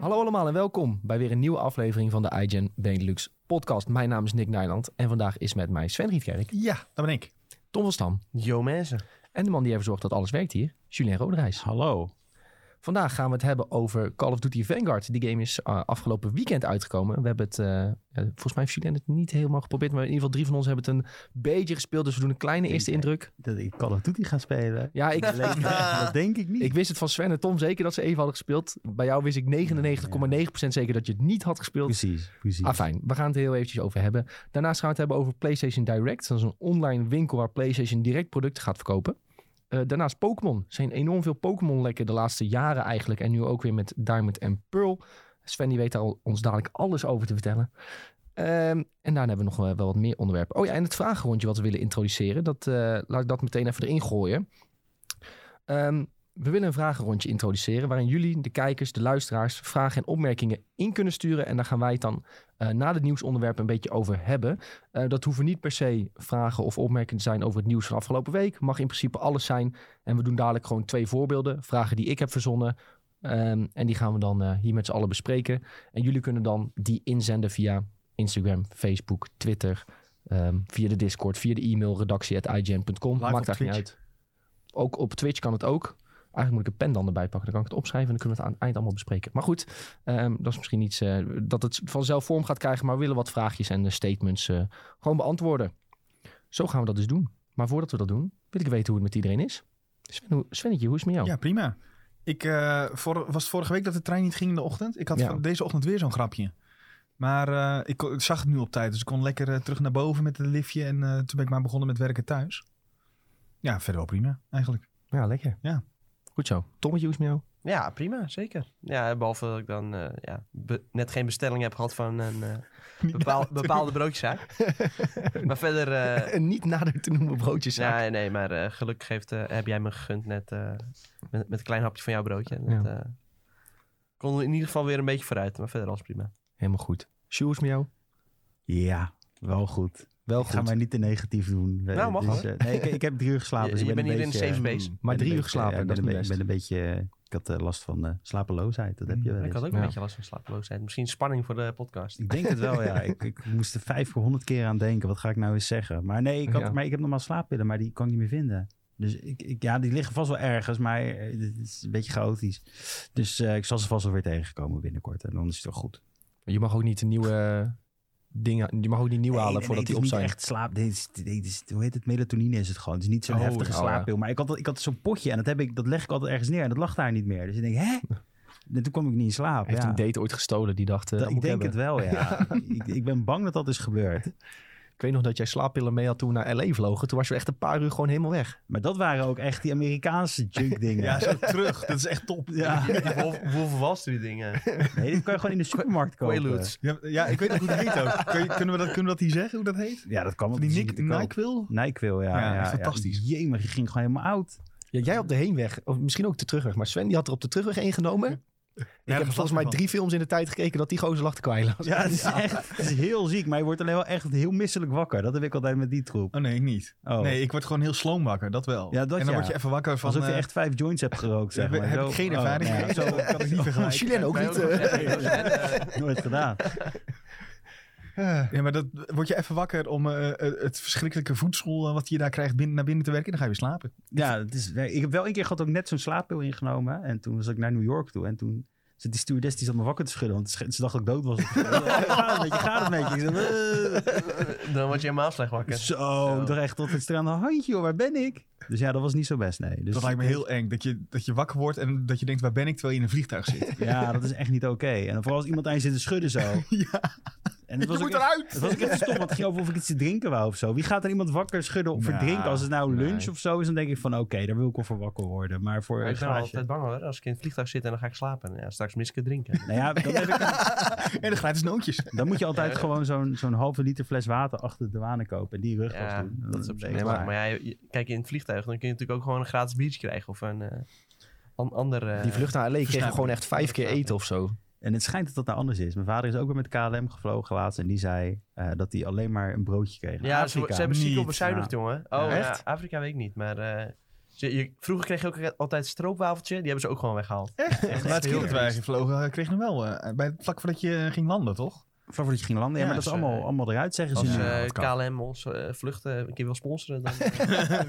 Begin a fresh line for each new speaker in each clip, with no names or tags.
Hallo allemaal en welkom bij weer een nieuwe aflevering van de iGen Benelux podcast. Mijn naam is Nick Nijland en vandaag is met mij Sven Rietkerk,
Ja, dat ben ik.
Tom van Stam
Yo mensen.
en de man die ervoor zorgt dat alles werkt hier, Julien Roderijs.
Hallo.
Vandaag gaan we het hebben over Call of Duty Vanguard. Die game is eh, afgelopen weekend uitgekomen. We hebben het, eh, eh, volgens mij heeft Julien het niet helemaal geprobeerd, maar in ieder geval drie van ons hebben het een beetje gespeeld. Dus we doen een kleine eerste indruk.
Dat ik Call of Duty ga spelen.
Ja, ik,
dat denk ik niet.
Ik wist het van Sven en Tom zeker dat ze even hadden gespeeld. Bij jou wist ik 99,9% zeker dat je het niet had gespeeld.
precies, precies.
Ah, fijn. We gaan het er heel eventjes over hebben. Daarnaast gaan we het hebben over PlayStation Direct. Dat is een online winkel waar PlayStation direct producten gaat verkopen. Eh, daarnaast Pokémon. Er zijn enorm veel Pokémon lekken de laatste jaren eigenlijk. En nu ook weer met Diamond en Pearl. Sven die weet daar al- ons dadelijk alles over te vertellen. Ehm, en daarna hebben we nog wel, wel wat meer onderwerpen. Oh ja, en het vragenrondje wat we willen introduceren. Dat, eh, laat ik dat meteen even erin gooien. Ehm, we willen een vragenrondje introduceren. Waarin jullie, de kijkers, de luisteraars, vragen en opmerkingen in kunnen sturen. En daar gaan wij het dan eh, na het nieuwsonderwerp een beetje over hebben. Eh, dat hoeven niet per se vragen of opmerkingen te zijn over het nieuws van afgelopen week. Mag in principe alles zijn. En we doen dadelijk gewoon twee voorbeelden. Vragen die ik heb verzonnen. Ehm, en die gaan we dan eh, hier met z'n allen bespreken. En jullie kunnen dan die inzenden via Instagram, Facebook, Twitter. ehm, via de Discord, via de e-mail redactie.ign.com.
Live op
Maakt eigenlijk niet
Twitch.
uit. Ook op Twitch kan het ook. Eigenlijk moet ik een pen dan erbij pakken. Dan kan ik het opschrijven en dan kunnen we het aan het eind allemaal bespreken. Maar goed, Ehm, dat is misschien iets eh, dat het vanzelf vorm gaat krijgen, maar we willen wat vraagjes en eh, statements eh, gewoon beantwoorden. Zo gaan we dat dus doen. Maar voordat we dat doen, wil ik weten hoe het met iedereen is. Sven, hoe, Svennetje, hoe is het met jou?
Ja, prima. Ik eh, voor, was het vorige week dat de trein niet ging in de ochtend. Ik had
Ja.
van deze ochtend weer zo'n grapje. Maar eh, ik, kon- ik zag het nu op tijd, dus ik kon lekker eh, terug naar boven met het liftje. En eh, toen ben ik maar begonnen met werken thuis. Ja, verder wel prima, eigenlijk.
Ja, lekker.
Ja.
Goed zo. Tommetje, hoe is het met jou?
Ja, prima, zeker. Ja, behalve dat ik dan eh, ja, be- net geen bestelling heb gehad van een eh, bepaal- bepaalde broodjeszaak. maar verder, eh,
Een niet nader te noemen broodjeszaak.
nee, nee, maar eh, gelukkig heeft, eh, heb jij me gegund net eh, met, met een klein hapje van jouw broodje. Dat,
Ja.
eh, kon in ieder geval weer een beetje vooruit, maar verder alles prima.
Helemaal goed. Sjoe, hoe is het met jou?
Ja, wel goed.
Wel
Ik ga
goed.
mij niet te negatief doen. Eh,
Nou, mag wel.
eh, nee, ik, ik heb drie uur geslapen.
Je-
dus ik
je
ben
bent
een
hier in een
beetje,
safe
eh,
space.
ben
Maar
een
drie uur
beetje-
geslapen,
ja, dus ik
dat is
ben
mijn
een
best.
beetje- Ik ben een beetje... eh, Ik had eh, last van eh, slapeloosheid. Dat heb je wel
Mm, ik
eens.
had ook
Ja.
een beetje last van slapeloosheid. Misschien spanning voor de podcast.
Ik denk het wel, ja. Ik, ik moest er vijf voor honderd keer aan denken. Wat ga ik nou eens zeggen? Maar nee, ik, had,
Ja.
maar ik heb normaal slaappillen, maar die kan ik niet meer vinden. Dus ik, ik- ja, die liggen vast wel ergens, maar eh, het is een beetje chaotisch. Dus eh, ik zal ze vast wel weer tegenkomen binnenkort. En dan is het wel goed.
Je mag ook niet een nieuwe eh, dingen, je mag ook niet nieuw halen
Nee, nee,
voordat
nee,
die op
het is
zijn.
niet echt slaap. Dit is, dit is- hoe heet het? Melatonine is het gewoon. Het is niet zo'n
Oh,
heftige
ja.
slaappil. Maar ik had, ik had zo'n potje en dat, heb ik, dat leg ik altijd ergens neer. En dat lag daar niet meer. Dus ik denk, hè? En toen kwam ik niet in slaap.
Heeft
ja.
een date ooit gestolen die dacht, eh,
Dat-
dat
ik
moet ik
denk het
hebben.
wel, ja. Ik, ik ben bang dat dat is gebeurd.
Ik weet nog dat jij slaappillen mee had toen we naar L.A. vlogen. Toen was je echt een paar uur gewoon helemaal weg.
Maar dat waren ook echt die Amerikaanse junk dingen.
Ja, zo terug. Dat is echt top.
Ja.
Hoeveel was die dingen?
Nee, dit kan je gewoon in de supermarkt kopen.
Quaaludes.
Ja, ja, ik weet niet hoe het heet ook. Kun je- kunnen, we dat, kunnen we dat hier zeggen, hoe dat heet?
Ja, dat kan
Van
ook
die
niet
Nick, NyQuil?
Nyquil, ja.
Ja,
ja,
echt fantastisch.
Ja. Jemig, je ging gewoon helemaal oud.
Ja, jij op de heenweg, of misschien ook de terugweg. Maar Sven die had er op de terugweg één genomen. Ik
daar
heb
was
volgens
last
mij
van.
drie films in de tijd gekeken dat die gozer lag te kwijlen.
Ja, het is echt het is heel ziek. Maar je wordt alleen wel echt heel misselijk wakker. Dat heb ik altijd met die troep.
Oh nee, ik niet.
Oh.
Nee, ik word gewoon heel sloom wakker, dat wel.
Ja, dat
en dan
ja.
word je even wakker van...
Alsof je
eh,
echt vijf joints hebt gerookt, zeg
heb-
maar.
heb
Zo-
ik geen
oh,
ervaring
nou
mee,
ja,
zo kan ik niet vergelijken.
Julien ook niet. eh.
Nooit gedaan.
Ja, maar dat word je even wakker om eh, eh, het verschrikkelijke voedsel eh, wat je daar krijgt binnen, naar binnen te werken. En dan ga je weer slapen.
Ja, het is, ik heb wel een keer gehad ook net zo'n slaappil ingenomen. En toen was ik naar New York toe. En toen zat die stewardess die zat me wakker te schudden. Want ze ze dacht dat ik dood was. Gaat het met je, gaat het met je. Ik zei, "Eh."
Dan word je helemaal slecht wakker.
Zo, ik dacht echt tot het strand. Handje, joh, waar ben ik? Dus ja, dat was niet zo best, nee. Dus,
dat lijkt me heel eng. Dat je, dat je wakker wordt en dat je denkt, waar ben ik terwijl je in een vliegtuig zit? Dus
Ja, dat is echt niet oké. En dan vooral als iemand aan je zit te schudden zo. En het was
je
ook
moet
echt-
eruit!
Het was ook echt stom, want het ging over of ik iets te drinken wou of zo. Wie gaat er iemand wakker schudden of
Nou,
verdrinken? Als het nou lunch
nee.
of zo is, dan denk ik van oké, daar wil ik wel voor wakker worden. Maar voor
Maar
een
ik ben wel
glaasje...
altijd bang hoor. Als ik in het vliegtuig zit en dan ga ik slapen. Ja, straks mis ik het drinken.
Nou ja, dan, heb ik,
En de gratis nootjes.
dan moet je altijd gewoon zo'n zo'n halve liter fles water achter de douane kopen. En die rugtas
Ja,
doen.
dat is op
ben
zich wel
je
waar.
klaar.
Maar ja, je- kijk, in het vliegtuig dan kun je natuurlijk ook gewoon een gratis biertje krijgen. Of een eh, an- ander... eh,
Die vlucht naar L.A. kregen we gewoon echt vijf keer eten of zo.
En het schijnt dat dat nou anders is. Mijn vader is ook weer met KLM gevlogen laatst. En die zei eh, dat hij alleen maar een broodje kreeg.
Ja, ze,
Afrika.
ze hebben ziek
niet.
op bezuinigd, jongen. Oh,
Ja.
ja,
Echt?
Afrika weet ik niet, maar... eh, Dus je- je- vroeger kreeg je ook altijd stroopwafeltje. Die hebben ze ook gewoon weggehaald.
Echt? De laatste keer dat
heel
wij
triest.
gevlogen kreeg je hem wel. eh, bij het vlak voordat je ging landen, toch?
Favoriet ging landen.
Ja,
Ja, maar dat is
dus,
allemaal,
eh,
allemaal eruit, zeggen
Als
ze.
Ja,
eh,
dat kan.
KLM ons eh, vluchten een keer wil sponsoren, dan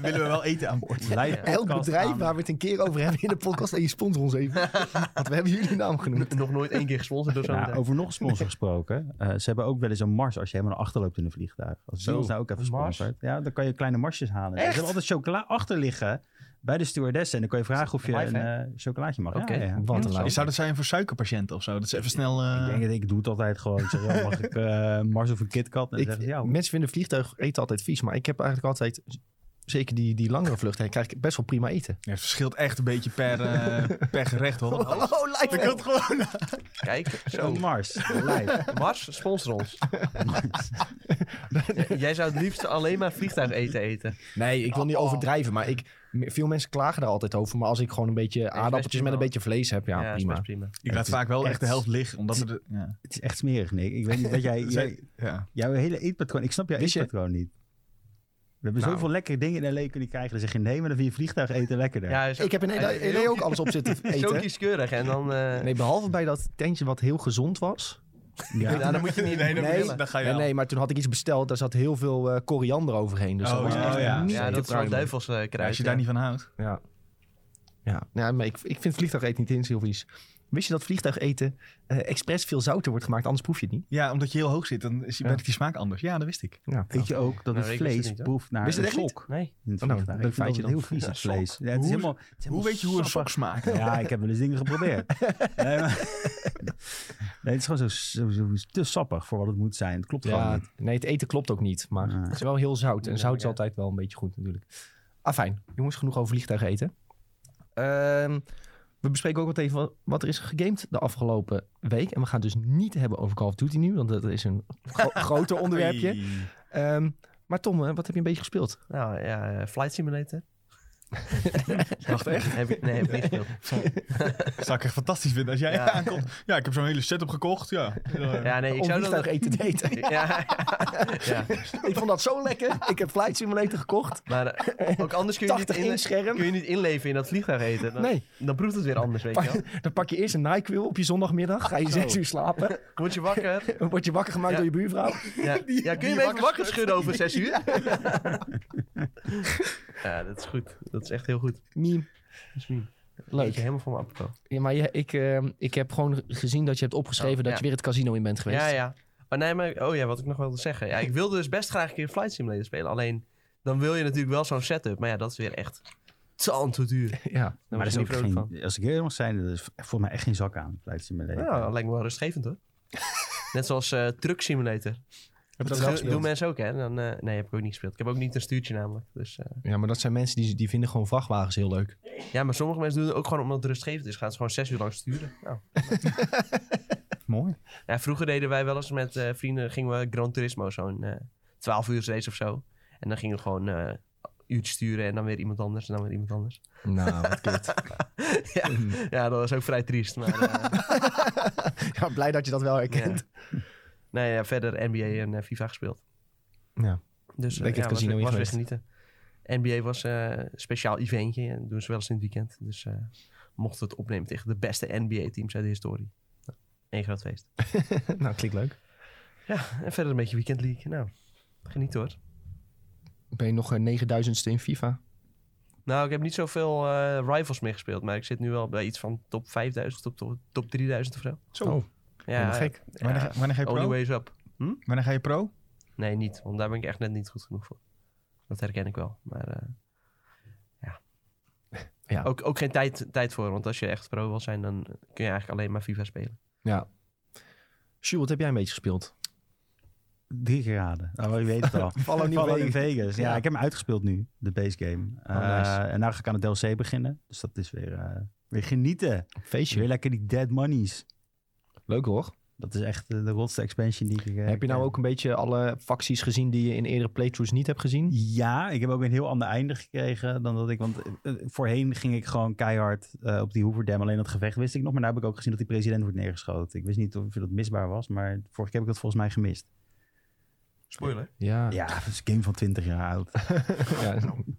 Willen we wel eten aan boord.
Leid
Ja.
podcast
Elk bedrijf
aan.
waar we het een keer over hebben in de podcast. En je sponsor ons even. Want we hebben jullie naam genoemd.
nog nooit één keer gesponsord door zo'n
Nou,
bedrijf.
over nog sponsor gesproken. eh, ze hebben ook wel eens een mars als je helemaal naar achter loopt in een vliegtuig. Als
Zo,
ze ons nou ook even
een mars?
sponsort. Ja, dan kan je kleine marsjes halen.
Echt?
Ze hebben altijd chocola achter liggen bij de stewardessen. En dan kan je vragen of je
Live,
een
hè?
eh, chocolaatje mag. Ja,
Oké.
ja, ja.
Wat een
Nou, Zou
lauw.
dat zijn voor suikerpatiënten of zo? Dat ze even snel... eh,
Ik denk het, ik doe het altijd gewoon. Ik zeg, ja, mag ik eh, mars of een KitKat? En dan
Ik-
zeggen ze, ja,
Mensen vinden vliegtuig eten altijd vies. Maar ik heb eigenlijk altijd, zeker die, die langere vluchten, krijg ik best wel prima eten.
Ja, het verschilt echt een beetje per, eh, per gerecht, hoor.
Oh, lijkt
Ik had gewoon...
Kijk, zo.
zo'n oh, mars. Live.
Mars, sponsor ons. J- Jij zou het liefst alleen maar vliegtuig eten eten.
Nee, ik wil niet overdrijven. Maar ik, m- veel mensen klagen daar altijd over. Maar als ik gewoon een beetje aardappeltjes met een
prima.
beetje vlees heb, ja,
is
prima.
best prima.
Ik laat vaak wel echt de
echt-
helft liggen, omdat er... Ja.
Het is echt smerig, Nick. Ik weet niet dat jij... jij-
ja.
jouw hele eetpatroon... Ik snap jouw
Wist je-
eetpatroon niet. We hebben
Nou.
zoveel lekkere dingen in L.A. kunnen krijgen. Dan zeg je nee, maar dan vind je vliegtuig eten lekkerder.
Ja, hij is eh,
Ik heb in E
hij is heel-
LA ook alles op zitten
Zo
eten.
kieskeurig. En dan, eh,
Nee, behalve bij dat tentje wat heel gezond was.
Ja.
ja, dan moet je niet
Nee, dan,
Nee.
moet je- dan ga je
Nee,
al.
nee, maar toen had ik iets besteld. Daar zat heel veel eh, koriander overheen. Dus
Oh,
dat was
ja.
echt
Oh, ja.
niet
Ja,
te
dat is
pruimen.
gewoon duivels eh,
Ja,
kruid.
als je daar
ja.
niet van houdt.
Ja. Ja, ja maar ik, ik vind vliegtuigeten niet eens heel vies. Wist je dat vliegtuigeten eh expres veel zouter wordt gemaakt, anders proef je het niet?
Ja, omdat je heel hoog zit, dan is je
Ja.
merkt die smaak anders. Ja, dat wist ik.
Ja.
Weet je ook dat
Nou,
het
ik wist het
vlees
niet, hoor.
proeft naar
Wist je
een
het echt dus niet?
sok?
Nee.
In het
Oh, nou,
vliegtuig.
leuk
Ik vind
feitje
dat heel
dan.
vies,
Ja,
het
sok.
vlees. Ja, het is
Hoe-
helemaal, het is helemaal
Hoe weet je hoe een sok
sappig.
smaakt?
Ja, ik heb wel eens dingen geprobeerd. nee, maar- nee, het is gewoon zo, zo, zo- te sappig voor wat het moet zijn. Het klopt gewoon
Ja,
niet.
nee, het eten klopt ook niet, maar
Ja.
het is wel heel zout. En
Ja,
zout is
ja.
altijd wel een beetje goed natuurlijk. Ah, fijn. Jongens, genoeg over vliegtuigeten. Ehm, we bespreken ook wat even wat, wat er is gegamed de afgelopen week. En we gaan het dus niet hebben over Call of Duty nu, want dat is een gro- groter onderwerpje. Ehm, maar Tom, eh, wat heb je een beetje gespeeld?
Nou ja, eh, Flight Simulator.
Wacht, echt?
Heb ik, nee, heb ik niet gespeeld.
Zou ik echt fantastisch vinden als jij
Ja.
aankomt. Ja, ik heb zo'n hele setup gekocht. Ja.
Ja, nee, ik
Om
zou dat...
vliegtuigeten te eten.
Ja, ja, ja.
Ik vond dat zo lekker. Ik heb Flight Simulator gekocht.
maar eh, ook anders kun je, niet
80
in,
inch scherm.
kun je niet inleven in dat vliegtuig eten. Dan,
Nee,
dan proeft het weer anders, weet je wel.
dan pak je eerst een Nyquil op je zondagmiddag. Ga je zes uur slapen.
Word je wakker?
Dan word je wakker gemaakt
Ja.
door je buurvrouw.
Ja, ja kun je me even wakker schudden over zes uur? ja, dat is goed. Dat is echt heel goed.
Meme.
Dat is meme.
Leuk.
Eentje helemaal voor mijn apropos.
Ja, maar je- ik, ehm, ik heb gewoon gezien dat je hebt opgeschreven
Oh,
dat
ja.
je weer het casino in bent geweest.
Ja, ja. Maar nee, maar... Oh ja, wat ik nog wilde zeggen. Ja, ik wilde dus best graag een keer Flight Simulator spelen. Alleen, dan wil je natuurlijk wel zo'n setup. Maar ja, dat is weer echt... Tant te duur.
Ja, daar was
Maar er is
ik
ook
niet vrolijk
geen, als ik heel mag zijn, er is voor mij echt geen zak aan. Blijft ze in mijn leven.
Ja, dat lijkt me wel rustgevend hoor. Net zoals eh, Truck Simulator.
Heb je dat
Dat,
wel
doen- doen
gespeeld?
mensen ook, hè? Dan, eh, nee, heb ik ook niet gespeeld. Ik heb ook niet een stuurtje namelijk. Dus, eh,
Ja, maar dat zijn mensen die, die vinden gewoon vrachtwagens heel leuk.
ja, maar sommige mensen doen het ook gewoon omdat het rustgevend is. Gaan ze gewoon zes uur lang sturen. Nou.
Mooi.
Ja, vroeger deden wij wel eens met eh, vrienden, gingen we Gran Turismo, zo'n eh 12 uur race of zo. En dan gingen we gewoon eh uurtje sturen en dan weer iemand anders en dan weer iemand anders.
Nou, wat kut.
ja, ja, dat was ook vrij triest. Maar, eh,
ja, blij dat je dat wel herkent.
nee, ja, verder NBA en eh, FIFA gespeeld.
Ja.
Dus eh,
Lekker
ja,
het casino
was,
in
was weer
geweest.
genieten. NBA was eh, een speciaal eventje en doen ze wel eens in het weekend. Dus eh, mochten we het opnemen tegen de beste NBA-teams uit de historie. Nou, één groot feest.
nou, klinkt leuk.
Ja, en verder een beetje Weekend League. Nou, geniet hoor.
Ben je nog een 9000ste in FIFA?
Nou, ik heb niet zoveel eh, rivals meer gespeeld. Maar ik zit nu wel bij iets van top 5000, top, top, top 3000 of zo.
Zo.
Oh,
Ja,
helemaal gek.
ja,
Wanneer, ga- wanneer ga je
only
pro?
ways up.
Wanneer ga je pro?
Nee, niet. Want daar ben ik echt net niet goed genoeg voor. Dat herken ik wel. Maar eh, ja.
Ja.
Ook, ook geen tijd, tijd voor. Want als je echt pro wil zijn, dan kun je eigenlijk alleen maar FIFA spelen.
Ja. Sjoe, wat heb jij een beetje gespeeld?
Drie keer raden. Oh, je weet het al.
Vallen
Fallout in Vegas. Ja,
Ja.
ik heb hem uitgespeeld nu, de base game.
Oh, nice.
Eh, en nou ga ik aan het DLC beginnen. Dus dat is weer, eh, weer genieten.
Feestje.
Weer lekker die dead monies.
Leuk hoor.
Dat is echt eh, de rotste expansion die ik... eh,
heb je nou
ken.
ook een beetje alle facties gezien die je in eerdere playthroughs niet hebt gezien?
Ja, ik heb ook een heel ander einde gekregen dan dat ik. Want eh, voorheen ging ik gewoon keihard eh, op die Hoover Dam. Alleen dat gevecht wist ik nog. Maar nu heb ik ook gezien dat die president wordt neergeschoten. Ik wist niet of dat misbaar was. Maar vorige keer heb ik dat volgens mij gemist.
Spoiler.
Ja, ja.
Ja, dat is een game van 20 jaar oud.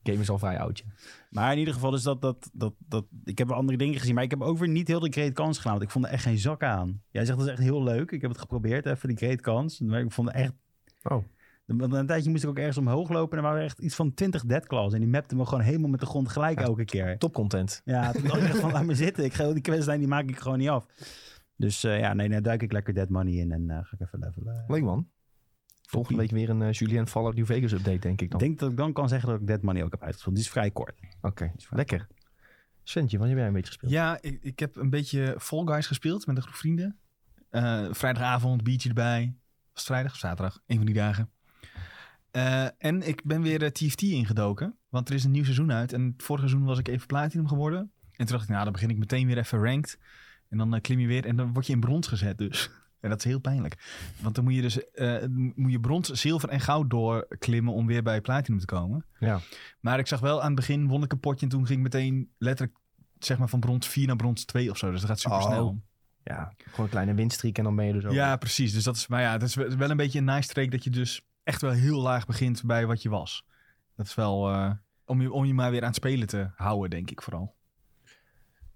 game is al vrij oud. ja.
Maar in ieder geval is dat, dat, dat, dat... Ik heb wel andere dingen gezien, maar ik heb ook weer niet heel de great kans gedaan. Want ik vond er echt geen zak aan. Jij zegt dat is echt heel leuk. Ik heb het geprobeerd, even die great kans. Maar ik vond er echt...
Oh.
Want na een tijdje moest ik ook ergens omhoog lopen. En er waren echt iets van 20 dead claws. En die mapten me gewoon helemaal met de grond gelijk
Ja,
elke keer.
Topcontent.
Ja, toen dacht ik echt van laat me zitten. Ik ga, die questlijn die maak ik gewoon niet af. Dus eh, ja, nee, nou duik ik lekker Dead Money in en eh, ga ik even levelen.
Leuk man. Volgende week weer een eh, Julien Fallout New Vegas update, denk ik
Ik
dan.
denk dat ik dan kan zeggen dat ik Dead Money ook heb uitgespeeld. Die is vrij kort.
Oké, lekker. Sventje, wanneer heb jij een beetje gespeeld?
Ja, ik, ik heb een beetje Fall Guys gespeeld met een groep vrienden. Eh, vrijdagavond, biertje erbij. Was het vrijdag of zaterdag? Een van die dagen. Eh, en ik ben weer eh, TFT ingedoken. Want er is een nieuw seizoen uit. En vorig seizoen was ik even platinum geworden. En toen dacht ik, nou, dan begin ik meteen weer even ranked. En dan eh, klim je weer en dan word je in brons gezet dus. En dat is heel pijnlijk. Want dan moet je dus eh, moet je brons, zilver en goud doorklimmen om weer bij platinum te komen.
Ja.
Maar ik zag wel aan het begin won ik een potje en toen ging ik meteen letterlijk zeg maar van brons 4 naar brons 2 of zo. Dus dat gaat super
Oh.
snel.
Ja, gewoon een kleine winstreak en dan ben je dus ook...
Ja, precies. Dus dat is, maar ja, het is wel wel een beetje een nice streak dat je dus echt wel heel laag begint bij wat je was. Dat is wel eh, om, je, om je maar weer aan het spelen te houden, denk ik vooral.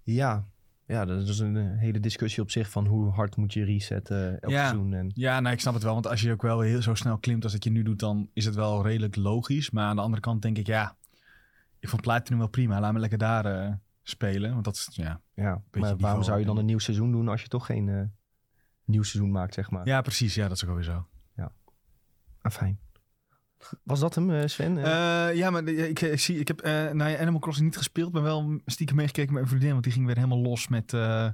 Ja. Ja, dat is dus een eh, hele discussie op zich van hoe hard moet je resetten eh, elk
Ja.
seizoen. En...
Ja, nou, ik snap het wel. Want als je ook wel heel zo snel klimt als dat je nu doet, dan is het wel redelijk logisch. Maar aan de andere kant denk ik, ja, ik vond Platinum wel prima. Laat me lekker daar eh, spelen. Want dat is, ja.
Ja, maar
niveau
waarom zou je dan
houden.
een nieuw seizoen doen als je toch geen eh, nieuw seizoen maakt, zeg maar?
ja, precies. Ja, dat is ook alweer zo.
Ah, fijn. Was dat hem, eh, Sven? Eh,
Eh, ja, maar de- ik, ik zie, ik heb eh, nou ja, Animal Crossing niet gespeeld, maar wel stiekem meegekeken met een vriendin. Want die ging weer helemaal los met eh,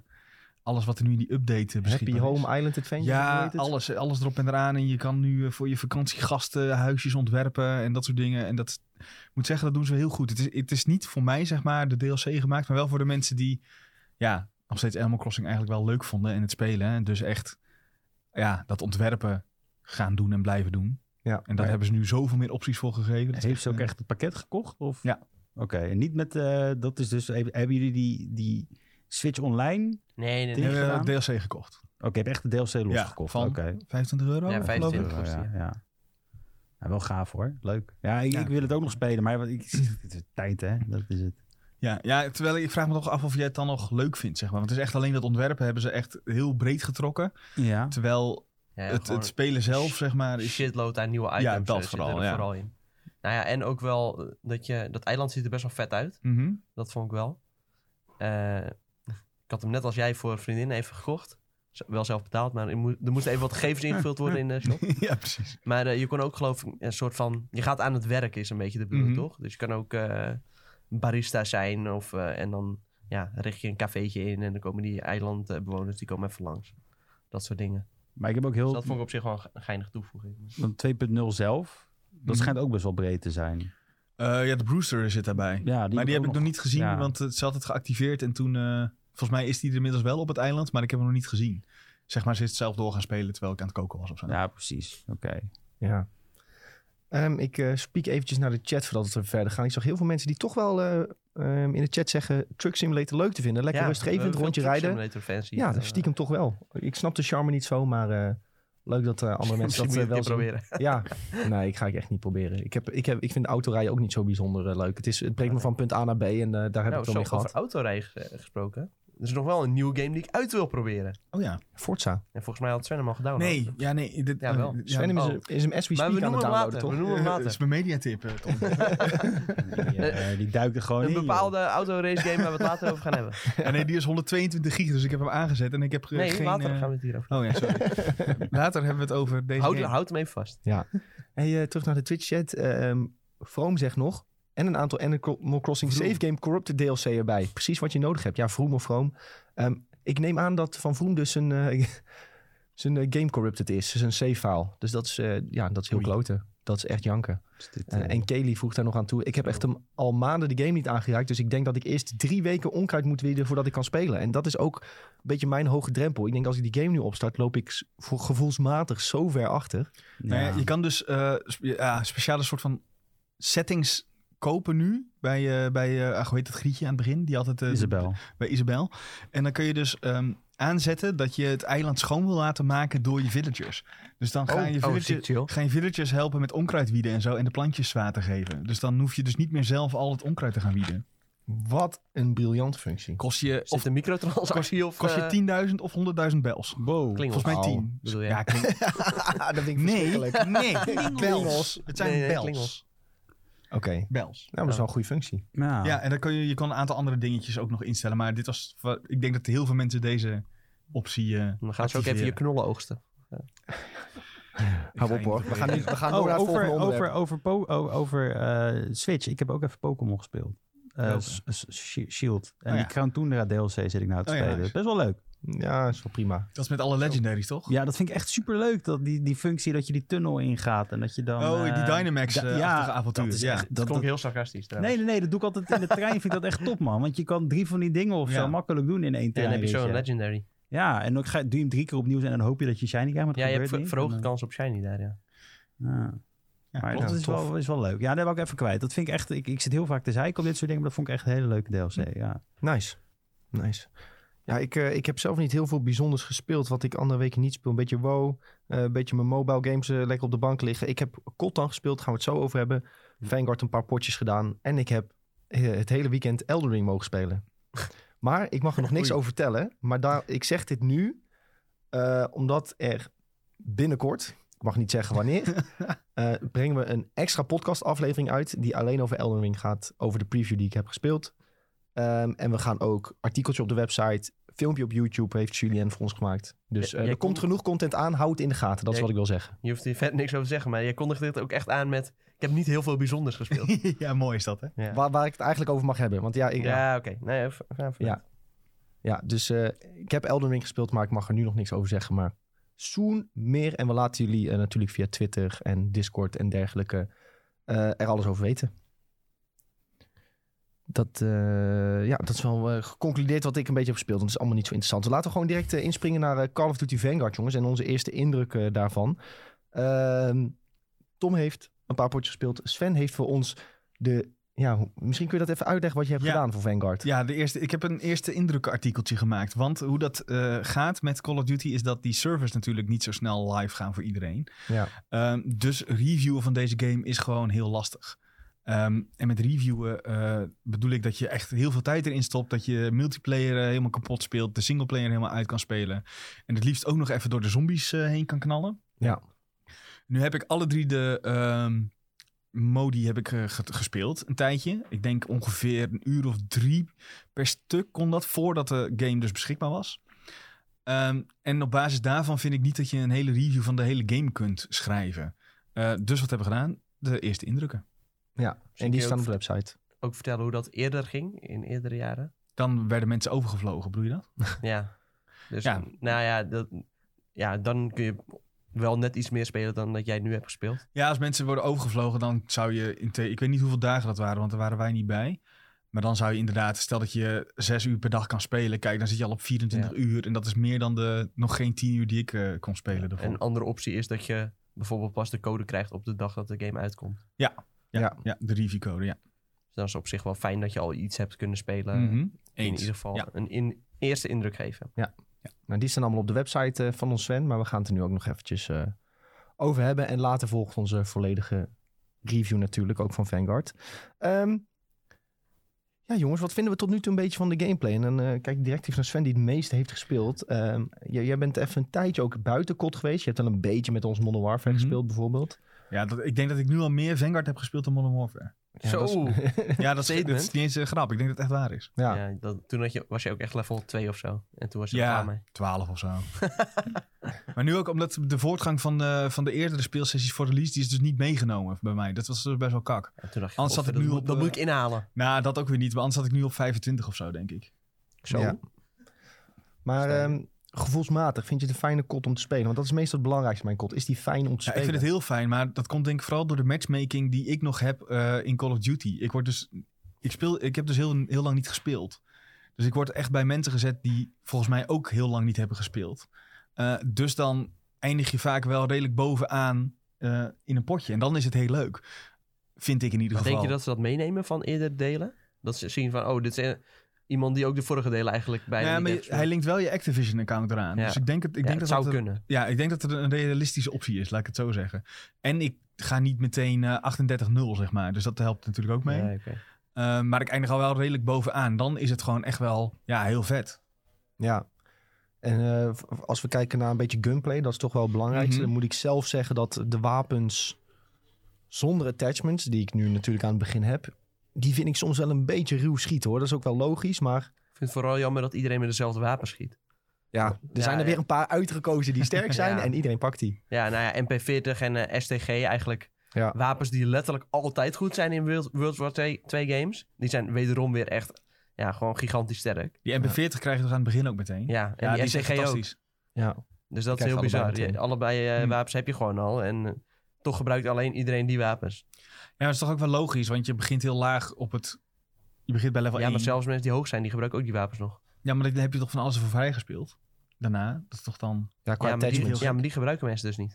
alles wat er nu in die update eh,
Happy
beschikbaar is.
Home Island Adventure? hoe
Ja,
heet het?
alles, alles erop en eraan. En je kan nu eh, voor je vakantiegasten huisjes ontwerpen en dat soort dingen. En dat ik moet zeggen, dat doen ze heel goed. Het is, het is niet voor mij, zeg maar, de DLC gemaakt, maar wel voor de mensen die ja, nog steeds Animal Crossing eigenlijk wel leuk vonden en het spelen. En dus echt ja, dat ontwerpen gaan doen en blijven doen.
Ja,
En daar
maar-
hebben ze nu zoveel meer opties voor gegeven. Dat is
Heeft ze ook
eh,
echt het pakket gekocht? Of?
Ja.
Oké, en niet met... eh, dat is dus... even- Hebben jullie die, die Switch Online?
Nee, nee,
Die-
nee.
hebben
gedaan?
we DLC gekocht.
Oké, ik heb echt de DLC losgekocht.
Ja, van
Oké.
25 euro?
Ja,
geloof ik.
25.
euro,
kost die,
ja. ja. Ja, wel gaaf hoor. Leuk. Ja, ik,
Ja.
ik wil het ook nog spelen, maar ik, het is tijd hè. Dat is het.
Ja, ja, terwijl ik vraag me toch af of jij het dan nog leuk vindt, zeg maar. Want het is echt alleen dat ontwerpen hebben ze echt heel breed getrokken.
Ja.
Terwijl
Ja,
het,
gewoon-
het spelen zelf, zeg maar,
Een
is...
shitload aan nieuwe items.
Ja, dat
eh, zitten
vooral,
er
ja.
vooral in. Nou ja, en ook wel eh, dat je... Dat eiland ziet er best wel vet uit.
Mhm.
Dat vond ik wel. Eh, ik had hem net als jij voor een vriendin even gekocht. Z- Wel zelf betaald, maar er moe- er moesten even wat gegevens ingevuld worden in de shop.
ja, precies.
Maar eh, je kon ook geloof ik een soort van... Je gaat aan het werk is een beetje de bedoeling,
Mhm.
toch? Dus je kan ook eh, barista zijn of... eh, en dan ja, richt je een cafeetje in en dan komen die eilandbewoners... die komen even langs. Dat soort dingen.
Maar ik heb ook
Dus
heel
dat vond ik op zich wel een ge- een geinige toevoeging.
Want 2.0 zelf, dat schijnt ook best wel breed te zijn.
Eh, ja, de Brewster zit daarbij.
Ja,
maar die heb ik nog niet gezien,
ja.
want het, ze had het geactiveerd. En toen, eh, volgens mij is die er inmiddels wel op het eiland, maar ik heb hem nog niet gezien. Zeg maar, ze is het zelf door gaan spelen terwijl ik aan het koken was of zo.
Ja, precies. Oké.
Ja. Ehm, ik eh speak eventjes naar de chat voordat we verder gaan. Ik zag heel veel mensen die toch wel eh, ehm, in de chat zeggen... Truck Simulator leuk te vinden. Lekker
eh,
rustgevend, rondje rijden.
eh,
Ja, dat stiekem toch wel. Ik snap de charme niet zo, maar eh, leuk dat eh, andere mensen dat eh, wel zien.
proberen.
Ja, nee, ik ga ik echt niet proberen. Ik, heb, ik, heb, ik vind autorijden ook niet zo bijzonder eh, leuk. Het, is, het brengt me van punt A naar B en eh, daar heb
nou,
ik het wel
zo
mee
over
gehad.
autorijden ge- gesproken. Er is nog wel een nieuwe game die ik uit wil proberen.
Oh ja.
Forza.
En volgens mij had Sven hem al gedaan.
Nee, ja, nee. Dit,
Oh, Ja, wel.
eh,
Sven is,
oh.
hem- is hem as we speak aan
Maar we
het
noemen hem
downloaden,
later.
toch? oh,
We noemen hem
Eh, Het
later.
is mijn mediatip, eh, Tom.
Die, eh, die duikt er gewoon
Een
in. joh.
bepaalde autoracegame game waar we het later over gaan hebben.
ja, nee, die is 122 gig, dus ik heb hem aangezet en ik heb eh,
Nee,
geen...
later
eh,
gaan we het hierover
Oh ja, sorry. Later hebben we het over deze
houden.
game. eh,
Houd hem even vast.
Hey, eh, terug naar de Twitch-chat. Ehm Vroom zegt nog... En een aantal Animal Crossing
Vroom.
save game corrupted DLC erbij. Precies wat je nodig hebt. Ja, Vroom of Vroom. Ehm, ik neem aan dat Van Vroom dus een, eh, zijn eh, game corrupted is. Zijn save file. Dus dat is, eh, ja, dat is heel
Oei.
kloten. Dat is echt janken.
Dus dit,
Eh,
eh,
en Kelly vroeg daar nog aan toe. Ik heb echt hem al maanden de game niet aangeraakt. Dus ik denk dat ik eerst drie weken onkruid moet wieden voordat ik kan spelen. En dat is ook een beetje mijn hoge drempel. Ik denk als ik die game nu opstart, loop ik s- voor gevoelsmatig zo ver achter.
Nou ja,
ja.
je kan dus eh, spe- ja, speciale soort van settings kopen nu bij, ah, eh, bij eh, ach, hoe heet het grietje aan het begin? Die altijd, eh,
Isabel.
Bij Isabel. En dan kun je dus ehm, aanzetten dat je het eiland schoon wil laten maken door je villagers. Dus dan gaan,
Oh,
je,
oh,
villagers,
ziek, chill.
gaan je villagers helpen met onkruidwieden en zo en de plantjes water geven. Dus dan hoef je dus niet meer zelf al het onkruid te gaan wieden.
Wat een briljante functie.
Kost je,
Zit
of,
een microtransactie of...
kost
eh,
je 10.000 of 100.000 bels.
Wow.
Volgens mij 10.
bedoel je?
Ja, klink-
Ah, dat vind ik
nee,
verschrikkelijk.
nee,
Klingels.
bels. Het zijn
Nee, nee,
bels.
klingels.
Oké.
Bels.
Nou, dat is wel een goede functie.
Ja.
Ja, en dan kun je, je kan een aantal andere dingetjes ook nog instellen. Maar dit was, wa- ik denk dat heel veel mensen deze optie. eh
Dan gaan ze ook even je knollen oogsten.
Hou op hoor. We gaan, nu, we gaan door
Oh,
naar het
over,
volgende onderwerp.
over, over, po- o- over eh, Switch. Ik heb ook even Pokémon gespeeld. Eh,
Welke?
S- S- Shi- Shield. En
Oh ja.
die Crown Tundra DLC zit ik nou te
Oh ja,
spelen.
nice.
Best wel leuk.
Ja, is wel prima.
Dat is met alle legendaries, toch?
Ja, dat vind ik echt super leuk. Dat die, die functie dat je die tunnel ingaat. En dat je dan.
oh, die
eh,
Dynamax
da-
eh ja, avontuur.
dat is
ja.
echt- dat-
Dat klonk
dat-
heel sarcastisch
Nee,
trouwens.
nee, nee, dat doe ik altijd in de trein. Vind ik dat echt top, man. Want je kan drie van die dingen of
Ja.
zo makkelijk doen in één
en dan heb je
treinritje.
zo'n legendary.
Ja, en dan ga, doe je hem drie keer opnieuw en dan hoop je dat je shiny krijgt. Maar dat
Ja, je hebt
gebeurt
ver-
niet.
verhoogde
En dan-
kans op shiny daar, ja.
Ja.
Ja,
maar
klopt.
dat is
Tof.
wel, is wel leuk. Ja, dat heb ik even kwijt. Dat vind ik echt. Ik, ik zit heel vaak te zeiken op dit soort dingen, maar dat vond ik echt een hele leuke DLC. Ja.
Nice. Nice. Ja, ik, eh, ik heb zelf niet heel veel bijzonders gespeeld wat ik andere weken niet speel. Een beetje WoW, eh, een beetje mijn mobile games eh, lekker op de bank liggen. Ik heb Cotton gespeeld, gaan we het zo over hebben. Vanguard een paar potjes gedaan. En ik heb eh, het hele weekend Elden Ring mogen spelen. Maar ik mag er nog niks
Oei.
over vertellen. Maar daar, ik zeg dit nu, eh, omdat er binnenkort, ik mag niet zeggen wanneer, eh, brengen we een extra podcast aflevering uit die alleen over Elden Ring gaat, over de preview die ik heb gespeeld. Ehm, en we gaan ook artikeltje op de website, filmpje op YouTube heeft Julien voor ons gemaakt. Dus
Ja,
eh,
jij
er komt
kon-
genoeg content aan, hou het in de gaten, dat is
Jij-
wat ik wil zeggen.
Je hoeft hier verder niks over te zeggen, maar je kondigde dit ook echt aan met... Ik heb niet heel veel bijzonders gespeeld.
ja, mooi is dat, hè?
Ja,
Waar, waar ik het eigenlijk over mag hebben, want ja, ik, ja.
ja oké. Nee, even- even- even-
Ja. ja dus eh, ik heb Elden Ring gespeeld, maar ik mag er nu nog niks over zeggen, maar soon meer. En we laten jullie eh, natuurlijk via Twitter en Discord en dergelijke eh, er alles over weten. Dat, eh, ja, dat is wel eh, geconcludeerd wat ik een beetje heb gespeeld. Want het is allemaal niet zo interessant. Dus laten we gewoon direct eh, inspringen naar eh, Call of Duty Vanguard, jongens. En onze eerste indruk eh, daarvan. Ehm, Tom heeft een paar potjes gespeeld. Sven heeft voor ons de... Ja, hoe- misschien kun je dat even uitleggen wat je hebt
Ja.
gedaan voor Vanguard.
Ja, de eerste, ik heb een eerste indrukartikeltje gemaakt. Want hoe dat eh, gaat met Call of Duty is dat die servers natuurlijk niet zo snel live gaan voor iedereen.
Ja.
Ehm, dus reviewen van deze game is gewoon heel lastig. Ehm, en met reviewen eh, bedoel ik dat je echt heel veel tijd erin stopt. Dat je multiplayer eh, helemaal kapot speelt. De singleplayer helemaal uit kan spelen. En het liefst ook nog even door de zombies eh, heen kan knallen.
Ja.
Nu heb ik alle drie de ehm, modi heb ik, eh, ge- gespeeld een tijdje. Ik denk ongeveer een uur of drie per stuk kon dat voordat de game dus beschikbaar was. Ehm, en op basis daarvan vind ik niet dat je een hele review van de hele game kunt schrijven. Eh, dus wat hebben we gedaan? De eerste indrukken.
Ja, en
kun
die
je
staan op
ook-
de website.
Ook vertellen hoe dat eerder ging, in eerdere jaren.
Dan werden mensen overgevlogen, bedoel je dat?
Ja. Dus
Ja.
nou ja, dat, ja, dan kun je wel net iets meer spelen dan dat jij nu hebt gespeeld.
Ja, als mensen worden overgevlogen, dan zou je... In the- ik weet niet hoeveel dagen dat waren, want daar waren wij niet bij. Maar dan zou je inderdaad, stel dat je zes uur per dag kan spelen. Kijk, dan zit je al op 24
Ja.
uur. En dat is meer dan de nog geen tien uur die ik eh, kon spelen. daarvoor.
Een andere optie is dat je bijvoorbeeld pas de code krijgt op de dag dat de game uitkomt.
ja,
Ja.
ja, de reviewcode, ja.
Dus dan is het op zich wel fijn dat je al iets hebt kunnen spelen.
Mhm,
In
Eens.
ieder geval
Ja.
een in, eerste indruk geven.
Nou, die staan allemaal op de website eh, van ons Sven, maar we gaan het er nu ook nog eventjes eh, over hebben. En later volgt onze volledige review natuurlijk, ook van Vanguard. Ehm, ja, jongens, wat vinden we tot nu toe een beetje van de gameplay? En dan eh, kijk ik direct even naar Sven, die het meeste heeft gespeeld. Ehm, jij, jij bent even een tijdje ook buiten kot geweest. Je hebt al een beetje met ons Modern Warfare
Mhm.
gespeeld, bijvoorbeeld.
Ja, dat, ik denk dat ik nu al meer Vanguard heb gespeeld dan Modern Warfare.
Ja,
Zo.
dat is-
Ja, dat is, dat is
Statement.
niet eens een grap. Ik denk dat het echt waar is.
ja.
Ja, dat, toen had je, was je ook echt level 2 of zo. En toen was je er klaar
Ja,
mee.
12 of zo. maar nu ook omdat de voortgang van de, van de eerdere speelsessies voor release, die is dus niet meegenomen bij mij. Dat was dus best wel kak.
En toen dacht je,
Anders zat
"Godver,
ik
dat
nu
moet-
op,
Dat
eh,
moet ik inhalen.
Nou, dat ook weer niet. Maar anders zat ik nu op 25 of zo, denk ik.
Zo.
Ja. Maar
Stel.
ehm, gevoelsmatig, vind je het een fijne kot om te spelen? Want dat is meestal het belangrijkste, mijn kot. Is die fijn om te
Ja,
spelen?
ik vind het heel fijn, maar dat komt denk ik vooral door de matchmaking die ik nog heb eh, in Call of Duty. Ik, word dus, ik, speel, ik heb dus heel, heel lang niet gespeeld. Dus ik word echt bij mensen gezet die volgens mij ook heel lang niet hebben gespeeld. Eh, dus dan eindig je vaak wel redelijk bovenaan eh, in een potje. En dan is het heel leuk. Vind ik in ieder
Maar
geval.
denk je dat ze dat meenemen van eerder delen? Dat ze zien van, oh, dit is, Iemand die ook de vorige delen eigenlijk bijna
Ja,
niet
maar
heeft
je- hij linkt wel je Activision-account eraan.
Ja.
Dus ik denk, het, ik
Ja,
denk dat
het zou
dat een-
kunnen.
ja, ik denk dat het een realistische optie is, laat ik het zo zeggen. En ik ga niet meteen eh, 38-0, zeg maar. Dus dat helpt natuurlijk ook mee.
Ja, oké.
Eh, maar ik eindig al wel redelijk bovenaan. Dan is het gewoon echt wel ja, heel vet.
Ja. En eh, v- als we kijken naar een beetje gunplay, dat is toch wel het belangrijkste.
Mhm.
Dan moet ik zelf zeggen dat de wapens zonder attachments, die ik nu natuurlijk aan het begin heb, die vind ik soms wel een beetje ruw schieten hoor. Dat is ook wel logisch, maar
Ik vind het vooral jammer dat iedereen met dezelfde wapen schiet.
ja, er
Ja,
zijn er
ja.
weer een paar uitgekozen die sterk zijn
Ja.
en iedereen pakt die.
Ja, nou ja, MP40 en eh, STG eigenlijk.
Ja.
Wapens die letterlijk altijd goed zijn in World, World War 2, 2 games. Die zijn wederom weer echt, ja, gewoon gigantisch sterk.
Die MP40 krijg je toch aan het begin ook meteen?
Ja, en
Ja,
die,
is echt
STG ook.
fantastisch.
Ja,
Dus dat
Krijg
is heel
je allebei
bizar.
meteen.
Je- allebei eh,
Hm.
wapens heb je gewoon al. En eh, toch gebruikt alleen iedereen die wapens.
Ja, maar dat is toch ook wel logisch, want je begint heel laag op het... Je begint bij level
ja,
1.
maar zelfs mensen die hoog zijn, die gebruiken ook die wapens nog.
Ja, maar dan heb je toch van alles voor vrijgespeeld? Daarna? Dat is toch dan...
ja qua
ja, maar die,
attachments.
ja, maar die gebruiken mensen dus niet.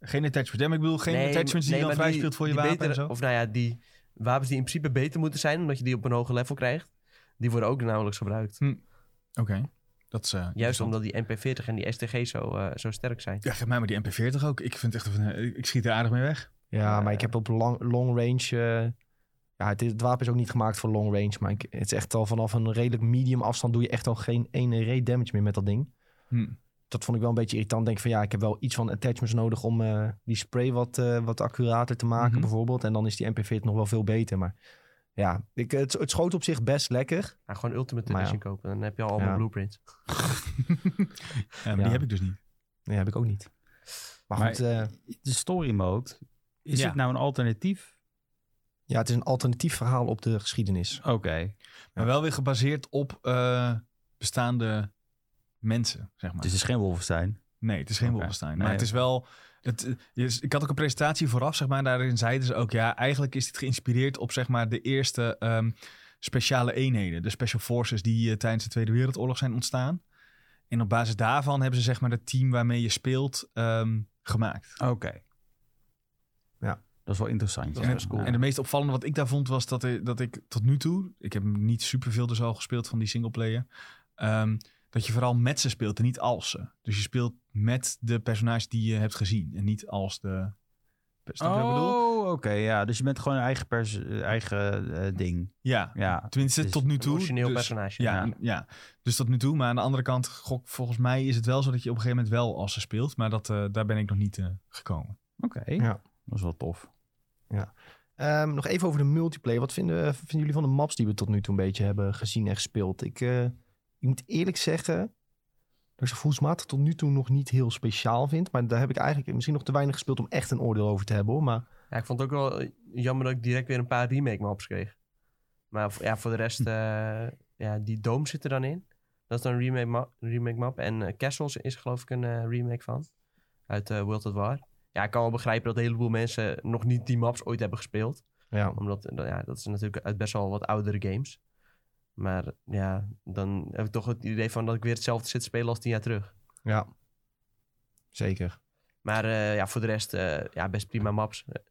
Geen attachments. Ja, maar ik bedoel, geen
Nee,
attachments die
nee,
je dan
maar
vrij speelt voor je
die
wapen en
betere-
zo?
Of nou ja, die wapens die in principe beter moeten zijn, omdat je die op een hoger level krijgt, die worden ook nauwelijks gebruikt.
Oké. Dat is, eh,
Juist
interessant.
omdat die MP40 en die STG zo, eh, zo sterk zijn.
Ja, geef mij maar die MP40 ook. Ik vind echt, een- eh, ik schiet er aardig mee weg.
Ja, maar ik heb op long, long range. eh, ja, het, is- het wapen is ook niet gemaakt voor long range. Maar ik, het is echt al vanaf een redelijk medium afstand. doe je echt al geen ene raid damage meer met dat ding.
Hm.
Dat vond ik wel een beetje irritant. Denk van ja, ik heb wel iets van attachments nodig. om eh, die spray wat, eh, wat accurater te maken,
Mhm.
bijvoorbeeld. En dan is die MP40 nog wel veel beter. Maar ja, ik, het, het schoot op zich best lekker.
Maar Nou, gewoon Ultimate
Maar ja.
Edition kopen, dan heb je al allemaal
Ja.
blueprints.
Ja, maar die heb ik dus niet.
Nee, heb ik ook niet. Maar,
Maar-
goed, eh,
De story mode, is
Ja.
dit nou een alternatief?
ja, het is een alternatief verhaal op de geschiedenis.
Oké.
Maar wel weer gebaseerd op eh, bestaande mensen, zeg maar.
Dus het is geen Wolfenstein.
Nee, het is geen
Oké.
Wolfenstein.
Nee.
Maar het is wel... Het, eh, is- ik had ook een presentatie vooraf, zeg maar. Daarin zeiden ze ook, ja, eigenlijk is dit geïnspireerd op, zeg maar, de eerste ehm, speciale eenheden. De special forces die eh, tijdens de Tweede Wereldoorlog zijn ontstaan. En op basis daarvan hebben ze, zeg maar, het team waarmee je speelt ehm, gemaakt.
Oké.
Ja.
Dat is wel interessant.
Dat
ja.
is En het meest opvallende wat ik daar vond was dat, ik- dat ik tot nu toe, ik heb niet superveel dus al gespeeld van die singleplayer, ehm, dat je vooral met ze speelt en niet als ze. Dus je speelt met de personage die je hebt gezien en niet als de. Snap je wat ik bedoel?
Oh, oké. ja, dus je bent gewoon een eigen, pers eh, eigen eh, ding.
Ja.
Ja.
Tenminste,
Dus
tot nu
Een
toe.
origineel
dus,
personage.
Ja,
Ja.
ja. dus tot nu toe. Maar aan de andere kant, gok, volgens mij is het wel zo dat je op een gegeven moment wel als ze speelt. Maar dat, eh, daar ben ik nog niet eh, gekomen.
Oké.
Ja.
Dat is wel tof.
Ehm, nog even over de multiplayer. Wat vinden, eh, vinden jullie van de maps die we tot nu toe een beetje hebben gezien en gespeeld? Ik, eh, ik moet eerlijk zeggen dat ik ze gevoelsmatig tot nu toe nog niet heel speciaal vind. Maar daar heb ik eigenlijk misschien nog te weinig gespeeld om echt een oordeel over te hebben. Hoor. Maar
Ja, ik vond het ook wel eh, jammer dat ik direct weer een paar remake maps kreeg. Maar v- ja, voor de
Hm.
rest, eh, ja, die Dome zit er dan in. Dat is dan een remake, ma- remake map. En eh, Castles is geloof ik een eh, remake van. Uit eh, World at War. Ja, ik kan wel begrijpen dat een heleboel mensen nog niet die maps ooit hebben gespeeld.
ja,
Omdat eh, dat- ja, dat is natuurlijk uit best wel wat oudere games. Maar ja, dan heb ik toch het idee van dat ik weer hetzelfde zit te spelen als tien jaar terug.
ja. zeker.
Maar eh, ja, voor de rest, eh, ja, best prima maps. Dus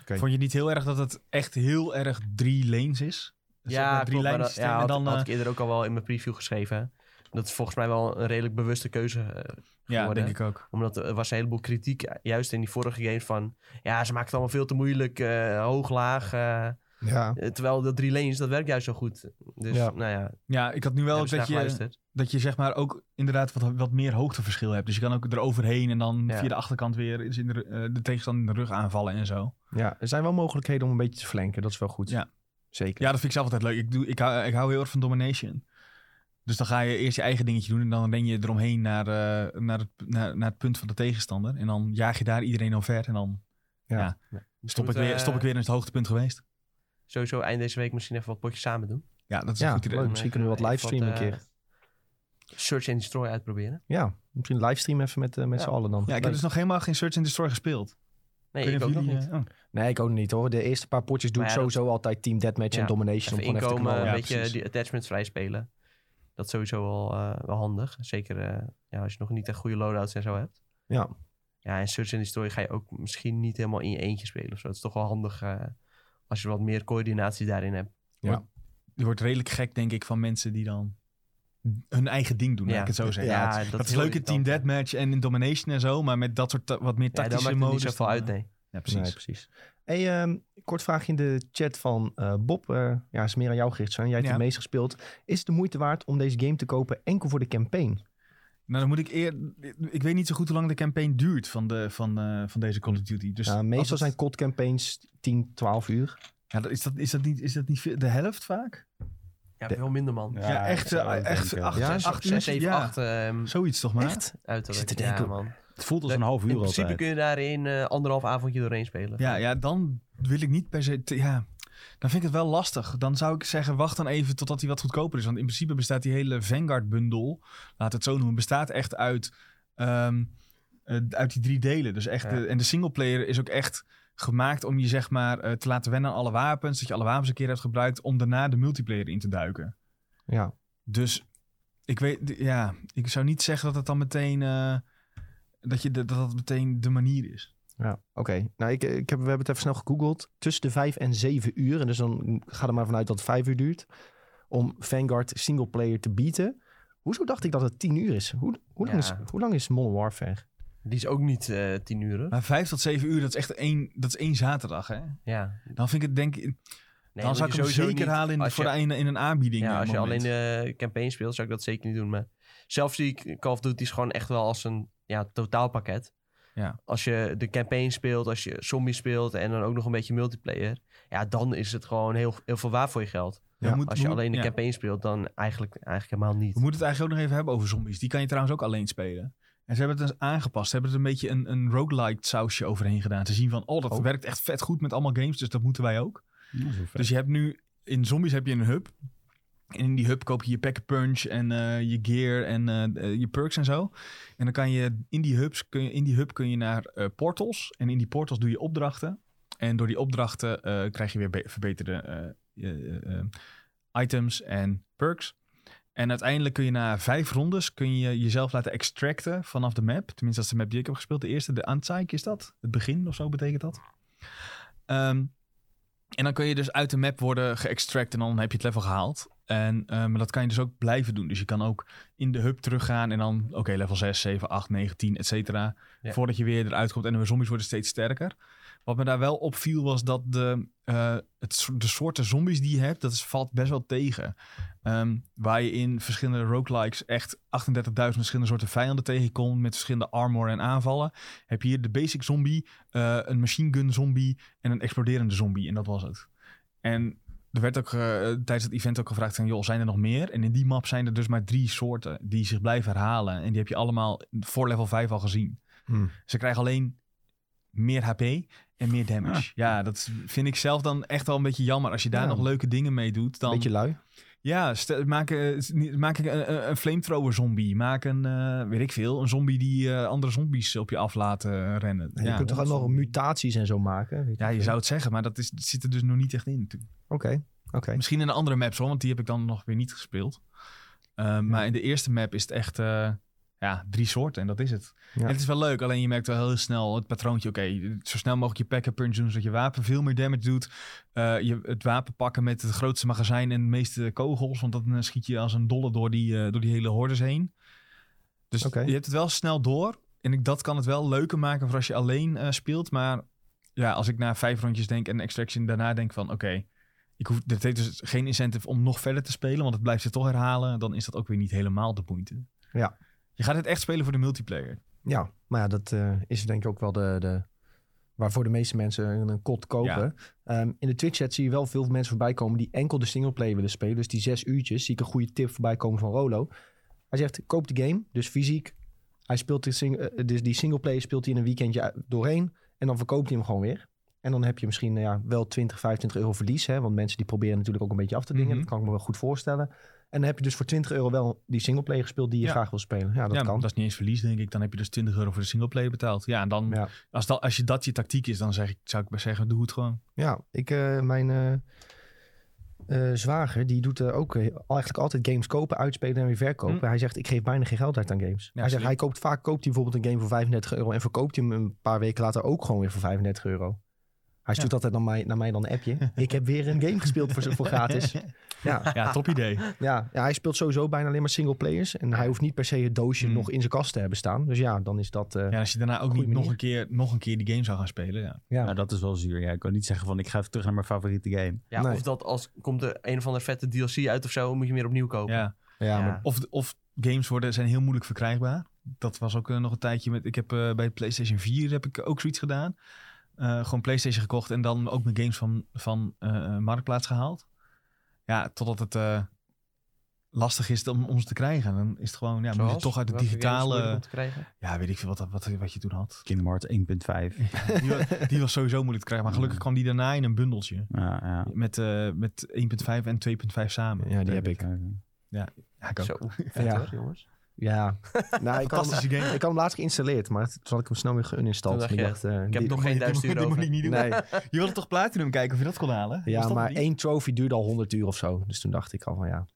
Oké.
Vond je niet heel erg dat het echt heel erg drie lanes is? Dus zeg maar drie
klopt, maar
lijnen
dat-
systeem
ja,
en
had,
dan.
had
eh,
ik eerder ook al wel in mijn preview geschreven. Dat is volgens mij wel een redelijk bewuste keuze eh,
ja,
geworden.
denk ik ook.
Omdat er was een heleboel kritiek, eh, juist in die vorige games van... Ja, ze maken het allemaal veel te moeilijk, eh, hoog, laag. eh, eh,
Ja,
terwijl dat drie lanes, dat werkt juist zo goed. Dus
Ja.
nou ja,
Ja, ik had nu wel
wel
ook dat je, dat je zeg maar ook inderdaad wat, wat meer hoogteverschil hebt. Dus je kan ook eroverheen en dan
Ja.
via de achterkant weer eens in de, ru- eh, de tegenstander in de rug aanvallen en zo.
ja, er zijn wel mogelijkheden om een beetje te flanken. Dat is wel goed.
Ja.
Zeker.
Ja, dat vind ik zelf altijd leuk. Ik, doe, ik, hou, ik hou heel erg van domination. Dus dan ga je eerst je eigen dingetje doen en dan ren je eromheen naar, eh, naar, het, naar, naar het punt van de tegenstander. En dan jaag je daar iedereen omver en dan stop ik, weer,
eh,
stop ik weer in het hoogtepunt geweest.
Sowieso eind deze week misschien even wat potjes samen doen.
Ja, dat is
Ja,
een goed idee.
leuk.
Dan
misschien
even-
kunnen we wat
even
livestreamen een
eh, Search and Destroy uitproberen.
Ja, misschien livestream even met, eh, met
Ja.
z'n allen dan.
Ja, ik heb
Leuk.
dus nog helemaal geen Search and Destroy gespeeld.
Nee,
weet
ik
niet
ook
of
nog
jullie,
niet.
eh, oh.
Nee, ik ook niet hoor. De eerste paar potjes doe
Maar
ik
ja, dat-
sowieso altijd Team Deathmatch en
Ja,
Domination.
Even
om gewoon
inkomen,
even te
een
Ja,
beetje
precies.
die attachments vrij spelen. Dat is sowieso wel, eh, wel handig. Zeker eh, ja, als je nog niet echt goede loadouts en zo hebt.
knallen.
Ja, en Search and Destroy ga je ook misschien niet helemaal in je eentje spelen of zo. Het is toch wel handig eh, als je wat meer coördinatie daarin hebt.
Ja.
je wordt redelijk gek, denk ik, van mensen die dan hun eigen ding doen,
Ja.
laat ik het zo zeggen.
Ja,
Ja,
dat
dat,
is
is
heel
leuk in Team
irritant, ja.
Deathmatch en in Domination en zo, maar met dat soort ta- wat meer
Ja, dat
tactische
maakt het niet
modus.
zoveel
dan,
uit,
eh,
nee.
Ja, precies.
Nee, precies. Hey, ehm, kort vraag in de chat van eh, Bob. eh ja, is meer aan jou gericht zijn. Jij hebt
Ja.
het meest gespeeld. Is het de moeite waard om deze game te kopen enkel voor de campaign?
Nou, dan moet ik eer... Ik weet niet zo goed hoe lang de campaign duurt van, de, van, eh, van deze Call of Duty. Dus
Ja,
als
meestal
het-
zijn COD campaigns 10, 12 uur.
Ja, dat- is, dat, is, dat niet, is dat niet veel- de helft vaak?
Ja,
De-
veel minder, man.
Ja, echt, eh, echt acht,
Ja.
Ja,
acht,
Zes,
uur,
zes, zeven,
ja.
acht. ehm,
Zoiets toch maar?
Echt?
Uiterlijk.
Ik zit te
ja,
denken-
man.
Het voelt als een half uur
In principe
altijd.
kun je daar in eh, anderhalf avondje doorheen spelen.
Ja, ja, dan wil ik niet per se... te- ja, dan vind ik het wel lastig. Dan zou ik zeggen, wacht dan even totdat hij wat goedkoper is. Want in principe bestaat die hele Vanguard-bundel, laat het zo noemen, bestaat echt uit, ehm, eh, uit die drie delen. Dus echt,
Ja.
de, en de singleplayer is ook echt gemaakt om je zeg maar eh, te laten wennen aan alle wapens. Dat je alle wapens een keer hebt gebruikt om daarna de multiplayer in te duiken.
Ja.
Dus ik weet, d- ja, ik zou niet zeggen dat het dan meteen... eh, dat, je de- dat dat meteen de manier is.
ja. Oké. Nou, ik, ik heb, we hebben het even snel gegoogeld. Tussen de 5 en 7 uur. En dus dan ga er maar vanuit dat het 5 uur duurt. Om Vanguard singleplayer te bieden. Hoezo dacht ik dat het 10 uur is? Hoe, hoe, lang,
Ja.
is, hoe lang is Modern Warfare?
Die is ook niet eh, tien uur. hoor.
Maar vijf tot zeven uur, dat is echt één, dat is één zaterdag, hè?
Ja.
Dan vind ik het denk ik...
Nee,
dan
moet
zou
je
ik hem
sowieso
zeker
niet-
halen in,
als
voor
je-
een, in een aanbieding.
Ja,
eh,
als je alleen
moment.
de campaign speelt, zou ik dat zeker niet doen. Maar zelf zie ik Call of Duty gewoon echt wel als een ja, totaalpakket.
Ja.
Als je de campaign speelt, als je zombie speelt en dan ook nog een beetje multiplayer. Ja, dan is het gewoon heel, heel veel waar voor je geld.
We
Ja,
moeten-
eh, Als je
we-
alleen de
ja.
campaign speelt, dan eigenlijk, eigenlijk helemaal
We
niet.
moeten het eigenlijk ook nog even hebben over zombies. Die kan je trouwens ook alleen spelen. En ze hebben het eens aangepast. Ze hebben er een beetje een, een roguelike sausje overheen gedaan. Ze zien van, oh, dat
Oh.
werkt echt vet goed met allemaal games. Dus dat moeten wij ook.
Ja, zo vet.
Dus je hebt nu, in zombies heb je een hub. En in die hub koop je je pack-a-punch en eh, je gear en eh, eh, je perks en zo. En dan kan je in die, hubs, kun je, in die hub kun je naar eh, portals. En in die portals doe je opdrachten. En door die opdrachten eh, krijg je weer be- verbeterde eh, eh, eh, items en perks. En uiteindelijk kun je na vijf rondes kun je jezelf laten extracten vanaf de map. Tenminste, dat is de map die ik heb gespeeld. De eerste, de Anzeig is dat. Het begin of zo betekent dat. Ehm, en dan kun je dus uit de map worden geëxtract en dan heb je het level gehaald. En eh, maar dat kan je dus ook blijven doen. Dus je kan ook in de hub teruggaan en dan, oké, level 6, 7, 8, 9, 10, et cetera.
Ja.
Voordat je weer eruit komt en de zombies worden steeds sterker. Wat me daar wel opviel was dat de, eh, het, so- de soorten zombies die je hebt, dat is, valt best wel tegen. Ehm, waar je in verschillende roguelikes echt 38.000 verschillende soorten vijanden tegenkomt met verschillende armor en aanvallen. Heb je hier de basic zombie, eh, een machine gun zombie en een exploderende zombie. En dat was het. En er werd ook eh, tijdens het event ook gevraagd van, joh, zijn er nog meer? En in die map zijn er dus maar drie soorten die zich blijven herhalen. En die heb je allemaal voor level 5 al gezien.
Hmm.
Ze krijgen alleen meer HP en meer damage. Ja, dat vind ik zelf dan echt wel een beetje jammer. Als je daar
Ah. Ja.
nog leuke dingen mee doet, dan...
Beetje lui.
Ja, stel- maak, eh, s- niet- maak ik een, een- een flamethrower zombie. Maak een, eh, weet ik veel, een zombie die eh, andere zombies op je af laat eh, rennen.
En je
Ja,
kunt toch ook nog
zombie.
mutaties en zo maken? Weet
Ja,
ik
je
veel.
zou het zeggen, maar dat, is, dat zit er dus nog niet echt in natuurlijk.
Oké, oké.
Misschien in de andere maps hoor, want die heb ik dan nog weer niet gespeeld. Uh, Maar in de eerste map is het echt eh, ja, drie soorten en dat is het.
Ja.
En het is wel leuk, alleen je merkt wel heel snel het patroontje. Oké, zo snel mogelijk je pack a punch doen, zodat je wapen veel meer damage doet. Eh, je, het wapen pakken met het grootste magazijn en de meeste kogels, want dan eh, schiet je als een dolle door die, eh, door die hele hordes heen. Dus
Oké.
je hebt het wel snel door. En ik, dat kan het wel leuker maken voor als je alleen eh, speelt. Maar ja, als ik na vijf rondjes denk en extraction daarna denk van oké, ik hoef, dit heeft dus geen incentive om nog verder te spelen, want het blijft zich toch herhalen, dan is dat ook weer niet helemaal de moeite.
Ja.
Je gaat het echt spelen voor de multiplayer.
Ja, maar ja, dat eh, is denk ik ook wel de, de... waarvoor de meeste mensen een een kot kopen. Ehm, in de Twitch-chat zie je wel veel mensen voorbij komen... die enkel de singleplayer willen spelen. Dus die zes uurtjes zie ik een goede tip voorbij komen van Rolo. Hij zegt, koop de game, dus fysiek. Hij speelt de sing eh, dus die singleplayer speelt hij in een weekendje uit- doorheen... en dan verkoopt hij hem gewoon weer. En dan heb je misschien nou ja, wel 20, 25 euro verlies. Hè? Want mensen die proberen natuurlijk ook een beetje af te dingen.
Mhm.
Dat kan ik me wel goed voorstellen. En dan heb je dus voor 20 euro wel die singleplayer gespeeld... die je
Ja.
graag wil spelen. Ja, dat
ja,
kan.
dat is niet eens verlies, denk ik. Dan heb je dus 20 euro voor de singleplayer betaald. Ja, en dan,
Ja.
Als, dat, als je dat je tactiek is, dan zeg ik, zou ik maar zeggen, doe het gewoon.
Ja, ik, eh, mijn eh, eh, zwager, die doet eh, ook eh, eigenlijk altijd games kopen, uitspelen en weer verkopen.
Hm.
Hij zegt, ik geef bijna geen geld uit aan games. hij zegt,
slim.
hij koopt vaak koopt hij bijvoorbeeld een game voor 35 euro en verkoopt hij hem een paar weken later ook gewoon weer voor 35 euro. Hij Hij stuurt altijd naar mij, naar mij dan een appje. Ik heb weer een game gespeeld voor, voor gratis. Ja,
Ja, top idee.
ja, ja, hij speelt sowieso bijna alleen maar single players. En hij hoeft niet per se het doosje
Hmm.
nog in zijn kast te hebben staan. Dus Hm. ja, dan is dat... eh,
Ja, als je daarna ook
Goeie
niet nog
manier.
een, keer, nog een keer die game zou gaan spelen. Ja.
ja.
Nou, dat is wel zuur. Ja, ik kan niet zeggen van ik ga even terug naar mijn favoriete game.
Ja,
Nee.
Of dat als komt er een of andere vette DLC uit of zo, moet je meer opnieuw kopen.
Ja.
Ja,
Ja.
maar-
Of, of games worden, zijn heel moeilijk verkrijgbaar. Dat was ook eh, nog een tijdje met... Ik heb eh, bij PlayStation 4 heb ik ook zoiets gedaan. Eh, gewoon PlayStation gekocht en dan ook mijn games van, van eh, Marktplaats gehaald. Ja, totdat het eh, lastig is om, om ze te krijgen. Dan is het gewoon, ja, moet je
Zoals?
toch uit het
Welke games moeilijk om
digitale...
te krijgen?
Ja, weet ik veel wat, wat, wat je toen had.
Kingdom Hearts 1.5.
Die, wa- die was sowieso moeilijk te krijgen. Maar gelukkig kwam die daarna in een bundeltje.
Ja, ja.
Met, eh, met 1.5 en 2.5 samen.
ja, die heb ik.
1.5.
Ja, ik ook.
Zo, vet
Ja.
hoor, jongens.
Ja, nou, ik, had hem,
Fantastische game.
ik had hem laatst geïnstalleerd, maar toen had ik hem snel weer geuninstalleerd.
Toen dacht je,
dacht, eh,
Ik heb
die-
nog geen duizend
Dit
euro
moet
over.
ik niet doen.
Nee,
Je wilde toch Platinum kijken of je dat kon halen? Was
ja,
dat
maar
niet?
één trofee duurde al 100 uur of zo. Dus toen dacht ik al van ja,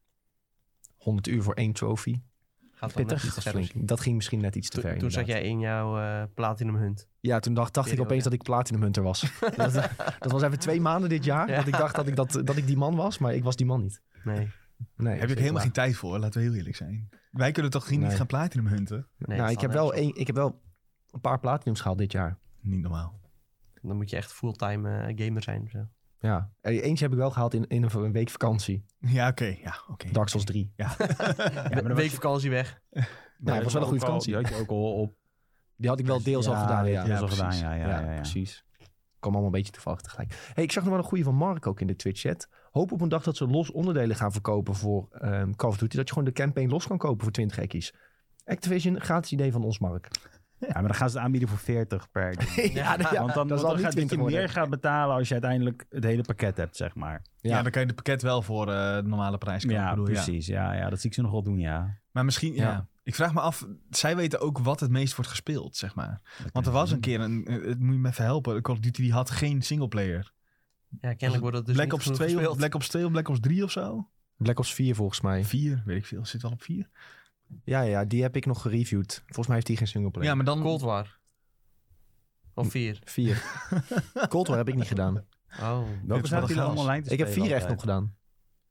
100 uur voor één trofee.
Gaat wel net
Pittig.
iets
Dat, is
verder.
flink. dat ging misschien net iets te
Toen,
ver.
toen zat
inderdaad.
jij in jouw eh, Platinum Hunt.
Ja, toen dacht, dacht ik
Video,
opeens
ja.
dat ik Platinum Hunter was. dat, eh, dat was even twee maanden dit jaar.
Ja.
Dat ik dacht dat ik, dat, dat ik die man was, maar ik was die man niet.
Nee.
Nee,
Heb ik
zeker
helemaal
waar.
geen tijd voor, laten we heel eerlijk zijn. Wij kunnen toch geen-
Nee.
niet gaan Platinum hunten?
Nee,
nou,
dat
ik, heb
zal
wel
nergens
één, ik heb wel een paar Platinums gehaald dit jaar.
Niet normaal.
Dan moet je echt fulltime eh, gamer zijn. of Zo.
Ja. Eh, Eentje heb ik wel gehaald in, in een, een week vakantie.
Ja, oké. Ja, oké.
Dark Souls 3.
maar dan was
week
je-
vakantie weg.
Nou, het was wel een goede vakantie.
Die had je ook al op.
Die had ik wel deels al gedaan, ja.
die had je
Ja,
al gedaan,
precies.
ja, ja,
Ja,
ja, ja.
precies. Kom allemaal een beetje toevallig tegelijk. Hey, ik zag nog wel een goede van Mark ook in de Twitch-chat. Hoop op een dag dat ze los onderdelen gaan verkopen voor ehm Call of Duty. Dat je gewoon de campaign los kan kopen voor 20 gekkies. Activision, gratis idee van ons, Mark.
Ja, maar dan gaan ze het aanbieden voor 40 per. game.
Ja,
nou ja,
want
dat
dan, want
zal
dan
niet
gaat je
20 worden.
meer gaan betalen als je uiteindelijk het hele pakket hebt, zeg maar.
Ja.
Ja.
dan kan je het pakket wel voor eh, de normale prijs kopen.
Ja,
bedoel, Ja.
precies. Ja. Ja, dat zie ik ze nog wel doen, ja.
Maar misschien, ja.
Ja.
Ik vraag me af, zij weten ook wat het meest wordt gespeeld, zeg maar. Want er was een keer, een, eh, het moet je me even helpen, Call of Duty die had geen singleplayer.
Ja, kennelijk wordt dat dus
Black
niet
Ops
genoeg
2 of
gespeeld.
Black Ops 2 of Black Ops 3 of zo?
Black Ops 4 volgens mij.
4, weet ik veel. Zit wel op 4.
Ja, ja, die heb ik nog gereviewd. Volgens mij heeft die geen singleplayer.
Ja, maar dan...
Cold War. Of 4.
4. Cold War heb ik niet gedaan.
Oh.
Welke
is
zaten
wel
jullie
gaaf.
allemaal online te
Ik heb
spelen
4 echt nog
altijd?
gedaan.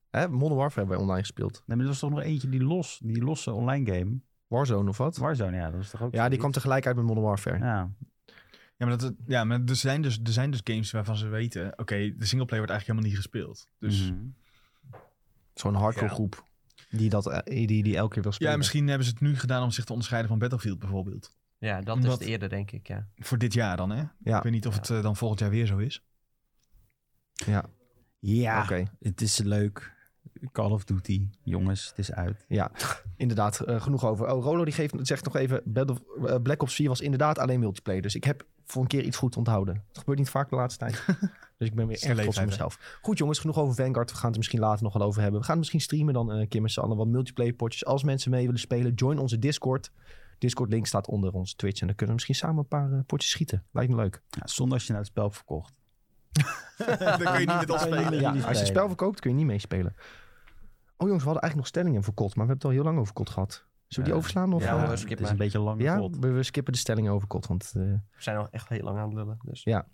Hè, Modern Warfare hebben wij online gespeeld.
Nee, maar er was toch nog eentje die los, die losse online game.
Warzone of wat?
Warzone, ja, dat was toch ook
Ja, die kwam
zoiets?
tegelijk uit met Modern Warfare.
Ja,
Ja, maar, dat, het- ja, maar er, zijn dus, er zijn dus games waarvan ze weten... Oké, de singleplayer wordt eigenlijk helemaal niet gespeeld. Dus...
Mhm.
Zo'n hardcore
Ja.
groep. Die, dat, eh, die, die elke keer wil spelen.
Ja, misschien hebben ze het nu gedaan om zich te onderscheiden van Battlefield bijvoorbeeld.
Ja, dat
Omdat-
is het eerder, denk ik. Ja.
Voor dit jaar dan, hè?
Ja.
Ik weet niet of het eh, dan volgend jaar weer zo is.
ja
Oké.
het is leuk. Call of Duty, jongens, het is uit.
Inderdaad, eh, genoeg over. Oh, Rolo die geeft, zegt nog even, Battle, eh, Black Ops 4 was inderdaad alleen multiplayer. Dus ik heb voor een keer iets goed onthouden. Het gebeurt niet vaak de laatste tijd. dus ik ben weer
Is de
erg trots op
leeftijd,
mezelf. Goed jongens, genoeg over Vanguard. We gaan het er misschien later nog wel over hebben. We gaan het misschien streamen dan eh, een keer met z'n allen. Wat multiplayer potjes. Als mensen mee willen spelen, join onze Discord. Discord link staat onder onze Twitch. En dan kunnen we misschien samen een paar eh, potjes schieten. Lijkt me leuk.
Ja, zonde als je nou het spel hebt verkocht.
dan kun je niet met ons
Ja.
Ja,
spelen.
jullie
als je het
spelen.
spel verkoopt, kun je niet meespelen. Oh jongens, we hadden eigenlijk nog stellingen voor kot, maar we hebben het al heel lang over kot gehad. Zullen we die
Ja.
overslaan? Of,
Ja,
eh,
hoor, skip
het is
maar.
een beetje lang.
ja
Ja,
we, we skippen de stellingen over kot. Want eh,
We zijn al echt heel lang aan het lullen. Dus.
Ja.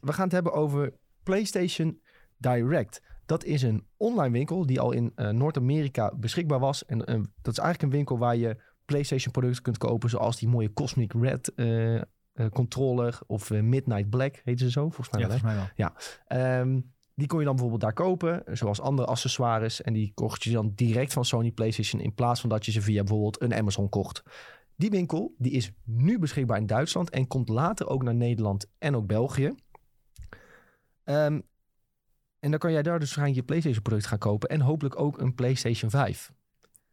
we gaan het hebben over PlayStation Direct. Dat is een online winkel die al in eh, Noord-Amerika beschikbaar was. En eh, dat is eigenlijk een winkel waar je PlayStation producten kunt kopen, zoals die mooie Cosmic Red eh, eh, controller of eh, Midnight Black, heet ze zo volgens mij.
Ja,
wel, hè?
volgens mij wel.
Ehm, die kon je dan bijvoorbeeld daar kopen, zoals andere accessoires. En die kocht je dan direct van Sony PlayStation in plaats van dat je ze via bijvoorbeeld een Amazon kocht. Die winkel die is nu beschikbaar in Duitsland en komt later ook naar Nederland en ook België. Ehm, en dan kan jij daar dus waarschijnlijk je PlayStation product gaan kopen en hopelijk ook een PlayStation 5.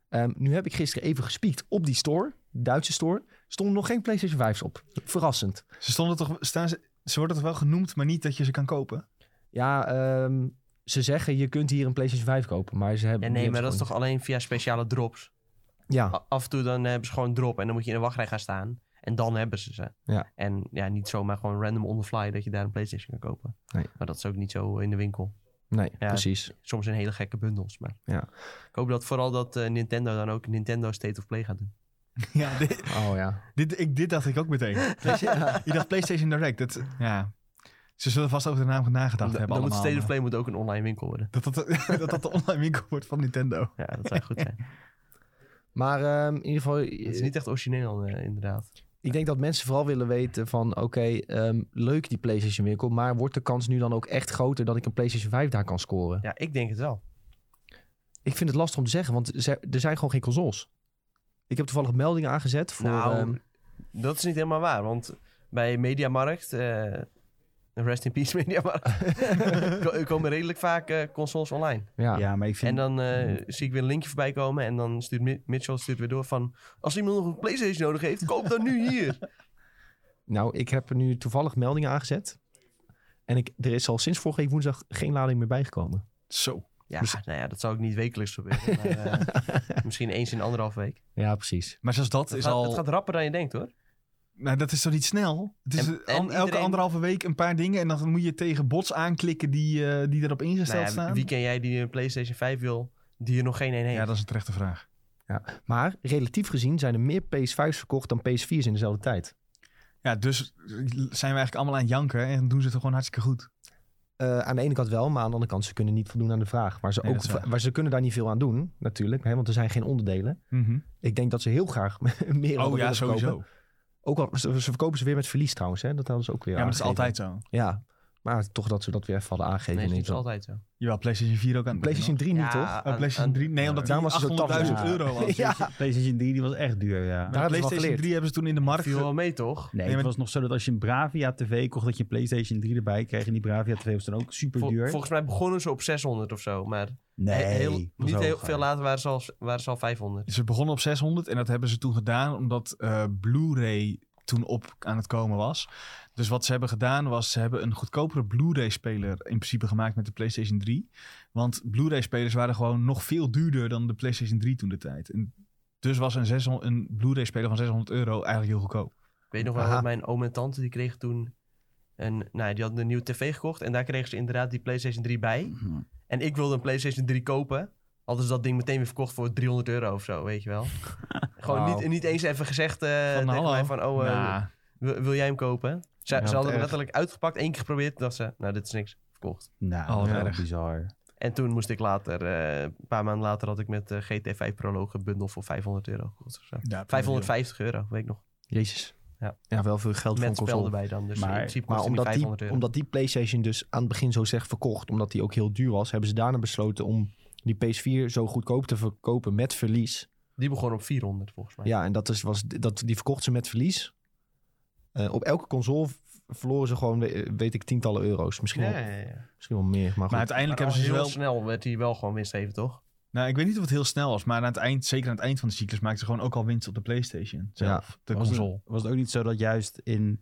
Ehm, nu heb ik gisteren even gespiekt op die store, Duitse store, stonden nog geen PlayStation 5's op. Verrassend.
Ze, stonden toch, staan ze, ze worden toch wel genoemd, maar niet dat je ze kan kopen?
Ja, ehm, ze zeggen je kunt hier een PlayStation 5 kopen, maar ze
Ja,
hebben.
nee,
die
maar
hebben
dat is toch
ze
alleen via speciale drops.
gewoon niet.
A- Af en toe dan hebben ze gewoon een drop en dan moet je in een wachtrij gaan staan. En dan hebben ze ze.
Ja.
En ja, niet zomaar gewoon random on the fly dat je daar een PlayStation kan kopen.
Nee.
Maar dat is ook niet zo in de winkel.
Ja, nee,
Ja.
precies.
Soms zijn hele gekke bundels. Maar
Ja.
ik hoop dat vooral dat eh, Nintendo dan ook Nintendo State of Play gaat doen.
Ja, dit,
Oh ja.
dit, ik, dit dacht ik ook meteen. Ik dacht PlayStation Direct. Dat, ja. Ze zullen vast over de naam nagedacht
Dan,
hebben
dan moet
allemaal.
State of Play moet ook een online winkel worden.
dat, dat, dat dat de online winkel wordt van Nintendo.
Ja, dat zou goed zijn.
Maar ehm, in ieder geval,
Het is niet echt origineel, eh, inderdaad.
ik denk dat mensen vooral willen weten van... oké, ehm, leuk die PlayStation winkel... maar wordt de kans nu dan ook echt groter... dat ik een PlayStation 5 daar kan scoren?
Ja, ik denk het wel.
Ik vind het lastig om te zeggen, want ze- er zijn gewoon geen consoles. Ik heb toevallig meldingen aangezet voor...
nou,
ehm,
dat is niet helemaal waar. Want bij Mediamarkt, eh rest in peace Mediamarkt, ko- komen redelijk vaak eh, consoles online.
ja.
Ja, maar ik vind...
En dan eh, zie ik weer een linkje voorbij komen en dan stuurt Mi- Mitchell stuurt weer door van... Als iemand nog een Playstation nodig heeft, koop dan nu hier.
Nou, ik heb er nu toevallig meldingen aangezet. En ik, er is al sinds vorige week woensdag geen lading meer bijgekomen.
Zo.
Ja, nou ja, dat zou ik niet wekelijks proberen. Maar, eh, misschien eens in anderhalf week.
Ja, precies.
Maar zelfs dat,
Het
is
gaat,
al...
het gaat rapper dan je denkt hoor.
Nou, dat is toch niet snel? Het is
En-
eh,
en
an- elke
iedereen-
anderhalve week een paar dingen... en dan moet je tegen bots aanklikken die, eh, die erop ingesteld
Nou ja,
staan.
wie ken jij die een Playstation 5 wil, die er nog geen een heeft?
Ja, dat is een terechte vraag.
Maar relatief gezien zijn er meer PS5's verkocht dan PS4's in dezelfde tijd.
Ja, dus eh, zijn we eigenlijk allemaal aan het janken... en doen ze het gewoon hartstikke goed.
Eh, aan de ene kant wel, maar aan de andere kant, ze kunnen niet voldoen aan de vraag. Maar ze,
Nee,
ook,
dat is waar.
maar ze kunnen daar niet veel aan doen, natuurlijk. Hè, want er zijn geen onderdelen. Ik denk dat ze heel graag meer
Mhm. Oh
hadden
ja,
willen
sowieso.
verkopen. Ook al, ze, ze verkopen ze weer met verlies trouwens. Hè? Dat hadden ze ook weer
Ja, maar dat is
aangegeven.
altijd zo.
Ja, maar toch dat ze dat weer even hadden aangegeven.
nee,
in
dat is
ieder geval.
altijd zo.
Jawel, PlayStation 4 ook aan het begin,
PlayStation 3 niet, toch?
hoor. Oh, PlayStation 3? Nee, omdat die
Daarom was het zo
800.000
tafel.
euro was.
Ja.
PlayStation 3 die was echt duur, ja.
Daar hebben ze
Maar
wel
PlayStation
geleerd.
3 hebben ze toen in de markt...
viel
ge-
wel mee toch?
Nee,
Nee,
het
maar-
was nog zo dat als je een Bravia TV kocht, dat je een PlayStation 3 erbij kreeg. En die Bravia TV was dan ook super
Vol-
duur.
volgens mij begonnen ze op 600 of zo, maar
nee,
he- heel,
was
niet heel
hoger.
veel later waren ze al, waren ze al 500.
Ze begonnen op 600 en dat hebben ze toen gedaan omdat eh, Blu-ray toen op aan het komen was. Dus wat ze hebben gedaan was, ze hebben een goedkopere Blu-ray-speler in principe gemaakt met de PlayStation 3. Want Blu-ray-spelers waren gewoon nog veel duurder dan de PlayStation 3 toen de tijd. En dus was een, 600 een Blu-ray-speler van 600 euro eigenlijk heel goedkoop.
Ik weet nog wel,
Aha.
dat mijn oom en tante die kregen toen een, nou, die hadden een nieuwe tv gekocht en daar kregen ze inderdaad die PlayStation 3 bij.
Mhm.
En ik wilde een PlayStation 3 kopen, hadden ze dat ding meteen weer verkocht voor 300 euro of zo, weet je wel. Gewoon
Wauw.
niet, niet eens even gezegd eh, tegen
hallo.
mij van, oh, eh,
Ja,
wil, wil jij hem kopen? Ze,
Ja,
ze
wat
hadden
erg.
hem letterlijk uitgepakt, één keer geprobeerd, dat ze, nou, dit is niks, verkocht.
Oh,
Nou,
wat
dat
erg.
is bizar.
En toen moest ik later, eh, een paar maanden later, had ik met eh, GT5 Proloog een bundel voor 500 euro gekocht of zo.
ja,
550 euro, weet ik nog.
Jezus.
Ja.
wel veel geld
Met
voor een
spel
console.
erbij dan. Dus
Maar-
in principe
Maar
kostte die
omdat die,
500 euro.
omdat die PlayStation dus aan het begin zo slecht verkocht, omdat die ook heel duur was, hebben ze daarna besloten om die PS4 zo goedkoop te verkopen met verlies.
Die begon op 400 volgens mij.
Ja, en dat is, was, dat, die verkocht ze met verlies. Eh, op elke console v- verloren ze gewoon, we- weet ik, tientallen euro's. Misschien,
Ja,
wel,
ja, ja.
misschien wel meer. Maar, goed.
Maar uiteindelijk
Maar
hebben ze
al
ze
heel
wel...
snel werd hij wel gewoon winstgevend, toch?
Nou, ik weet niet of het heel snel was, maar aan het eind, zeker aan het eind van de cyclus maakten ze gewoon ook al winst op de PlayStation zelf. de
was
console.
Het, was het ook niet zo dat juist in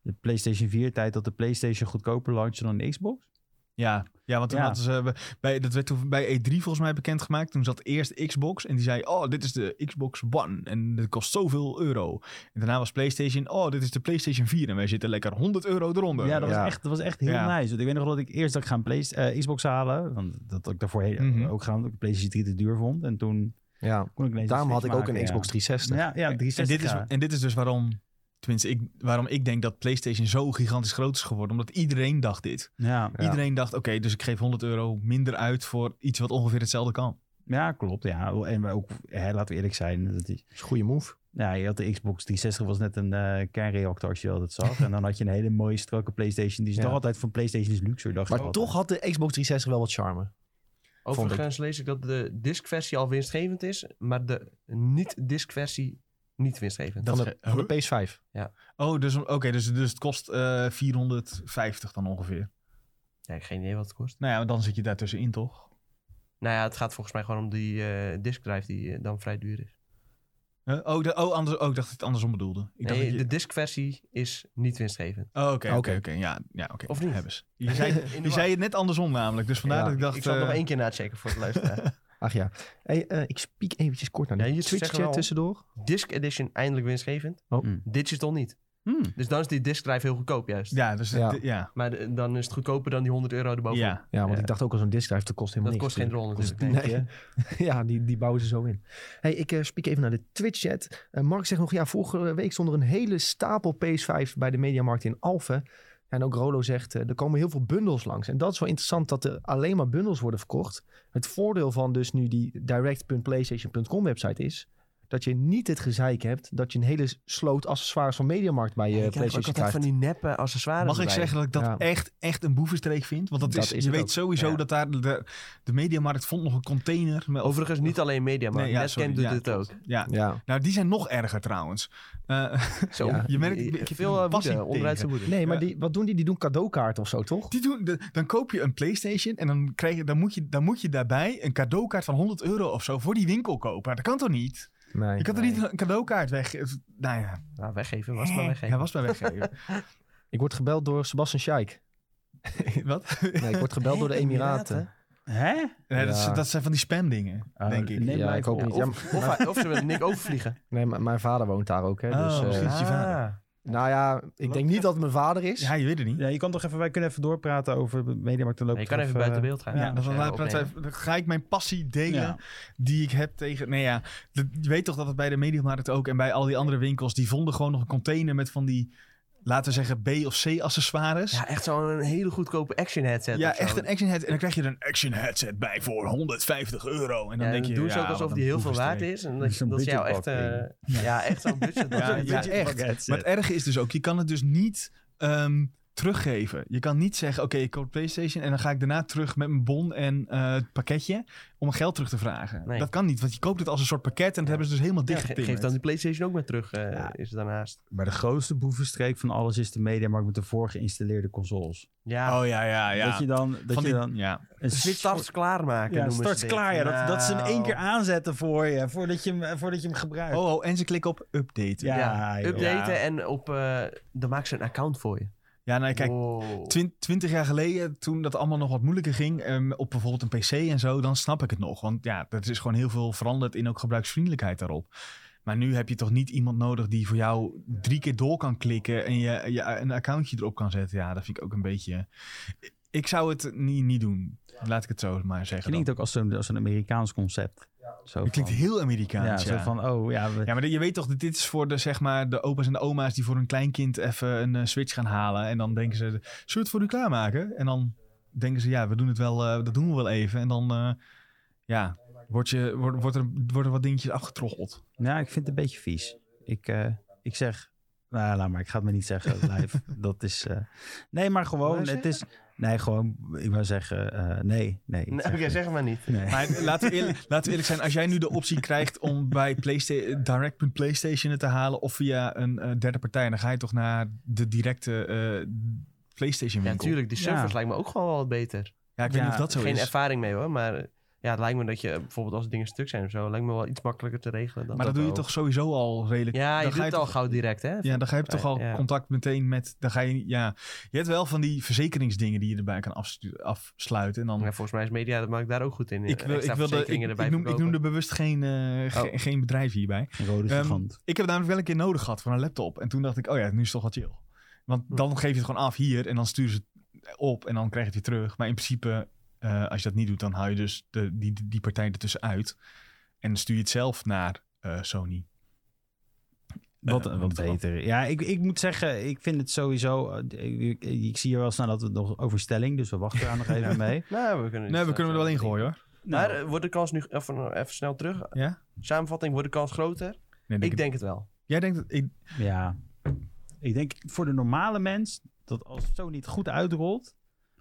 de PlayStation 4 tijd dat de PlayStation goedkoper launchte dan de Xbox?
Ja, ja want toen
Ja.
hadden ze eh, bij, dat werd toen bij E3 volgens mij bekendgemaakt. Toen zat eerst Xbox en die zei: Oh, dit is de Xbox One en dat kost zoveel euro. En daarna was PlayStation: Oh, dit is de PlayStation 4 en wij zitten lekker 100 euro eronder.
Ja, dat was,
Ja.
Echt, dat was echt heel
Ja.
nice. Want ik weet nog wel dat ik eerst dat ik ga een Playst- eh, Xbox halen, want dat had ik daarvoor heel-
Mhm.
ook gaan omdat ik de PlayStation 3 te duur vond. En toen
ja,
kon ik ineens
daarom
een
had ik
switch
ook een
maken,
Xbox
ja.
360.
Ja, ja,
en,
360.
dit is, en dit is dus waarom, tenminste, ik, waarom ik denk dat PlayStation zo gigantisch groot is geworden. Omdat iedereen dacht dit.
ja.
Ja.
Iedereen dacht: Oké, dus ik geef 100 euro minder uit voor iets wat ongeveer hetzelfde kan.
ja, klopt. Ja. En wij ook, hè, laten we eerlijk zijn, dat is,
Dat is een goede move.
Ja, je had de Xbox 360 was net een eh, kernreactor als je wel dat zag. en dan had je een hele mooie strakke PlayStation. Die is
Ja.
nog altijd van PlayStation is luxer,
Oh.
dacht
Maar
ik altijd.
toch had de Xbox 360 wel wat charme.
Overigens lees ik dat de disc-versie al winstgevend is, maar de niet-disc-versie niet winstgevend.
Dat
Van
ge-
de, van de PS5.
Oh, dus, oké, dus, dus het kost eh 450 dan ongeveer.
Ja, ik heb geen idee wat het kost.
Nou ja, dan zit je daartussenin toch?
Nou ja, het gaat volgens mij gewoon om die eh diskdrive die eh, dan vrij duur is.
Huh? oh, de- oh, anders, oh, ik dacht dat je het andersom bedoelde. Ik dacht
nee,
dat
de
je-
disc-versie is niet winstgevend.
Oh, oké, oké,
Oké.
oké. Ja, ja oké.
Of niet?
Hebben ze. Je zei,
In de
je zei het net andersom namelijk, dus vandaar
Ja,
dat ik dacht...
Ik zal het nog
eh,
één keer nachecken voor het luisteren.
Ach ja. Hey, eh, ik spiek eventjes kort naar
Ja,
de
je zegt wel.
Twitch-chat tussendoor.
disc edition eindelijk winstgevend.
Oh.
Mm.
Digital niet.
Hmm.
Dus dan is die disc drive heel goedkoop juist.
Ja, dus
Ja.
ja. Ja,
Maar de- dan is het goedkoper dan die 100 euro erboven.
ja.
Ja, want
Ja.
ik dacht ook al zo'n disk drive, dat kost
Dat
helemaal niks.
kost geen rol natuurlijk.
Nee.
nee.
eh,
ja, die, die bouwen ze zo in. Hey, ik eh spreek even naar de Twitch-chat. Eh, Mark zegt nog, ja, vorige week stond er een hele stapel PS5 bij de Mediamarkt in Alphen. En ook Rolo zegt, eh, er komen heel veel bundels langs. En dat is wel interessant dat er alleen maar bundels worden verkocht. Het voordeel van dus nu die direct.playstation.com website is... dat je niet het gezeik hebt dat je een hele sloot accessoires van Mediamarkt bij je
Ja, ik heb ook
Playstation
altijd
krijgt.
van die neppe accessoires
Mag ik
erbij.
zeggen dat ik dat
Ja.
echt, echt een boevenstreek vind? Want dat,
Dat
is,
is
je
het
weet
ook.
sowieso
Ja.
dat daar de, de mediamarkt vond nog een container. Met,
Overigens niet alleen media, maar
Nee, ja,
Netcam
sorry,
doet
ja,
dit
klopt.
ook.
Ja.
Ja.
Nou, die zijn nog erger trouwens. Eh,
Zo,
Ja.
Je merkt-
eh,
ik heb
veel
een
eh,
passie
woede, onderuit zijn
tegen.
woede.
Nee, maar
Ja.
die, wat doen die? Die doen cadeaukaarten of zo, toch?
die doen, de- dan koop je een PlayStation en dan, krijg je, dan, moet je, dan moet je daarbij een cadeaukaart van 100 euro of zo voor die winkel kopen. Dat kan toch niet?
Nee.
Je kan toch
Nee.
niet een cadeaukaart weg. Nou ja,
Nou, weggeven was maar weggeven.
Ja, was maar weggeven.
Ik word gebeld door Sebastian Scheik.
Wat?
Nee, ik word gebeld door de Emiraten.
Hè?
Nee, dat, is-
Ja.
dat zijn van die spamdingen,
Ah,
denk ik.
nee.
ja,
maar
ik hoop
ik-
niet. Ja,
Of, of, hij- of ze willen Nick overvliegen.
nee, maar mijn vader woont daar ook. Hè,
Oh,
dus, eh,
misschien. is je vader.
Ah.
nou ja, ik denk niet dat het mijn vader is.
Ja, je weet het niet.
Ja, je kan toch even, wij kunnen even doorpraten over de Mediamarkt. Dan loop
Nee, je
ik
kan even
eh,
buiten beeld gaan.
Ja,
Ja,
dan,
als jij
laat-
opneemt.
praat- dan ga ik mijn passie delen
Ja.
die ik heb tegen... Nee ja, dat- je weet toch dat het bij de Mediamarkt ook en bij al die andere winkels... die vonden gewoon nog een container met van die, laten we zeggen, B of C accessoires. Ja,
Ja, echt zo'n hele goedkope action headset. of zo.
echt een action headset. En dan krijg je er een action headset bij voor 150 euro. En dan
Ja,
denk je...
doen ze
ja,
ook alsof
wat
die
een
heel veel waard
boevenstreek.
is. En dat,
Zo'n
dat is jou echt...
budgetbalk
eh, ja, echt zo'n budget.
Ja, ja,
budget-
echt. Maar het erge is dus ook, je kan het dus niet ehm, teruggeven. Je kan niet zeggen, oké, ik koop PlayStation en dan ga ik daarna terug met mijn bon en eh, het pakketje om mijn geld terug te vragen.
Nee.
Dat kan niet, want je koopt het als een soort pakket en dat hebben ze dus helemaal
Ja,
dichtgetimmerd.
ge- geef dan die PlayStation ook maar terug, eh,
Ja.
is het daarnaast.
Maar de grootste boevenstreek van alles is de Mediamarkt met de voorgeïnstalleerde consoles.
Ja,
Oh ja, ja, ja.
Dat je dan dat
Van
je
die-
dan
ja.
een
de starts klaarmaken.
ja,
noemen ze
starts
dit.
klaar. Ja, dat, dat ze hem één keer
Nou.
aanzetten voor je, voordat je hem, eh, voordat je hem gebruikt.
Oh, oh, en ze klikken op updaten. Ja,
Ja.
Ja,
joh.
updaten
Ja.
en op... eh, dan maken ze een account voor je.
nou kijk,
Wow.
twin- twintig jaar geleden, toen dat allemaal nog wat moeilijker ging, ehm, op bijvoorbeeld een PC en zo, dan snap ik het nog. Want ja, dat is gewoon heel veel veranderd in ook gebruiksvriendelijkheid daarop. Maar nu heb je toch niet iemand nodig die voor jou drie keer door kan klikken en je, je een accountje erop kan zetten. Ja, dat vind ik ook een beetje. Ik zou het niet, niet doen. Laat ik het zo maar zeggen. dan.
Klinkt ook als zo'n als zo'n Amerikaans concept. Zo
Het klinkt
van-
heel
ja,
Amerikaans.
zo
ja.
van, oh ja, we-
Ja, maar je weet toch, dat dit is voor de, zeg maar, de opa's en de oma's die voor hun kleinkind even een eh, Switch gaan halen. En dan denken ze, zullen we het voor u klaarmaken? En dan denken ze, ja, we doen het wel, eh, dat doen we wel even. En dan, eh, ja, wordt je, wordt, wordt er, worden wat dingetjes afgetroggeld.
nou, ik vind het een beetje vies. Ik, eh, ik zeg, nou laat maar, ik ga het me niet zeggen live. dat is, eh, nee, maar
Wou
gewoon,
je
het is, nee, gewoon, ik wou zeggen, eh, nee, nee. ik
Nee,
zeg
Nou, Oké,
het.
zeg het maar niet.
Nee.
Maar laten we, eerlijk, laten we eerlijk zijn, als jij nu de optie krijgt om bij Playsta- direct.playstation het te halen of via een eh, derde partij, dan ga je toch naar de directe eh, PlayStation
Ja,
winkel.
natuurlijk. Die servers
Ja.
lijkt me ook gewoon wel wat beter.
Ja, ik weet niet
Ja,
of dat zo
Geen
is.
ervaring mee hoor, maar eh, ja, het lijkt me dat je eh, bijvoorbeeld als dingen stuk zijn of zo, lijkt me wel iets makkelijker te regelen dan.
Maar dat
dat
doe je
wel.
toch sowieso al redelijk.
Ja,
dan
je
ga
doet het
toch-
al gauw direct hè?
Ja, dan ga je toch al
Ja.
contact meteen met. Dan ga je, ja, je hebt wel van die verzekeringsdingen die je erbij kan afstu- afsluiten. En dan,
Ja, volgens mij is media dat maakt daar ook goed in.
ik, wil, ik,
Extra
wilde, ik,
verzekeringen
ik,
erbij
noem, ik
verkopen. Oh.
noemde bewust geen, eh, ge- geen bedrijf hierbij.
Een rode
Ehm,
gigant.
Ik heb namelijk wel een keer nodig gehad voor een laptop. En toen dacht ik, oh ja, nu is het toch wat chill. Want
Hm.
dan geef je het gewoon af hier en dan sturen ze het op en dan krijg je het weer terug. Maar in principe, eh, als je dat niet doet, dan hou je dus de, die, die partij ertussen uit. En stuur je het zelf naar eh, Sony.
Wat,
Eh,
wat
want-
beter. Ja, ik, ik moet zeggen, ik vind het sowieso. eh, Ik, ik- ik zie hier wel snel dat we het nog over stelling, dus we wachten daar nog even mee.
Nou, we kunnen,
Nee, we kunnen er wel in
ingooien
gooien hoor.
Maar eh, wordt de kans nu, even, even snel terug,
Ja?
samenvatting, wordt de kans groter?
Nee,
Ik denk het wel.
Jij denkt dat ik,
Ja, ik denk voor de normale mens dat als het zo niet goed uitrolt,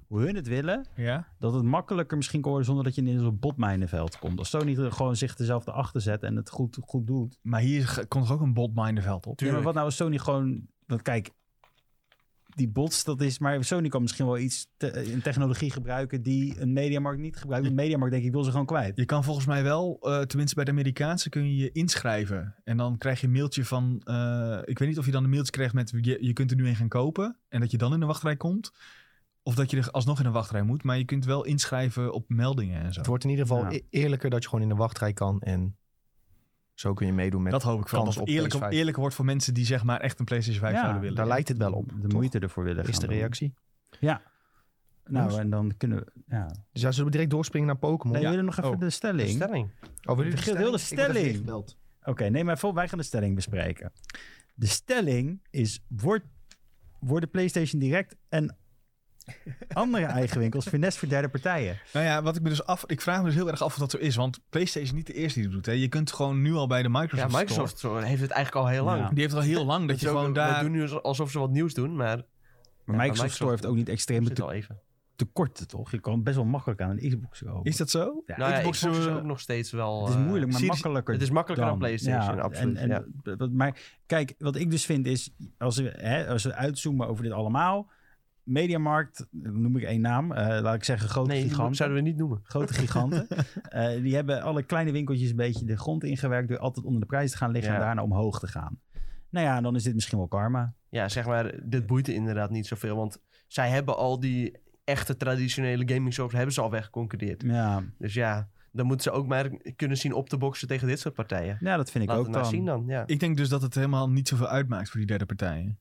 hoe hun het willen,
Ja,
dat het makkelijker misschien kan worden zonder dat je in zo'n botmijnenveld komt. Als zo niet gewoon zich dezelfde achter zet en het goed, goed doet.
maar hier ge- komt toch ook een botminderveld op?
Ja, maar wat nou als Sony gewoon... Want kijk, die bots, dat is... Maar Sony kan misschien wel iets, te- eh, een technologie gebruiken die een mediamarkt niet gebruikt. Een mediamarkt denk ik wil ze gewoon kwijt.
Je kan volgens mij wel, eh, tenminste bij de Amerikaanse, kun je je inschrijven. En dan krijg je een mailtje van, eh, ik weet niet of je dan een mailtje krijgt met, je, je kunt er nu een gaan kopen. En dat je dan in de wachtrij komt. Of dat je er alsnog in de wachtrij moet. Maar je kunt wel inschrijven op meldingen en zo.
Het wordt in ieder geval
Ja.
e- eerlijker dat je gewoon in de wachtrij kan. En zo kun je meedoen met...
Dat hoop ik van.
kans
Dat het
op
eerlijk,
PS5.
eerlijk wordt voor mensen die zeg maar echt een PlayStation 5
Ja,
zouden willen.
daar lijkt het wel op.
De
toch?
moeite ervoor willen
is
gaan
de
doen.
reactie.
Nou, en dan kunnen we... Ja.
Dus ja, zullen we direct doorspringen naar Pokémon?
Nee, we willen nog even
Oh.
de stelling.
Stelling.
Oh, willen jullie
Giel, heel de
Ik word even
stelling.
ingebeld.
Oké, nee, maar voor, wij gaan de stelling bespreken. De stelling is, wordt worden PlayStation Direct en andere eigen winkels finesse voor derde partijen.
Nou ja, wat ik me dus af... Ik vraag me dus heel erg af of dat zo is. Want PlayStation is niet de eerste die dat doet. Hè. Je kunt gewoon nu al bij de
Ja,
Microsoft Store-
Microsoft Store heeft het eigenlijk al heel lang.
Ja.
Die heeft al heel lang dat
Dat
je
is ook-
gewoon
We
daar...
doen nu alsof ze wat nieuws doen, maar
Maar
Ja,
Microsoft,
maar
Store
Microsoft-
heeft ook niet extreme
zit
te
al even.
tekorten, toch? Je kan best wel makkelijk aan een Xbox kopen.
Is dat zo?
Ja,
Nou ja,
Xbox,
Xbox, is
eh,
ook nog steeds wel...
het is
eh,
moeilijk, maar
series-
makkelijker.
Het is makkelijker dan,
dan.
PlayStation,
Ja,
absoluut.
En,
ja.
en, wat- Maar kijk, wat ik dus vind is, als we, hè, als we uitzoomen over dit allemaal, Mediamarkt, dan noem ik één naam, eh, laat ik zeggen grote
Nee,
giganten.
dat zouden we niet noemen.
Grote giganten. Eh, die hebben alle kleine winkeltjes een beetje de grond ingewerkt door altijd onder de prijs te gaan liggen en
Ja.
daarna omhoog te gaan. Nou ja, dan is dit misschien wel karma.
Ja, zeg maar, dit boeit inderdaad niet zoveel. Want zij hebben al die echte traditionele gaming shops hebben ze al weggeconcurreerd.
Ja,
Dus ja, dan moeten ze ook maar kunnen zien op te boksen tegen dit soort partijen.
ja dat vind ik
Laat
ook
het maar
dan.
zien dan, ja.
Ik denk dus dat het helemaal niet zoveel uitmaakt voor die derde partijen.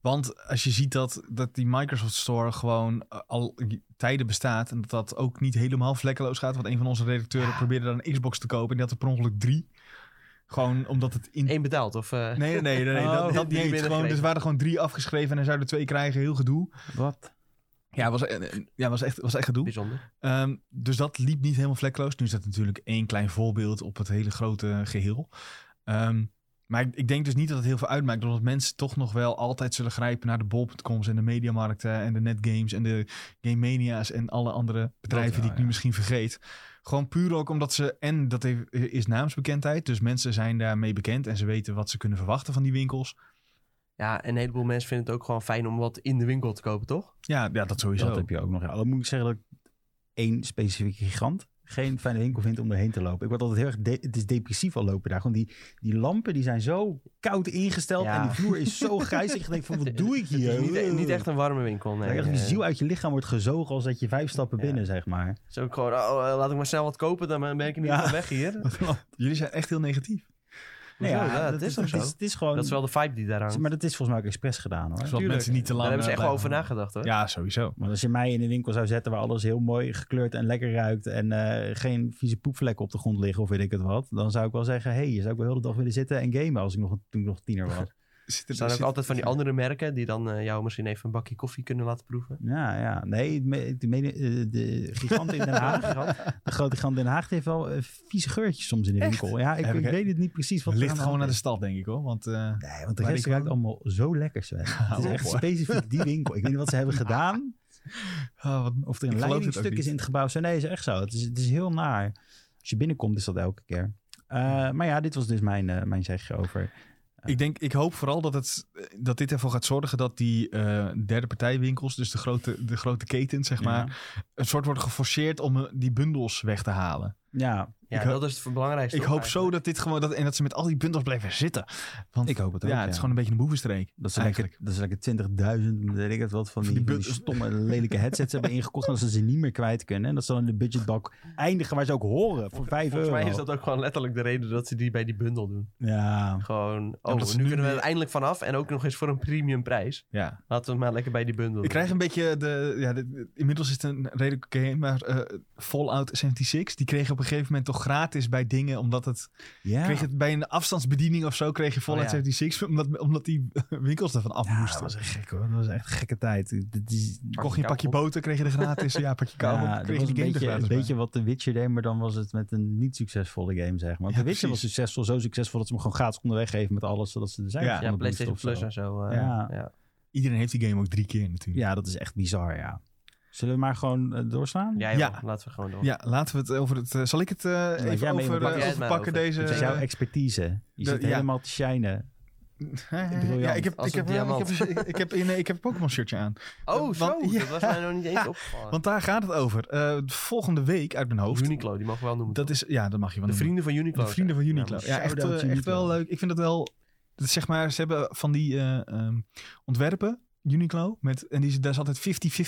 Want als je ziet dat, dat die Microsoft Store gewoon eh, al tijden bestaat... en dat dat ook niet helemaal vlekkeloos gaat... want een van onze redacteuren probeerde dan een Xbox te kopen... en die had er per ongeluk drie. Gewoon omdat het... In...
Eén betaald, of... eh,
Nee, nee, nee, nee,
Oh,
dat, dat
drie
niet. eens. Gewoon, dus
binnengekregen.
er waren er gewoon drie afgeschreven en hij zou er twee krijgen. Heel gedoe.
Wat?
Ja, was, eh, eh, ja, was, echt, was echt gedoe.
Bijzonder.
Ehm, dus dat liep niet helemaal vlekkeloos. Nu is dat natuurlijk één klein voorbeeld op het hele grote geheel. Ehm, maar ik, ik denk dus niet dat het heel veel uitmaakt. Omdat mensen toch nog wel altijd zullen grijpen naar de bol.coms en de mediamarkten en de netgames en de game mania's en alle andere bedrijven
wel,
die ik nu
ja.
misschien vergeet. Gewoon puur ook omdat ze, en dat heeft- is naamsbekendheid. Dus mensen zijn daarmee bekend en ze weten wat ze kunnen verwachten van die winkels.
Ja, en een heleboel mensen vinden het ook gewoon fijn om wat in de winkel te kopen, toch?
Ja, ja dat sowieso.
Dat heb je ook nog. Ja. Al moet ik zeggen dat ik één specifieke gigant geen fijne winkel vind om erheen te lopen. Ik word altijd heel erg... de- het is depressief al lopen daar. Gewoon die, die lampen die zijn zo koud ingesteld
Ja.
en die vloer is zo grijs. Ik denk van, wat doe ik
Het
hier?
is niet, e-, niet echt een warme winkel, nee.
Dat echt die
Eh,
ziel uit je lichaam wordt gezogen als dat je vijf stappen
Ja.
binnen, zeg maar.
Het is ook gewoon, oh, eh, laat ik maar snel wat kopen, dan ben ik in ieder
Ja.
geval weg hier.
Jullie zijn echt heel negatief.
Nou
ja, dat is toch zo?
Het is gewoon...
Dat is wel de vibe die daar hangt.
Maar dat is volgens mij ook expres gedaan hoor.
Zodat
Tuurlijk.
Dus mensen niet te lang...
Daar hebben ze
eh,
echt wel over
blijven.
nagedacht, hoor.
Ja, sowieso.
Want als je mij in een winkel zou zetten waar alles heel mooi gekleurd en lekker ruikt en eh, geen vieze poepvlekken op de grond liggen of weet ik het wat, dan zou ik wel zeggen, hé, hey, je zou ik wel heel de dag willen zitten en gamen als ik nog, toen ik nog tiener was.
Zit
Er zijn ook
zit-
altijd van die andere merken die dan eh, jou misschien even een bakje koffie kunnen laten proeven.
ja, ja. Nee, me- de, mede- eh, de gigant in Den Haag, de grote gigant in Den Haag, die heeft wel eh, vieze geurtjes soms in de winkel. Ja, ik,
Heb ik-
ik weet het niet precies wat
Het
er
ligt
aan
gewoon naar
hand
de
is.
stad, denk ik hoor. Want eh,
Nee, want de
Waar
rest
die gewoon-
ruikt allemaal zo lekker, Sven. Het is
op,
echt
hoor.
specifiek die winkel. Ik weet niet wat ze hebben gedaan.
ah, wat-
Of er
Ik geloof het
een
ook
leidingstuk
niet.
is in het gebouw. Zo, Nee, is echt zo. Het is, het is heel naar. Als je binnenkomt is dat elke keer. Eh, maar ja, dit was dus mijn, eh, mijn zegje over.
ik, denk, ik hoop vooral dat, het, eh, dat dit ervoor gaat zorgen dat die eh derde partijwinkels, dus de grote, de grote ketens, zeg maar, een soort wordt geforceerd om eh, die bundels weg te halen.
Ja,
Ja,
Ik ho-
dat is het belangrijkste.
Ik
toch,
hoop zo
eigenlijk.
dat dit gewoon, dat, en dat ze met al die bundels blijven zitten. Want
ik hoop het
ja,
ook.
het is gewoon een beetje een boevenstreek.
dat ze
eigenlijk.
lekker, dat ze lekker 20.000, weet ik het wat, van die,
die
van die
bud-
stomme, lelijke headsets hebben ingekocht. En dat ze ze niet meer kwijt kunnen. En dat ze dan in de budgetbak eindigen waar ze ook horen voor 5
Volgens
euro.
mij is dat ook gewoon letterlijk de reden dat ze die bij die bundel doen.
Ja,
Gewoon,
Ja,
oh,
dat ze
nu
nu
kunnen we
weer-
er eindelijk vanaf en ook nog eens voor een premium prijs.
Ja.
Laten we het maar lekker bij die bundel
Ik
doen.
krijg een beetje de, ja, de- de- inmiddels is het een redelijk game, maar eh, Fallout 76, die kreeg op een gegeven moment toch gratis bij dingen, omdat het
ja.
Kreeg het bij een afstandsbediening of zo, kreeg je Fallout
Oh, ja.
76, omdat, omdat die winkels daarvan af
Ja, dat
moesten.
was echt gek hoor. Dat was echt een gekke tijd. Dit is,
Kocht je een pakje
kauwgom.
boter, kreeg je er gratis. ja, pakje
Ja,
kauwgom,
dat
kreeg je
was
die
een
game er
beetje,
gratis
een
bij.
beetje wat The Witcher deed, maar dan was het met een niet succesvolle game, zeg maar.
Ja,
The Witcher was
precies.
succesvol, zo succesvol dat ze hem gewoon gratis onderweg geven met alles, zodat ze er zijn.
Ja.
van
Ja,
de boost
PlayStation
of zo.
Plus en zo. eh,
Ja.
ja.
Iedereen heeft die game ook drie keer natuurlijk.
Ja, dat is echt bizar, ja. Zullen we maar gewoon eh, doorslaan?
Ja, joh,
Ja.
laten we gewoon door.
Ja, laten we het over het... eh, zal ik het eh, even
jij mee
over,
moet pakken.
eh,
Jij het maar
overpakken,
over.
deze...
Het is
eh,
jouw expertise. Je
de-
zit
ja.
helemaal te shinen. briljant.
ja, ik heb,
Als
ik
een
heb, wel- ik
diamant.
heb, ik heb, nee, ik heb een Pokémon shirtje aan.
Oh,
Want-
zo.
ja.
Dat was mij nog niet eens opgevallen.
Want daar gaat het over. Eh, volgende week uit mijn hoofd.
Uniqlo, die mag wel noemen.
Dat is, ja, dat mag je wel
de
noemen.
vrienden van Uniqlo.
De vrienden van
zijn.
Uniqlo. Ja, echt,
shout-out
eh, echt wel
Uniqlo.
leuk. Ik vind het wel... Dat is zeg maar, ze hebben van die eh, ehm, ontwerpen, Uniqlo. Met, en die, is- daar is altijd 50-50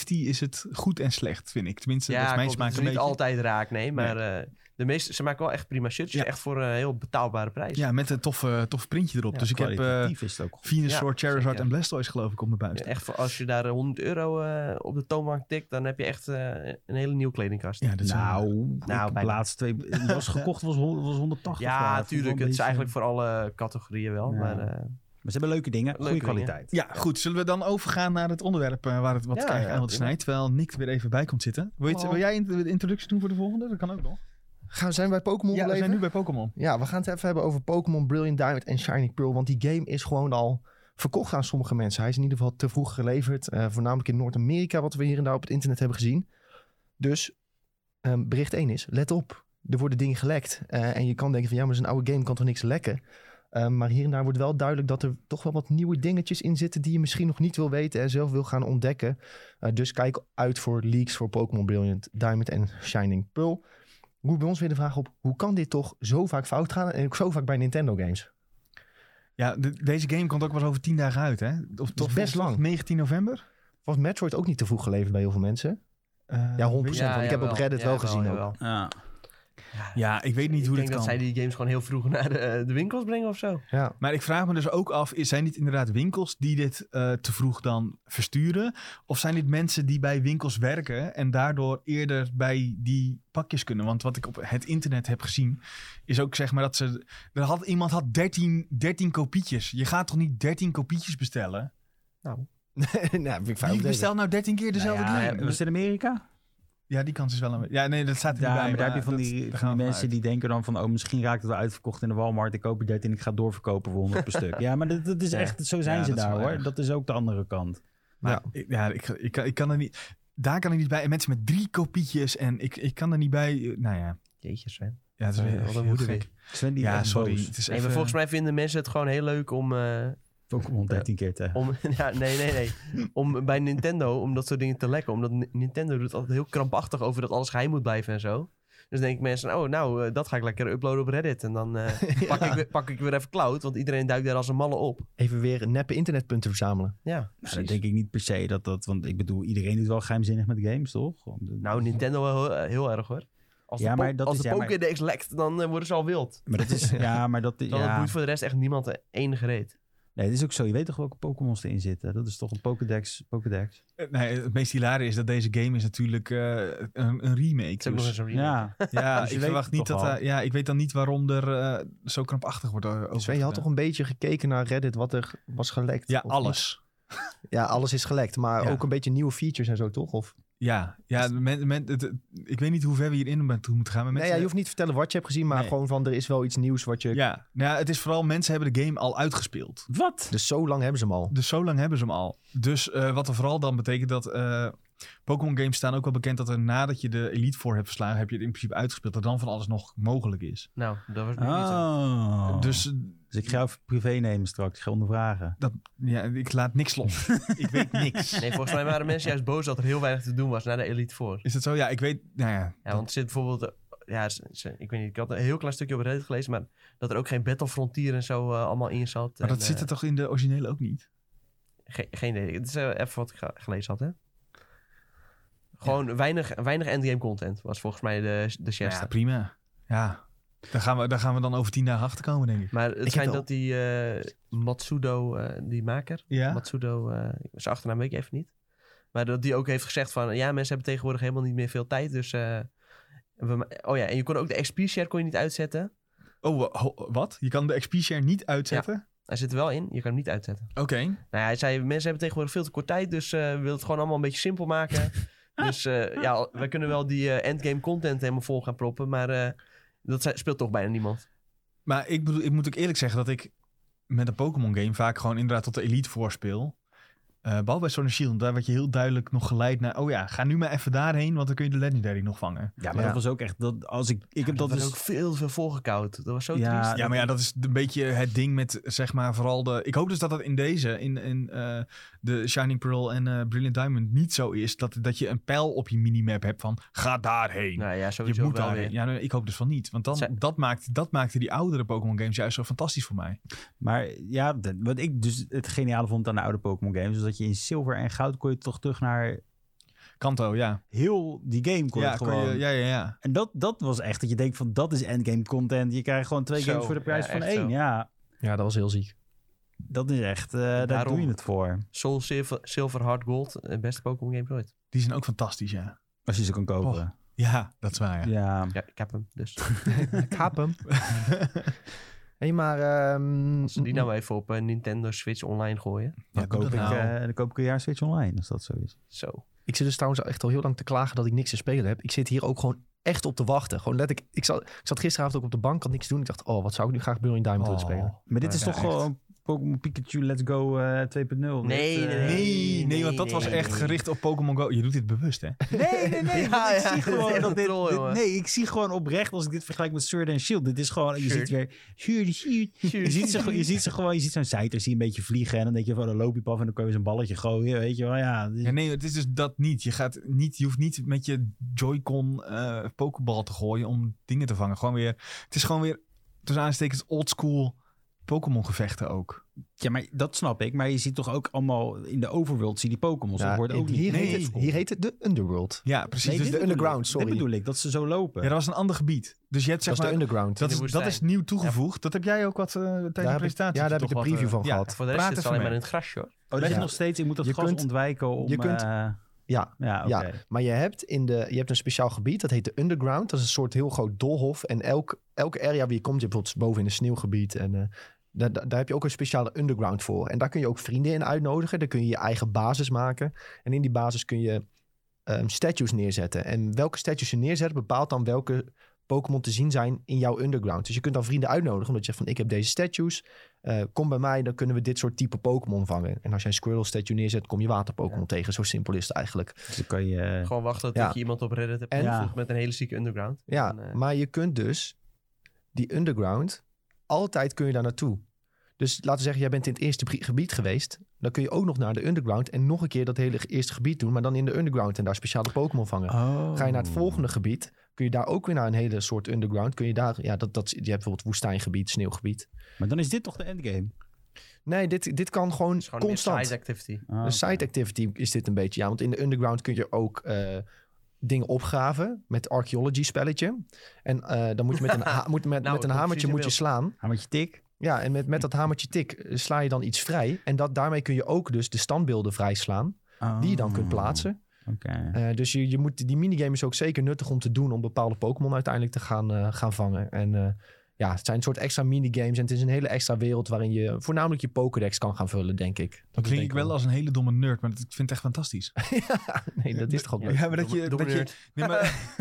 is het goed en slecht, vind ik. Tenminste,
Ja,
dat is mijn
klopt,
smaak
het
een
is niet
beetje.
altijd raak, nee. Maar eh, de meeste, ze maken wel echt prima shirtjes.
Ja.
Echt voor een heel betaalbare prijs.
Ja, met een toffe, toffe printje erop.
Ja,
dus ik heb eh
Kwalitatief is het ook goed.
Venusaur,
Ja,
Charizard
zeker.
en Blastoise geloof ik op mijn
Ja,
buis. Ja,
echt voor als je daar eh, 100 euro eh, op de toonbank tikt, dan heb je echt eh, een hele nieuwe kledingkast. Ja,
dat is wel-
Nou,
Nou,
nou de
bijna.
laatste twee... Het was gekocht, was, hon- was 180.
ja
waard.
tuurlijk.
Wel
Het
een
is eigenlijk
beetje-
voor alle categorieën wel.
Ja.
Maar eh,
Maar ze hebben leuke dingen,
Leuke
goede
dingen.
kwaliteit.
Ja, goed. Zullen we dan overgaan naar het onderwerp eh, waar het wat
Ja,
krijgt
ja,
aan wat
prima.
snijdt, terwijl Nick er weer even bij komt zitten. Wil, je het-
Oh.
wil jij in- de introductie doen voor de volgende? Dat kan ook nog.
Gaan, zijn wij Pokémon
Ja, we
beleven?
zijn nu bij Pokémon.
Ja, we gaan het even hebben over Pokémon Brilliant Diamond en Shining Pearl. Want die game is gewoon al verkocht aan sommige mensen. Hij is in ieder geval te vroeg geleverd. eh, voornamelijk in Noord-Amerika, wat we hier en daar op het internet hebben gezien. Dus ehm, bericht 1 is, let op. Er worden dingen gelekt. Eh, en je kan denken van, ja, maar zo'n oude game kan toch niks lekken? Ehm, maar hier en daar wordt wel duidelijk dat er toch wel wat nieuwe dingetjes in zitten... die je misschien nog niet wil weten en zelf wil gaan ontdekken. Eh, dus kijk uit voor leaks voor Pokémon Brilliant Diamond en Shining Pearl roept bij ons weer de vraag op: hoe kan dit toch zo vaak fout gaan? En ook zo vaak bij Nintendo games.
Ja, de- deze game komt ook wel eens over tien dagen uit, hè? Of toch
best
toch
lang.
19 november?
Was Metroid ook niet te vroeg geleverd bij heel veel mensen?
Eh,
Ja, 100%.
weet-
want ik heb op Reddit wel gezien ook.
jawel.
Ja.
Ja, ik weet niet
Ik
hoe
denk
dit
dat
kan.
zij die games gewoon heel vroeg naar de, de winkels brengen of zo.
Ja.
Maar ik vraag me dus ook af, is- zijn dit inderdaad winkels die dit eh, te vroeg dan versturen? Of zijn dit mensen die bij winkels werken en daardoor eerder bij die pakjes kunnen? Want wat ik op het internet heb gezien, is ook zeg maar dat ze... Er had, iemand had 13, 13 kopietjes. Je gaat toch niet 13 kopietjes bestellen?
nou, vind ik
Wie bestelt nou 13 keer dezelfde
Nou ja,
game?
was het in Amerika?
Ja, die kans is wel een... Ja, nee, dat staat er
Ja,
niet
maar
bij.
daar heb je van
dat-
die,
daar
van
gaan
die
we
mensen
vanuit.
die denken dan van... oh, misschien raakt het wel uitverkocht in de Walmart. Ik koop er dit en ik ga het doorverkopen voor 100 per stuk. Ja, maar dat, dat is
Ja.
echt... Zo zijn
Ja,
ze
dat is
daar,
wel
hoor.
erg.
Dat is ook de andere kant.
Maar ik- ja, ik, ik, kan- ik kan er niet... Daar kan ik niet bij. En mensen met drie kopietjes en ik, ik kan er niet bij. Nou ja,
Jeetje, Sven.
ja het is
Eh,
weer
wat een
heel
moeder
gek.
weer.
Sven, die
Ja,
werd
sorry.
boos.
Het is
Nee,
even-
maar volgens mij vinden mensen het gewoon heel leuk om... eh,
Pokémon 13 keer te... Nou,
om ja, nee, nee, nee. Om bij Nintendo, om dat soort dingen te lekken. Omdat Ni- Nintendo doet altijd heel krampachtig over dat alles geheim moet blijven en zo. Dus denk ik mensen, oh, nou, eh, dat ga ik lekker uploaden op Reddit. En dan eh, pak, ik, weer- pak ik weer even cloud, want iedereen duikt daar als een malle op.
Even weer neppe internetpunten verzamelen.
Ja,
Nou, dat denk ik niet per se dat dat... Want ik bedoel, iedereen doet wel geheimzinnig met games, toch? Om de-
Nou, Nintendo wel heel, heel erg hoor. Als
Ja,
de, po-
maar dat
als
is-
de
ja, maar-
Pokédex lekt, dan eh, worden ze al wild.
Maar dat is... Ja, maar dat...
Dan
Ja.
boeit voor de rest echt niemand eh, enige reet.
Nee, dat is ook zo. Je weet toch welke Pokémon's erin zitten? Dat is toch een Pokédex? Pokédex.
Eh, Nee, het meest hilare is dat deze game is natuurlijk eh, een, een remake.
Het is ook
dus-
nog eens een remake.
Ja.
ja,
dus je
ik
weet
verwacht
het
niet
toch
dat.
al.
daar- ja, ik weet dan niet waarom er eh, zo krampachtig wordt eh,
Sven,
over.
je had
gedaan.
toch een beetje gekeken naar Reddit wat er was gelekt?
Ja,
of
alles.
niet? Ja, alles is gelekt. Maar
Ja.
ook een beetje nieuwe features en zo, toch? Of...
Ja, ja men, men, het- het- ik weet niet hoe ver we hierin ben- toe moeten gaan. Maar
Nee, ja,
mensen,
je hoeft niet te vertellen wat je hebt gezien, maar
Nee.
gewoon van er is wel iets nieuws wat je...
ja, nou, ja, het is vooral mensen hebben de game al uitgespeeld.
Wat?
Dus zo lang hebben ze hem al.
Dus zo lang hebben ze hem al. Dus eh, wat er vooral dan betekent dat. eh, Pokémon games staan ook wel bekend dat er nadat je de Elite Four hebt verslagen, heb je het in principe uitgespeeld. Dat dan van alles nog mogelijk is.
Nou, dat was nu niet zo.
Oh. Dus,
Dus
dus ik ga even privé nemen straks. Ik ga ondervragen.
dat, ja, ik laat niks los. ik weet niks.
Nee, volgens mij waren mensen juist boos dat er heel weinig te doen was na de Elite Four.
Is dat zo? Ja, ik weet. Nou ja.
Ja, want er zit bijvoorbeeld... eh, Ja, ze- ze- ik weet niet, ik had een heel klein stukje op Reddit gelezen, maar dat er ook geen Battle Frontier en zo eh, allemaal in zat.
maar
en,
dat zit
eh,
er toch in de originele ook niet?
ge- geen idee. Het is eh, even wat ik ga- gelezen had, hè. Gewoon weinig, weinig endgame content was volgens mij de,
Ja,
de chefste.
prima. Ja. Daar gaan, we, daar gaan we dan over tien dagen achter komen, denk ik.
Maar het
heb
schijnt
wel-
dat die eh, Matsudo, eh, die maker,
Ja.
Matsudo, eh, zijn achternaam weet ik even niet. Maar dat die ook heeft gezegd van, ja, mensen hebben tegenwoordig helemaal niet meer veel tijd, dus... eh, we, ma- oh ja, en je kon ook de XP-share kon je niet uitzetten.
Oh, wa- ho- wat? Je kan de XP-share niet uitzetten?
Hij zit er wel in, je kan hem niet uitzetten.
Oké.
Nou ja, hij zei, mensen hebben tegenwoordig veel te kort tijd, dus eh, we willen het gewoon allemaal een beetje simpel maken. dus eh, ja, we kunnen wel die eh, endgame content helemaal vol gaan proppen, maar eh, dat ze- speelt toch bijna niemand.
Maar ik, bedoel, ik moet ook eerlijk zeggen dat ik met een Pokémon-game vaak gewoon inderdaad tot de Elite voorspeel. Eh behalve bij Sword and Shield, daar werd je heel duidelijk nog geleid naar... Oh ja, ga nu maar even daarheen, want dan kun je de Legendary nog vangen.
Ja, maar
Ja.
dat was ook echt... Dat, als ik, ik heb dat,
Dat is
dus...
ook veel, veel volgekoud. Dat was zo
Ja,
triest.
Ja, maar ja, dat is een beetje het ding met zeg maar vooral de... Ik hoop dus dat dat in deze, in, in eh, de Shining Pearl en eh, Brilliant Diamond niet zo is. Dat, dat je een pijl op je minimap hebt van ga daarheen.
Nou ja,
je
sowieso
moet
wel
daarheen.
weer.
Ja, nee, ik hoop dus van niet. Want dan,
Zij-
dat, maakt, dat maakte die oudere Pokémon games juist zo fantastisch voor mij.
Maar ja, de- wat ik dus het geniale vond aan de oude Pokémon games... is dat je in zilver en goud kon je toch terug naar...
Kanto, ja.
Heel die game kon
ja,
je
kon
gewoon...
je- ja, ja, ja.
En dat, dat was echt dat je denkt van dat is endgame content. Je krijgt gewoon twee
Zo,
games voor de prijs
ja,
van
echt
één.
zo.
Ja,
Ja, dat was heel ziek.
dat is echt... eh, daar
Daarom.
doe je het voor.
Soul, Silver, Silver, Hard, Gold, het beste Pokémon game ooit.
Die zijn ook fantastisch, ja.
Als je ze kan kopen.
Ja, dat is waar, ja.
ja.
Ja, ik heb hem dus.
Kaap hem. hey, maar... ehm,
Als ze die nou even op eh, Nintendo Switch online gooien.
Ja,
Dan,
doe
koop ik,
dat nou.
eh, dan koop ik een jaar Switch online, als dat zo is.
Zo.
Ik zit dus trouwens echt al heel lang te klagen dat ik niks te spelen heb. Ik zit hier ook gewoon echt op te wachten. Gewoon let ik, ik, zat, ik zat gisteravond ook op de bank, had niks te doen. Ik dacht, oh, wat zou ik nu graag Brilliant Diamond
Oh.
willen spelen?
Maar dit is
Ja,
toch
echt.
gewoon Pokémon Pikachu Let's Go eh,
Nee,
2.0? Dit, eh,
nee,
Nee, nee, want dat
nee,
was
nee,
echt
nee.
gericht op Pokémon Go. Je doet dit bewust, hè?
Nee, nee, nee.
Ja,
want ik
ja,
zie
dit is
gewoon
echt
dat
een
dit,
troll,
dit-
jongen.
Nee, ik zie gewoon oprecht, als ik dit vergelijk met Sword and Shield, dit is gewoon, je
Shield.
ziet weer, Shield, Shield. Je ziet, ze, gewoon- je ziet ze gewoon, je ziet zo'n zijter, zie je een beetje vliegen en dan denk je van, dan loop je op af en dan kan je zo'n balletje gooien, weet je wel, ja.
Ja, nee, het is dus dat niet. Je, gaat niet, je hoeft niet met je Joy-Con eh Pokéball te gooien om dingen te vangen. Gewoon weer, het is gewoon weer, tussen aanstekens, oldschool Pokémon gevechten ook.
Ja, maar dat snap ik, maar je ziet toch ook allemaal in de overworld, zie die Pokémon,
Ja,
dat worden ook
hier,
niet.
heet het, hier heet het de Underworld.
Ja, precies.
Nee,
dus
dit
de
de,
bedoel ik.
underground, sorry.
Dit bedoel ik, dat ze zo lopen.
ja, dat was een ander gebied. Dus je
Dat
hebt zeg
is de
maar,
Underground.
dat
in de
is, dat is
woestijn.
nieuw toegevoegd. Dat heb jij ook wat eh, tijdens
heb
de
ik-
presentatie.
ja, daar heb ik
toch
de
wat,
preview
eh,
van
ja.
gehad.
Voor de rest
Praat
is het
even
alleen
mee.
maar in het grasje hoor.
oh, dat
Ja.
je nog steeds, je moet dat
Je
gas
kunt-
ontwijken om...
je kunt-
eh,
Ja,
ja, oké.
ja. maar je hebt, in de, je hebt een speciaal gebied, dat heet de Underground. Dat is een soort heel groot dolhof. En elk, elke area wie je komt, je hebt bijvoorbeeld boven in een sneeuwgebied. En eh, daar, daar daar heb je ook een speciale Underground voor. En daar kun je ook vrienden in uitnodigen. Daar kun je je eigen basis maken. En in die basis kun je ehm, statues neerzetten. En welke statues je neerzet, bepaalt dan welke Pokémon te zien zijn in jouw Underground. Dus je kunt dan vrienden uitnodigen, omdat je zegt van ik heb deze statues. eh, kom bij mij, dan kunnen we dit soort type Pokémon vangen. En als jij een Squirrel statue neerzet, kom je water Pokémon tegen. Zo simpel is het eigenlijk.
Dus dan kan je...
Gewoon wachten tot
Ja.
je iemand op Reddit hebt
En-
toegevoegd met een hele zieke underground.
Ja,
En, eh,
maar je kunt dus die underground, altijd kun je daar naartoe. Dus laten we zeggen, jij bent in het eerste pri- gebied geweest. Dan kun je ook nog naar de underground en nog een keer dat hele eerste gebied doen, maar dan in de underground en daar speciale Pokémon vangen. Ga je naar het
Oh.
volgende gebied, kun je daar ook weer naar een hele soort underground. Kun je daar, ja, dat, dat, je hebt bijvoorbeeld woestijngebied, sneeuwgebied.
Maar dan is dit toch de endgame?
Nee, dit, dit kan gewoon,
Het is gewoon een
constant.
side activity.
Ah,
Een side Dus activity is dit een beetje, ja. Want in de underground kun je ook eh, dingen opgraven met archaeology spelletje. En eh, dan moet je met een, ha- moet met, met een
Nou, ik hoop
hamertje
precies
moet je slaan.
Hamertje tik.
Ja, en met, met dat hamertje tik eh, sla je dan iets vrij. En dat, daarmee kun je ook dus de standbeelden vrijslaan, die je dan
Ah.
kunt plaatsen.
Oh, Oké.
Eh, dus je, je moet, die minigame is ook zeker nuttig om te doen om bepaalde Pokémon uiteindelijk te gaan, eh, gaan vangen. En eh, ja, het zijn een soort extra minigames en het is een hele extra wereld waarin je voornamelijk je Pokédex kan gaan vullen, denk ik.
Dan
is
klink
denk
ik wel als een hele domme nerd, maar dat, ik vind het echt fantastisch.
Nee, dat is toch ook leuk.
Ja, maar dat je,
Domme-
dat je, Nee,
domme
maar,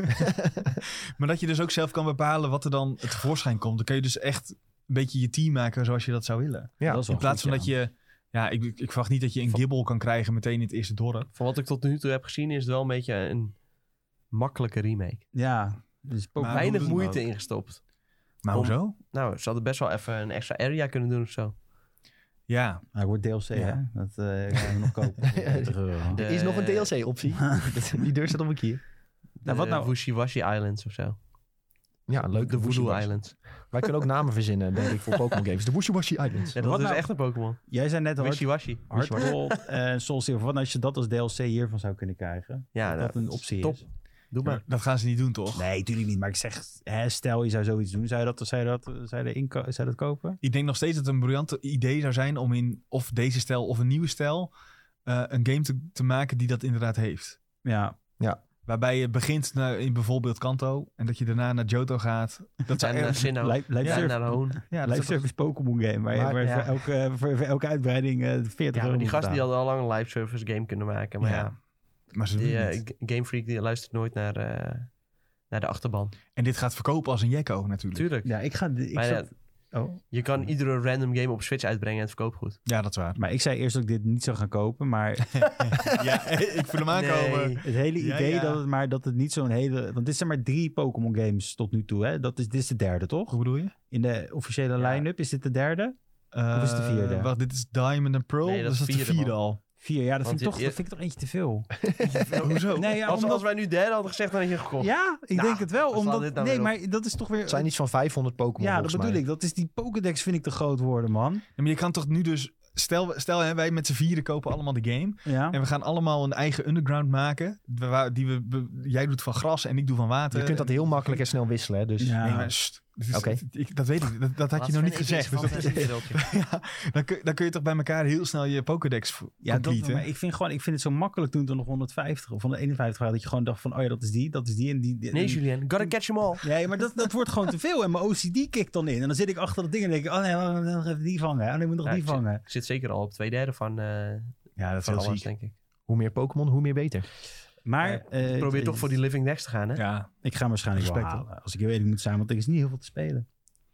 maar dat je dus ook zelf kan bepalen wat er dan tevoorschijn komt. Dan kun je dus echt een beetje je team maken zoals je dat zou willen.
Ja,
dat is wel
In plaats
goed,
van dat
ja.
je... Ja, ik, ik ik verwacht niet dat je een gibbel kan krijgen meteen in het eerste dorp.
Van wat ik tot nu toe heb gezien is het wel een beetje een makkelijke remake.
Ja. Dus Pokémon
Maar
Weinig
hoe doen we
moeite ingestopt.
Maar
Om-
hoezo?
Nou, ze hadden best wel even een extra area kunnen doen of zo.
Ja,
Hij wordt DLC, hè?
Ja.
Dat eh kunnen we nog kopen. voor 30 euro.
De-
Er is nog een DLC-optie. die deur staat op een kier.
Nou, wat
De
nou?
Wushi-Washi Islands of zo.
Ja, leuk.
De Voodoo
Wooshiwashi.
Islands.
Wij kunnen ook namen verzinnen, denk ik, voor Pokémon games. De Wooshiwashi Islands.
Ja,
Wat
dat is
nou?
echt een Pokémon.
Jij zei net al, hard,
Wishy-washy.
Hardgold en Soul Silver. Wat nou als je dat als DLC hiervan zou kunnen krijgen?
Ja,
dat
nou,
dat een optie
top.
is.
Doe maar.
dat gaan ze niet doen, toch?
Nee, natuurlijk niet. Maar ik zeg, hè, stel je zou zoiets doen. Zou je dat, zou je dat, zou je erin ko- zou je dat kopen?
Ik denk nog steeds dat het een briljant idee zou zijn om in of deze stijl of een nieuwe stijl eh, een game te, te maken die dat inderdaad heeft.
Ja.
Waarbij je begint naar, in bijvoorbeeld Kanto en dat je daarna naar Johto gaat. Dat zou
En naar
eh,
echt-
Sinnoh.
Lijp- Lijp-
Nou, Ja,
Surf-
naar Hoon.
ja, dat
Live
zou-
service Pokémon game. Waar, je-
Maar-
waar je
ja.
voor, elke, voor, voor elke uitbreiding eh, 40 euro
Ja, maar die
moet
gasten die
betalen.
hadden al lang een live service game kunnen maken. Maar ja,
Ja, maar ze doen
die
het
eh,
niet.
G- Game Freak die luistert nooit naar, eh, naar de achterban.
En dit gaat verkopen als een jekko natuurlijk.
Tuurlijk.
Ja, ik ga... Ik
Maar ja,
zat- oh.
je kan iedere random game op Switch uitbrengen en het verkoopt goed.
Ja, dat is waar.
Maar ik zei eerst dat ik dit niet zou gaan kopen, maar
ja, ik voel hem aankomen.
Nee.
het hele
Ja,
idee
ja.
dat het maar dat het niet zo'n hele, want dit zijn maar drie Pokémon games tot nu toe, hè? Dat is dit is de derde, toch?
Hoe bedoel je?
In de officiële
Ja.
line-up is dit de derde? Of is het de vierde?
Eh, Wacht, dit is Diamond and Pearl.
Nee, dat
dus
is
dat is de
vierde,
vierde al.
Vier, ja, dat
Want
vind, ik
je-
toch, dat vind ik toch eentje te veel.
Hoezo?
Nee, ja,
als,
omdat-
als wij nu derde hadden gezegd, dan had je gekocht.
ja ik
Nou,
denk het wel,
waar slaat
omdat
dit nou
nee,
weer op?
maar dat is toch weer
Het zijn iets van 500 Pokémon.
ja, dat
volgens
bedoel
mij.
ik. Dat is die Pokédex vind ik te groot worden, man.
Ja, maar je kan toch nu dus... Stel, stel hè, wij met z'n vieren kopen allemaal de game.
Ja.
En we gaan allemaal een eigen underground maken. Waar, die we, be- jij doet van gras en ik doe van water.
Je kunt dat heel makkelijk en snel wisselen. hè, Dus
Ja.
Nee, maar sst, Dus het-
Oké.
het- ik- dat weet ik, dat, dat had je nog niet gezegd. Dus dat, ja, dan, kun, dan kun je toch bij elkaar heel snel je Pokédex v-
Ja, dat,
completen.
maar ik vind, gewoon, ik vind het zo makkelijk toen het er nog 150 of 151 waren. Dat je gewoon dacht van, oh ja, dat is die, dat is die en die. die-
Nee,
die-
Julien, gotta catch them all.
Nee, maar dat, dat wordt gewoon te veel. En mijn OCD kikt dan in. En dan zit ik achter dat ding en denk ik, oh nee, wacht, ik moet nog even die vangen. Oh nee, ik moet nog
Ja,
die
ik zit-
vangen.
Ik zit zeker al op twee derde van, eh,
ja, dat is
van
heel
alles,
ziek.
denk ik.
Hoe meer Pokémon, hoe meer beter.
Maar... eh,
Probeer
ik-
toch voor die Living Next te gaan, hè?
Ja,
Ik ga hem waarschijnlijk wel
Respect, hoor.
halen. Als ik heel eerlijk moet zijn, want er is niet heel veel te spelen.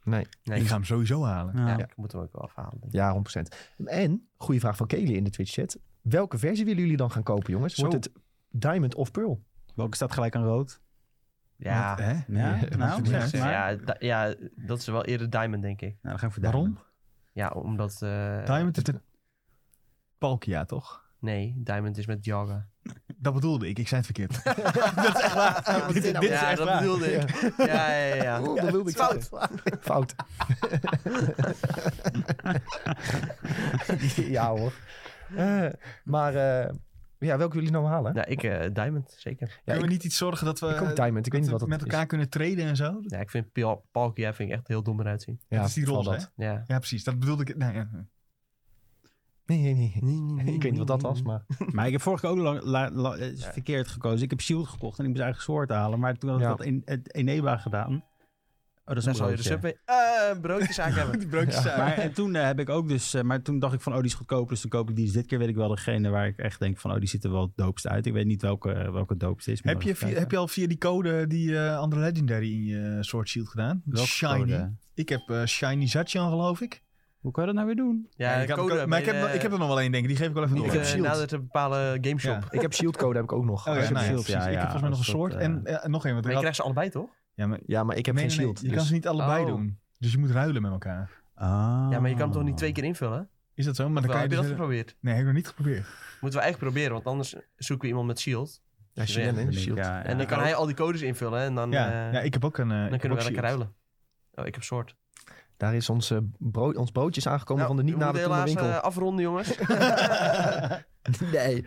Nee,
ik
ik,
ga hem sowieso halen.
Ja.
ja, ik moet hem ook wel afhalen. denk ik.
Ja, 100%. En, goede vraag van Kelly in de Twitch-chat. Welke versie willen jullie dan gaan kopen, jongens? Wordt
Zo.
het Diamond of Pearl?
Welke staat gelijk aan rood?
Ja,
Want, hè?
Ja,
Ja,
nou,
moet
zeg
ja,
maar.
da- ja, dat is wel eerder Diamond, denk ik.
Nou, dan ga ik voor
Waarom?
Diamond.
Ja, omdat... eh,
Diamond is een Palkia, toch?
Nee, Diamond is met Jaga.
Dat bedoelde ik. Ik zei het verkeerd.
Ah, dat is echt waar.
Dit- dit is
ja,
echt
dat
waar.
bedoelde ik. Ja, ja, ja. ja.
Oeh, Oh, dat wilde ik
Fout.
zeggen. Fout. ja hoor. Eh, maar eh, ja, welke willen jullie nou halen?
Nou, ik eh, Diamond, zeker.
ja,
Kunnen
ik,
we niet iets zorgen dat we,
ik ook
dat
Diamond. Ik weet niet
we
wat dat
Nou, eh, met elkaar kunnen treden en zo?
Ja, ik vind Pal- Palkia vind ik echt heel dom eruit zien.
is. Ja,
dat is die
vooral
roze, hè?
Ja.
Ja, precies. Dat bedoelde ik. Nou, ja.
Nee, nee, nee. Ik weet niet wat dat was, maar...
Maar ik heb vorige keer ook lang, la- la- eh, verkeerd gekozen. Ik heb Shield gekocht en ik moest eigen soort halen. Maar toen had ik
Ja.
dat in het Eneba gedaan. Oh, dat is een
Dan zou je de
broodje.
Subway eh, een broodjeszaak hebben.
Die broodjes zijn.
Maar en toen eh, heb ik ook dus... eh, maar toen dacht ik van, oh, die is goedkoper. Dus toen koop ik die. Dus dit keer weet ik wel degene waar ik echt denk van... oh, die ziet er wel het doopst uit. Ik weet niet welke, eh, welke het doopst is.
Heb je, via- heb je al via die code die eh, andere legendary in je eh, Sword Shield gedaan? Shiny. Ik heb eh, Shiny Zacian, geloof ik.
Hoe kan je dat nou weer doen?
Ja,
ik had-
code eh,
maar
bij
ik heb,
de-
nog- ik heb er nog wel één, denk ik. Die geef ik wel even
niet
door.
Ik heb
eh,
Shield.
nader te bepalen gameshop.
Ja.
shop.
Ik heb Shield code, heb ik ook nog.
Oh, ja,
Shield,
nou ja,
ja,
precies. ik heb
ja,
volgens mij nog een
als
soort.
dat, eh,
en eh, nog één. Want
Maar
ik
je
had-
krijgt ze allebei, toch?
ja, maar,
Ja, maar ik heb
nee,
geen
nee,
Shield.
nee, je kan
dus-
ze niet allebei
Oh.
doen. Dus je moet ruilen met elkaar.
Ah.
Ja, maar je kan hem toch niet twee keer invullen?
Is dat zo? Maar
Of
dan
wel,
kan je
heb
dus
je dat
hele-
geprobeerd?
Nee, heb ik nog niet geprobeerd.
Moeten we echt proberen, want anders zoeken we iemand met shield.
Ja, Shield.
Ja,
en Shield.
Ah. ja, ja.
En dan kan hij al die codes invullen en dan,
Ja,
eh,
ja, ik heb ook een. eh, ik
dan
heb
kunnen we
ook
lekker
Shield.
ruilen. Oh, ik heb soort. Nou,
Daar is ons, eh, brood, ons broodje is aangekomen van de niet
we moeten
nader
helaas
winkel.
eh, afronden, jongens.
nee,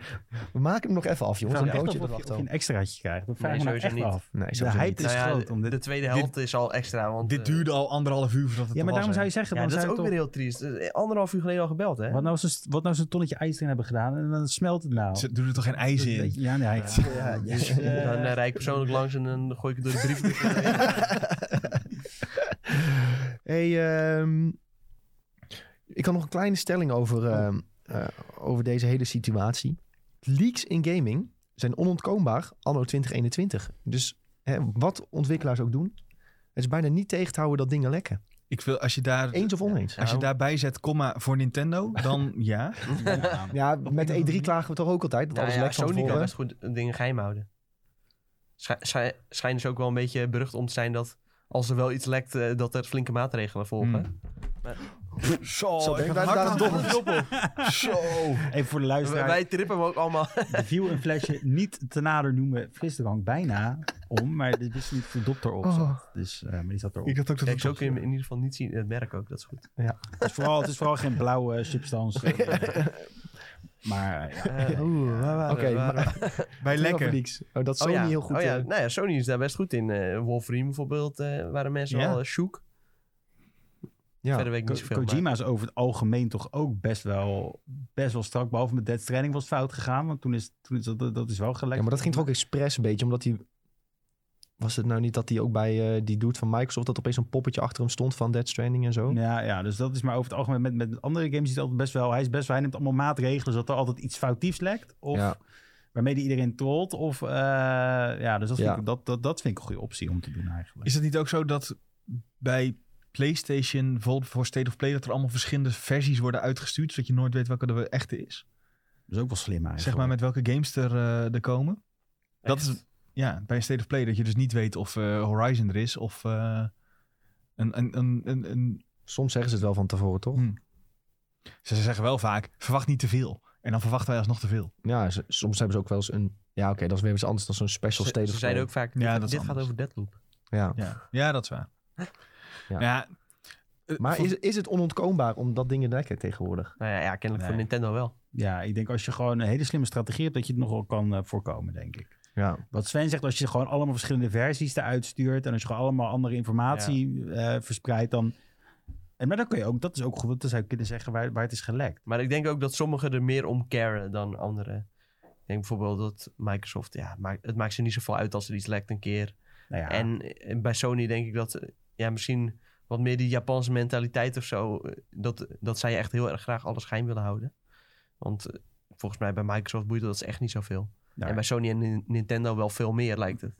we maken hem nog even af, jongens. Een
Vraag me
broodje
echt af of
erachter.
je, of je een extraatje krijgt. Dat vraag
Nee,
ik me nou echt
sowieso
wel
niet.
af.
Nee,
de
sowieso
hype
niet.
is
Nou ja,
groot. Om dit...
De tweede helft is al extra. Want,
Dit
eh,
duurde al anderhalf uur voordat het
Ja,
er
maar
was,
daarom
hè.
zou je zeggen...
Ja,
dan
dat is
zou
ook
je
weer
toch-
heel triest. Eh, Anderhalf uur geleden al gebeld, hè?
Wat nou, als ze, wat nou als ze een tonnetje ijs erin hebben gedaan en dan smelt het nou?
Ze doen er toch geen ijs
Dat weet
in?
je- Ja, nee. hij-
ja, ja.
Dus, eh,
Dan eh, rijd ik persoonlijk langs en dan gooi ik het door de brief.
Hey, ehm, ik had nog een kleine stelling over,
Oh.
ehm, eh, over deze hele situatie. Leaks in gaming zijn onontkoombaar anno 2021. Dus hè, wat ontwikkelaars ook doen, het is bijna niet tegen te houden dat dingen lekken.
Ik wil, als je daar.
Eens of oneens.
Nou.
Als je daarbij zet, comma voor Nintendo, dan ja.
ja.
Ja, met E3 klagen we toch ook altijd dat
Nou
alles
ja,
lekt van
Sony kan
tevoren.
best goed dingen geheim houden. Schij- schij- Schijnen ze ook wel een beetje berucht om te zijn dat als er wel iets lekt, eh, dat er flinke maatregelen volgen.
Hmm.
Hmm.
Zo,
Zo,
ik
denk
had
ik, daar-
hard
daar-
aan het dobbelen. Zo.
Even voor de
Wij,
luisteraar.
wij trippen hem ook allemaal.
De view en flesje niet te nader noemen frisdrank bijna om, maar dit is niet voor dopter op.
Oh.
Dus, eh, maar die zat erop.
Ik had ook dat
Kijk, zo
het
kun je hem in ieder geval niet zien. Het merk ook, dat is goed.
Het is vooral, het is vooral geen blauwe substantie. maar eh, ja.
Oké, maar
bij
over
lekker.
leaks. Oh, dat Sony
oh ja.
heel goed...
Oh ja.
eh,
Nou ja, Sony is daar best goed in. Eh, Wolverine bijvoorbeeld eh, waren mensen
Ja.
wel eh, shook.
ja.
Verder weet ik
Ko-
niet zoveel. maar-
Kojima is over het algemeen toch ook best wel, best wel strak. Behalve met Dead Stranding was het fout gegaan, want toen is, toen is dat, dat is wel gelijk.
Ja, maar dat ging toch ook expres een beetje, omdat hij... Was het nou niet dat hij ook bij eh, die dude van Microsoft... dat opeens een poppetje achter hem stond van Dead Stranding en zo?
Ja, ja, dus dat is maar over het algemeen. Met, met andere games is het altijd best wel. Hij is best wel. Hij neemt allemaal maatregelen zodat er altijd iets foutiefs lekt. Of
Ja.
waarmee hij iedereen trolt. Of eh, ja, dus dat vind,
Ja.
ik, dat, dat, dat vind ik een goede optie om te doen eigenlijk.
Is het niet ook zo dat bij PlayStation, bijvoorbeeld voor State of Play, dat er allemaal verschillende versies worden uitgestuurd, zodat je nooit weet welke de echte is?
Dat is ook wel slim eigenlijk.
Zeg maar met welke games er, eh, er komen. Dat is, ja, bij State of Play dat je dus niet weet of eh, Horizon er is of eh, een, een, een, een, een...
Soms zeggen ze het wel van tevoren, toch?
Ze zeggen wel vaak, verwacht niet te veel. En dan verwachten wij alsnog te veel.
Ja, ze- soms hebben ze ook wel eens een... Ja, oké, dat is weer iets anders dan zo'n special
Ze,
state
ze
of
zeiden ook
play.
vaak,
Ja,
dit,
dat is
dit gaat
anders.
over Deadloop.
Ja.
Ja, ja dat is waar.
Ja.
Ja, eh,
Maar
voor-
is, is het onontkoombaar omdat dingen lekken tegenwoordig?
Nou ja, ja kennelijk
Nee.
voor Nintendo wel.
Ja, ik denk als je gewoon een hele slimme strategie hebt, dat je het nogal kan eh, voorkomen, denk ik.
Ja.
Wat Sven zegt, als je gewoon allemaal verschillende versies eruit stuurt en als je gewoon allemaal andere informatie eh, verspreidt, dan. En maar dan kun je ook, dat is ook goed, want dan zou je kunnen zeggen waar, waar het is gelekt.
Maar ik denk ook dat sommigen er meer om caren dan anderen. Ik denk bijvoorbeeld dat Microsoft, ja, maakt- het maakt ze niet zoveel uit als er iets lekt een keer.
Nou ja,
En eh, bij Sony denk ik dat, eh, ja, misschien wat meer die Japanse mentaliteit of zo, eh, dat, dat zij echt heel erg graag alles geheim willen houden. Want eh, volgens mij bij Microsoft boeit dat echt niet zoveel.
nou,
En bij Sony en Nin- Nintendo wel veel meer, lijkt het.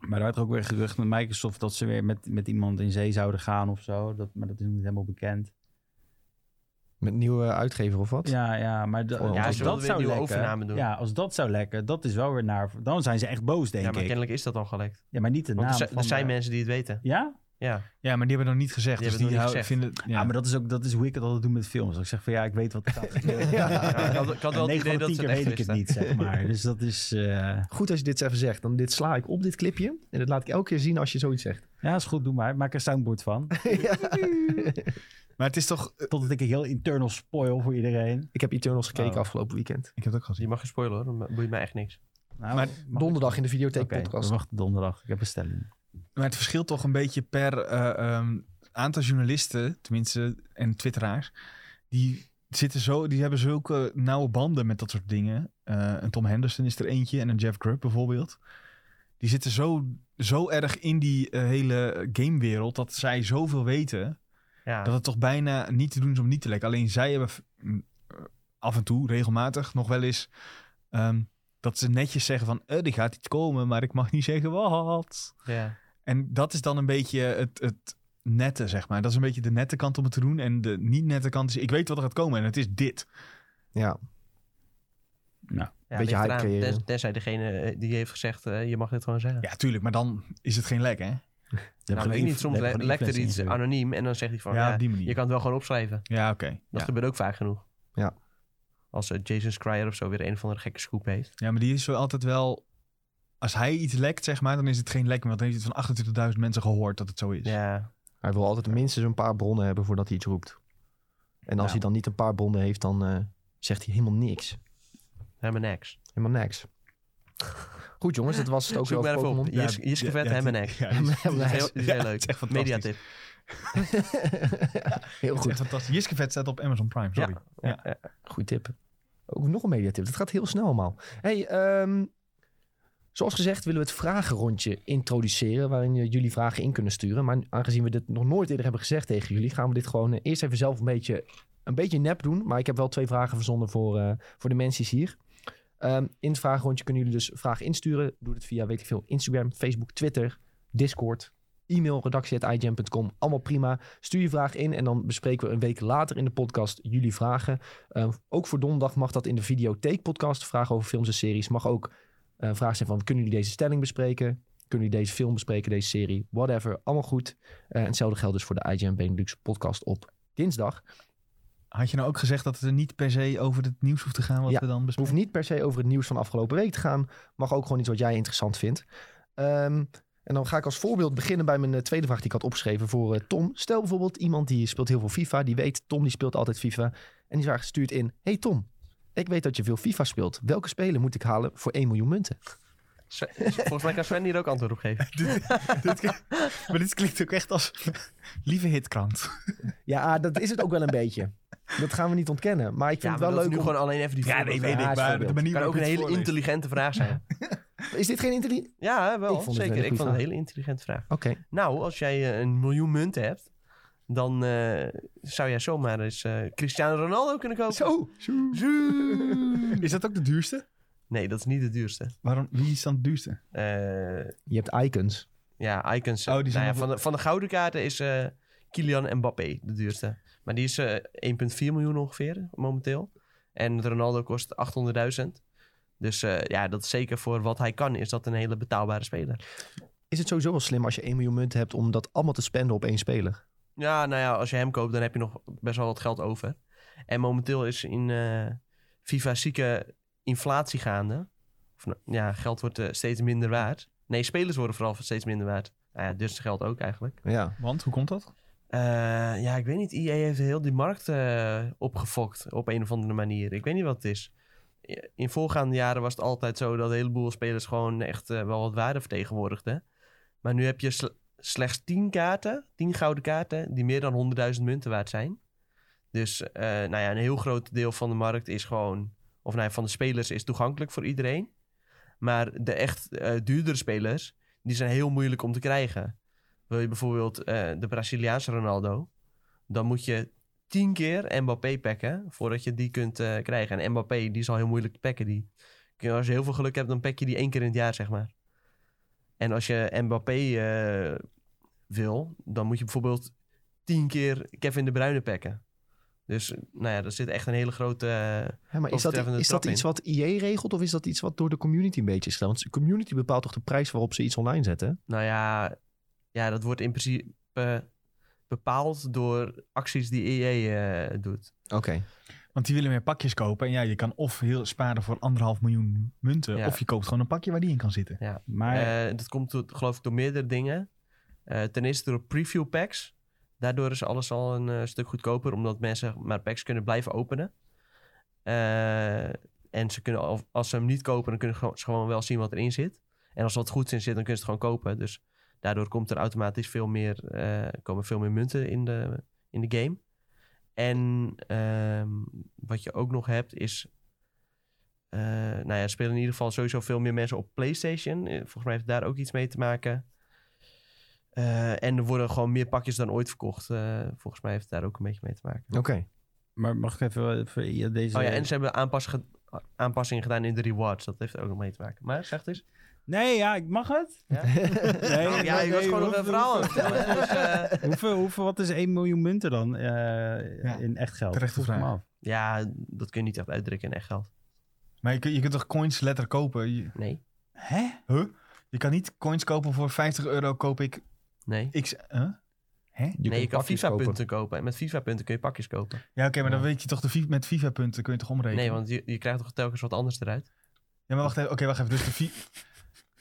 Maar daar had ook weer gerucht met Microsoft dat ze weer met, met iemand in zee zouden gaan of zo. Dat, maar dat is nog niet helemaal bekend.
Met nieuwe uitgever of wat?
Ja, ja, maar da-
Ja, ze
als
wilden
dat
weer
zou
nieuwe
lekken,
overname doen.
ja, als dat zou lekken, dat is wel weer naar. Dan zijn ze echt boos, denk
ja, maar
ik.
kennelijk is dat al gelekt.
Ja, maar niet de
Want
naam.
er, zi-
van
er zijn
de-
mensen die het weten.
Ja?
Ja,
Ja, maar die hebben nog niet gezegd.
Die
dus die
hebben het nog
hou-
niet
vinden.
ja, Ah, maar dat is ook dat is hoe ik het altijd doe met films. Als ik zeg van ja, ik weet wat er gaat gebeuren.
Ja.
Ja, ik had- ik had wel het
En negen
idee
van de
dat
tien
ze
keer
het
weet ik
echt
het niet, zeg maar. Dus dat is. eh,
Goed als je dit even zegt. Dan dit sla ik op dit clipje. En dat laat ik elke keer zien als je zoiets zegt.
ja, is goed, doe maar. Maak er een soundboard van.
Ja.
Maar het is toch. eh,
Totdat ik een heel internal spoil voor iedereen.
Ik heb Eternals gekeken
Oh.
afgelopen weekend.
Ik heb het ook al
je
gezien.
mag geen spoiler hoor, dat boeit mij echt niks.
Nou,
Maar
mag ik-
Donderdag in de videotheek
Oké, we
podcast.
wachten donderdag. Ik heb een stelling.
Maar het verschilt toch een beetje per eh, ehm, aantal journalisten, tenminste, en twitteraars. Die zitten zo, die hebben zulke nauwe banden met dat soort dingen. Eh een Tom Henderson is er eentje en een Jeff Grubb bijvoorbeeld. Die zitten zo, zo erg in die eh, hele gamewereld dat zij zoveel weten.
Ja,
Dat het toch bijna niet te doen is om niet te lekken. Alleen zij hebben f- m, eh, af en toe, regelmatig, nog wel eens... ehm, dat ze netjes zeggen van, eh, er gaat iets komen, maar ik mag niet zeggen wat.
ja.
En dat is dan een beetje het, het nette, zeg maar. Dat is een beetje de nette kant om het te doen. En de niet nette kant is, ik weet wat er gaat komen en het is dit.
Ja.
Ja,
Beetje
ligt
hype
eraan.
creëren.
Tens- tenzij degene eh, die heeft gezegd, eh, je mag dit gewoon zeggen.
Ja, tuurlijk, maar dan is het geen lek, hè?
Oh,
Je hebt
nou,
gewoon
weet ik
inv-
niet, soms
je hebt
le-
gewoon
lekt er
influencing
iets
natuurlijk.
anoniem en dan zegt hij van,
ja,
ja,
op die
je
manier.
kan het wel gewoon opschrijven.
Ja, oké.
Dat
Ja.
gebeurt ook vaak genoeg.
Ja.
Als eh, Jason Schreier of zo weer een of andere gekke scoop heeft.
ja, maar die is wel altijd wel... Als hij iets lekt, zeg maar, dan is het geen lek. Want dan heeft het van 28.000 mensen gehoord dat het zo is.
Ja,
Hij wil altijd minstens een paar bronnen hebben voordat hij iets roept. En als
Nou.
hij dan niet een paar bronnen heeft, dan eh, zegt hij helemaal niks.
helemaal niks.
Helemaal niks. Goed jongens, dat was het ook
Zoek
weer over
maar even
Pokémon.
op. Jirs-
Ja,
Jiske
ja,
Vet,
ja,
hem en
die-
Ek.
ja, die is-
Heel
Dat is heel, dat is heel
Ja,
leuk.
het is echt fantastisch.
Mediatip.
Heel
Het is
goed.
echt fantastisch. Jiskevet staat op Amazon Prime, sorry.
Ja. Ja. ja.
Goed tip. Ook nog een mediatip. Dat gaat heel snel allemaal. Hey, ehm, zoals gezegd willen we het vragenrondje introduceren... waarin eh, jullie vragen in kunnen sturen. Maar aangezien we dit nog nooit eerder hebben gezegd tegen jullie... gaan we dit gewoon eh, eerst even zelf een beetje, een beetje nep doen. Maar ik heb wel twee vragen verzonden voor, eh, voor de mensen hier. Ehm, in het vragenrondje kunnen jullie dus vragen insturen. Doe het via, weet ik veel, Instagram, Facebook, Twitter, Discord... E-mail redactie.igm.com. Allemaal prima. Stuur je vraag in en dan bespreken we een week later in de podcast jullie vragen. Uh, ook voor donderdag mag dat in de videotheekpodcast. Vragen over films en series. Mag ook eh vragen zijn van, kunnen jullie deze stelling bespreken? Kunnen jullie deze film bespreken, deze serie? Whatever, allemaal goed. Eh, en hetzelfde geldt dus voor de IGN Benelux podcast op dinsdag.
Had je nou ook gezegd dat het er niet per se over het nieuws hoeft te gaan wat
Ja,
we
Het
dan
hoeft
bespreken?
niet per se over het nieuws van afgelopen week te gaan. Mag ook gewoon iets wat jij interessant vindt. Ehm, en dan ga ik als voorbeeld beginnen bij mijn eh, tweede vraag die ik had opgeschreven voor eh, Tom. Stel bijvoorbeeld iemand die speelt heel veel FIFA. Die weet, Tom die speelt altijd FIFA. En die vraag stuurt in, hey Tom, ik weet dat je veel FIFA speelt. Welke speler moet ik halen voor 1 miljoen munten?
Sven- Volgens mij kan Sven hier ook antwoord op geven.
Maar dit klinkt ook echt als lieve hitkrant.
Ja, ah, dat is het ook wel een beetje. Dat gaan we niet ontkennen. Maar ik vind
Ja, maar
het wel
dat is
leuk
nu
om...
gewoon alleen even die voorbeeld.
weet ik, maar de
Het kan ook een hele intelligente vraag zijn.
Is dit geen intelligentie?
Ja,
Ik
wel,
vond het een
zeker.
hele
ik vond
goede
het een
vraag.
hele intelligente vraag.
Oké.
Nou, als jij eh, een miljoen munten hebt, dan eh, zou jij zomaar eens eh, Cristiano Ronaldo kunnen kopen.
Zo.
Oh, Is dat ook de duurste?
Nee, dat is niet de duurste.
Waarom? Wie is dan de duurste?
Eh,
Je hebt icons.
ja, icons.
Oh, die
nou
zijn
ja,
nog-
van, de, van de gouden kaarten is eh, Kylian Mbappé de duurste. Maar die is eh, 1,4 miljoen ongeveer eh, momenteel. En Ronaldo kost 800.000. Dus eh, ja, dat is zeker voor wat hij kan, is dat een hele betaalbare speler.
Is het sowieso wel slim als je 1 miljoen munten hebt om dat allemaal te spenden op één speler?
Ja, nou ja, als je hem koopt, dan heb je nog best wel wat geld over. En momenteel is in eh, FIFA zieke inflatie gaande. Of, nou, ja, geld wordt eh, steeds minder waard. Nee, spelers worden vooral steeds minder waard. Nou ja, dus geld ook eigenlijk.
Ja.
Want, hoe komt dat?
Eh, ja, ik weet niet. EA heeft heel die markt eh, opgefokt op een of andere manier. Ik weet niet wat het is. in voorgaande jaren was het altijd zo dat een heleboel spelers gewoon echt eh, wel wat waarde vertegenwoordigden. Maar nu heb je sl- slechts 10 kaarten, 10 gouden kaarten, die meer dan 100.000 munten waard zijn. Dus eh, nou ja, een heel groot deel van de markt is gewoon, of nou ja, van de spelers is toegankelijk voor iedereen. Maar de echt eh, duurdere spelers, die zijn heel moeilijk om te krijgen. Wil je bijvoorbeeld eh, de Braziliaanse Ronaldo, dan moet je 10 keer Mbappé packen voordat je die kunt eh, krijgen. En Mbappé, die is al heel moeilijk te packen. Die, als je heel veel geluk hebt, dan pack je die één keer in het jaar, zeg maar. En als je Mbappé eh, wil, dan moet je bijvoorbeeld 10 keer Kevin De Bruyne packen. Dus eh, nou ja, daar zit echt een hele grote... eh,
Ja, maar is dat,
Overtreffende
is dat
trap
iets
in.
wat IE regelt of is dat iets wat door de community een beetje is gedaan? Want de community bepaalt toch de prijs waarop ze iets online zetten?
nou ja, ja, dat wordt in principe eh, bepaald door acties die EA eh, doet.
Oké.
Want die willen meer pakjes kopen. En ja, je kan of heel sparen voor anderhalf miljoen munten.
Ja.
Of je koopt gewoon een pakje waar die in kan zitten.
Maar
Eh, dat komt door- geloof ik door meerdere dingen. Eh, ten eerste door preview packs. Daardoor is alles al een eh, stuk goedkoper, omdat mensen maar packs kunnen blijven openen. Eh, en ze kunnen, al- als ze hem niet kopen, dan kunnen ze gewoon- ze gewoon wel zien wat erin zit. En als er wat goeds in zit, dan kunnen ze het gewoon kopen. Dus daardoor komt er automatisch veel meer, eh, komen veel meer munten in de, in de game. En ehm, wat je ook nog hebt is eh, nou ja, er spelen in ieder geval sowieso veel meer mensen op PlayStation. Eh, Volgens mij heeft daar ook iets mee te maken. Eh, en er worden gewoon meer pakjes dan ooit verkocht. Eh, volgens mij heeft het daar ook een beetje mee te maken.
Oké.
Maar mag ik even, even ja, deze...
Oh ja, en ze hebben aanpas ge- aanpassingen gedaan in de rewards. Dat heeft er ook nog mee te maken. Maar zeg het eens.
Nee, ja, ik mag het.
Ja?
Nee,
Nou, ja,
nee,
ik was
nee,
gewoon nog
hoeveel-
een verhaal aan het vertellen. Dus, eh,
Hoeveel, hoeveel, wat is 1 miljoen munten dan eh,
Ja,
in echt geld?
terechte
Vroeg ik me
vraag.
af.
ja, dat kun je niet echt uitdrukken in echt geld.
Maar je, kun- je kunt toch coins letter kopen? Je,
Nee,
Hè?
huh? je kan niet coins kopen voor 50 euro koop ik
nee.
x... huh?
nee, je kan
pakjes kopen.
FIFA-punten kopen. En met FIFA-punten kun je pakjes kopen.
Ja, oké, maar dan
Ja.
weet je toch de vi- met FIFA punten kun je toch omrekenen?
Nee, want je, je krijgt toch telkens wat anders eruit.
Ja, maar wacht even. Oké, wacht even. Dus de vi-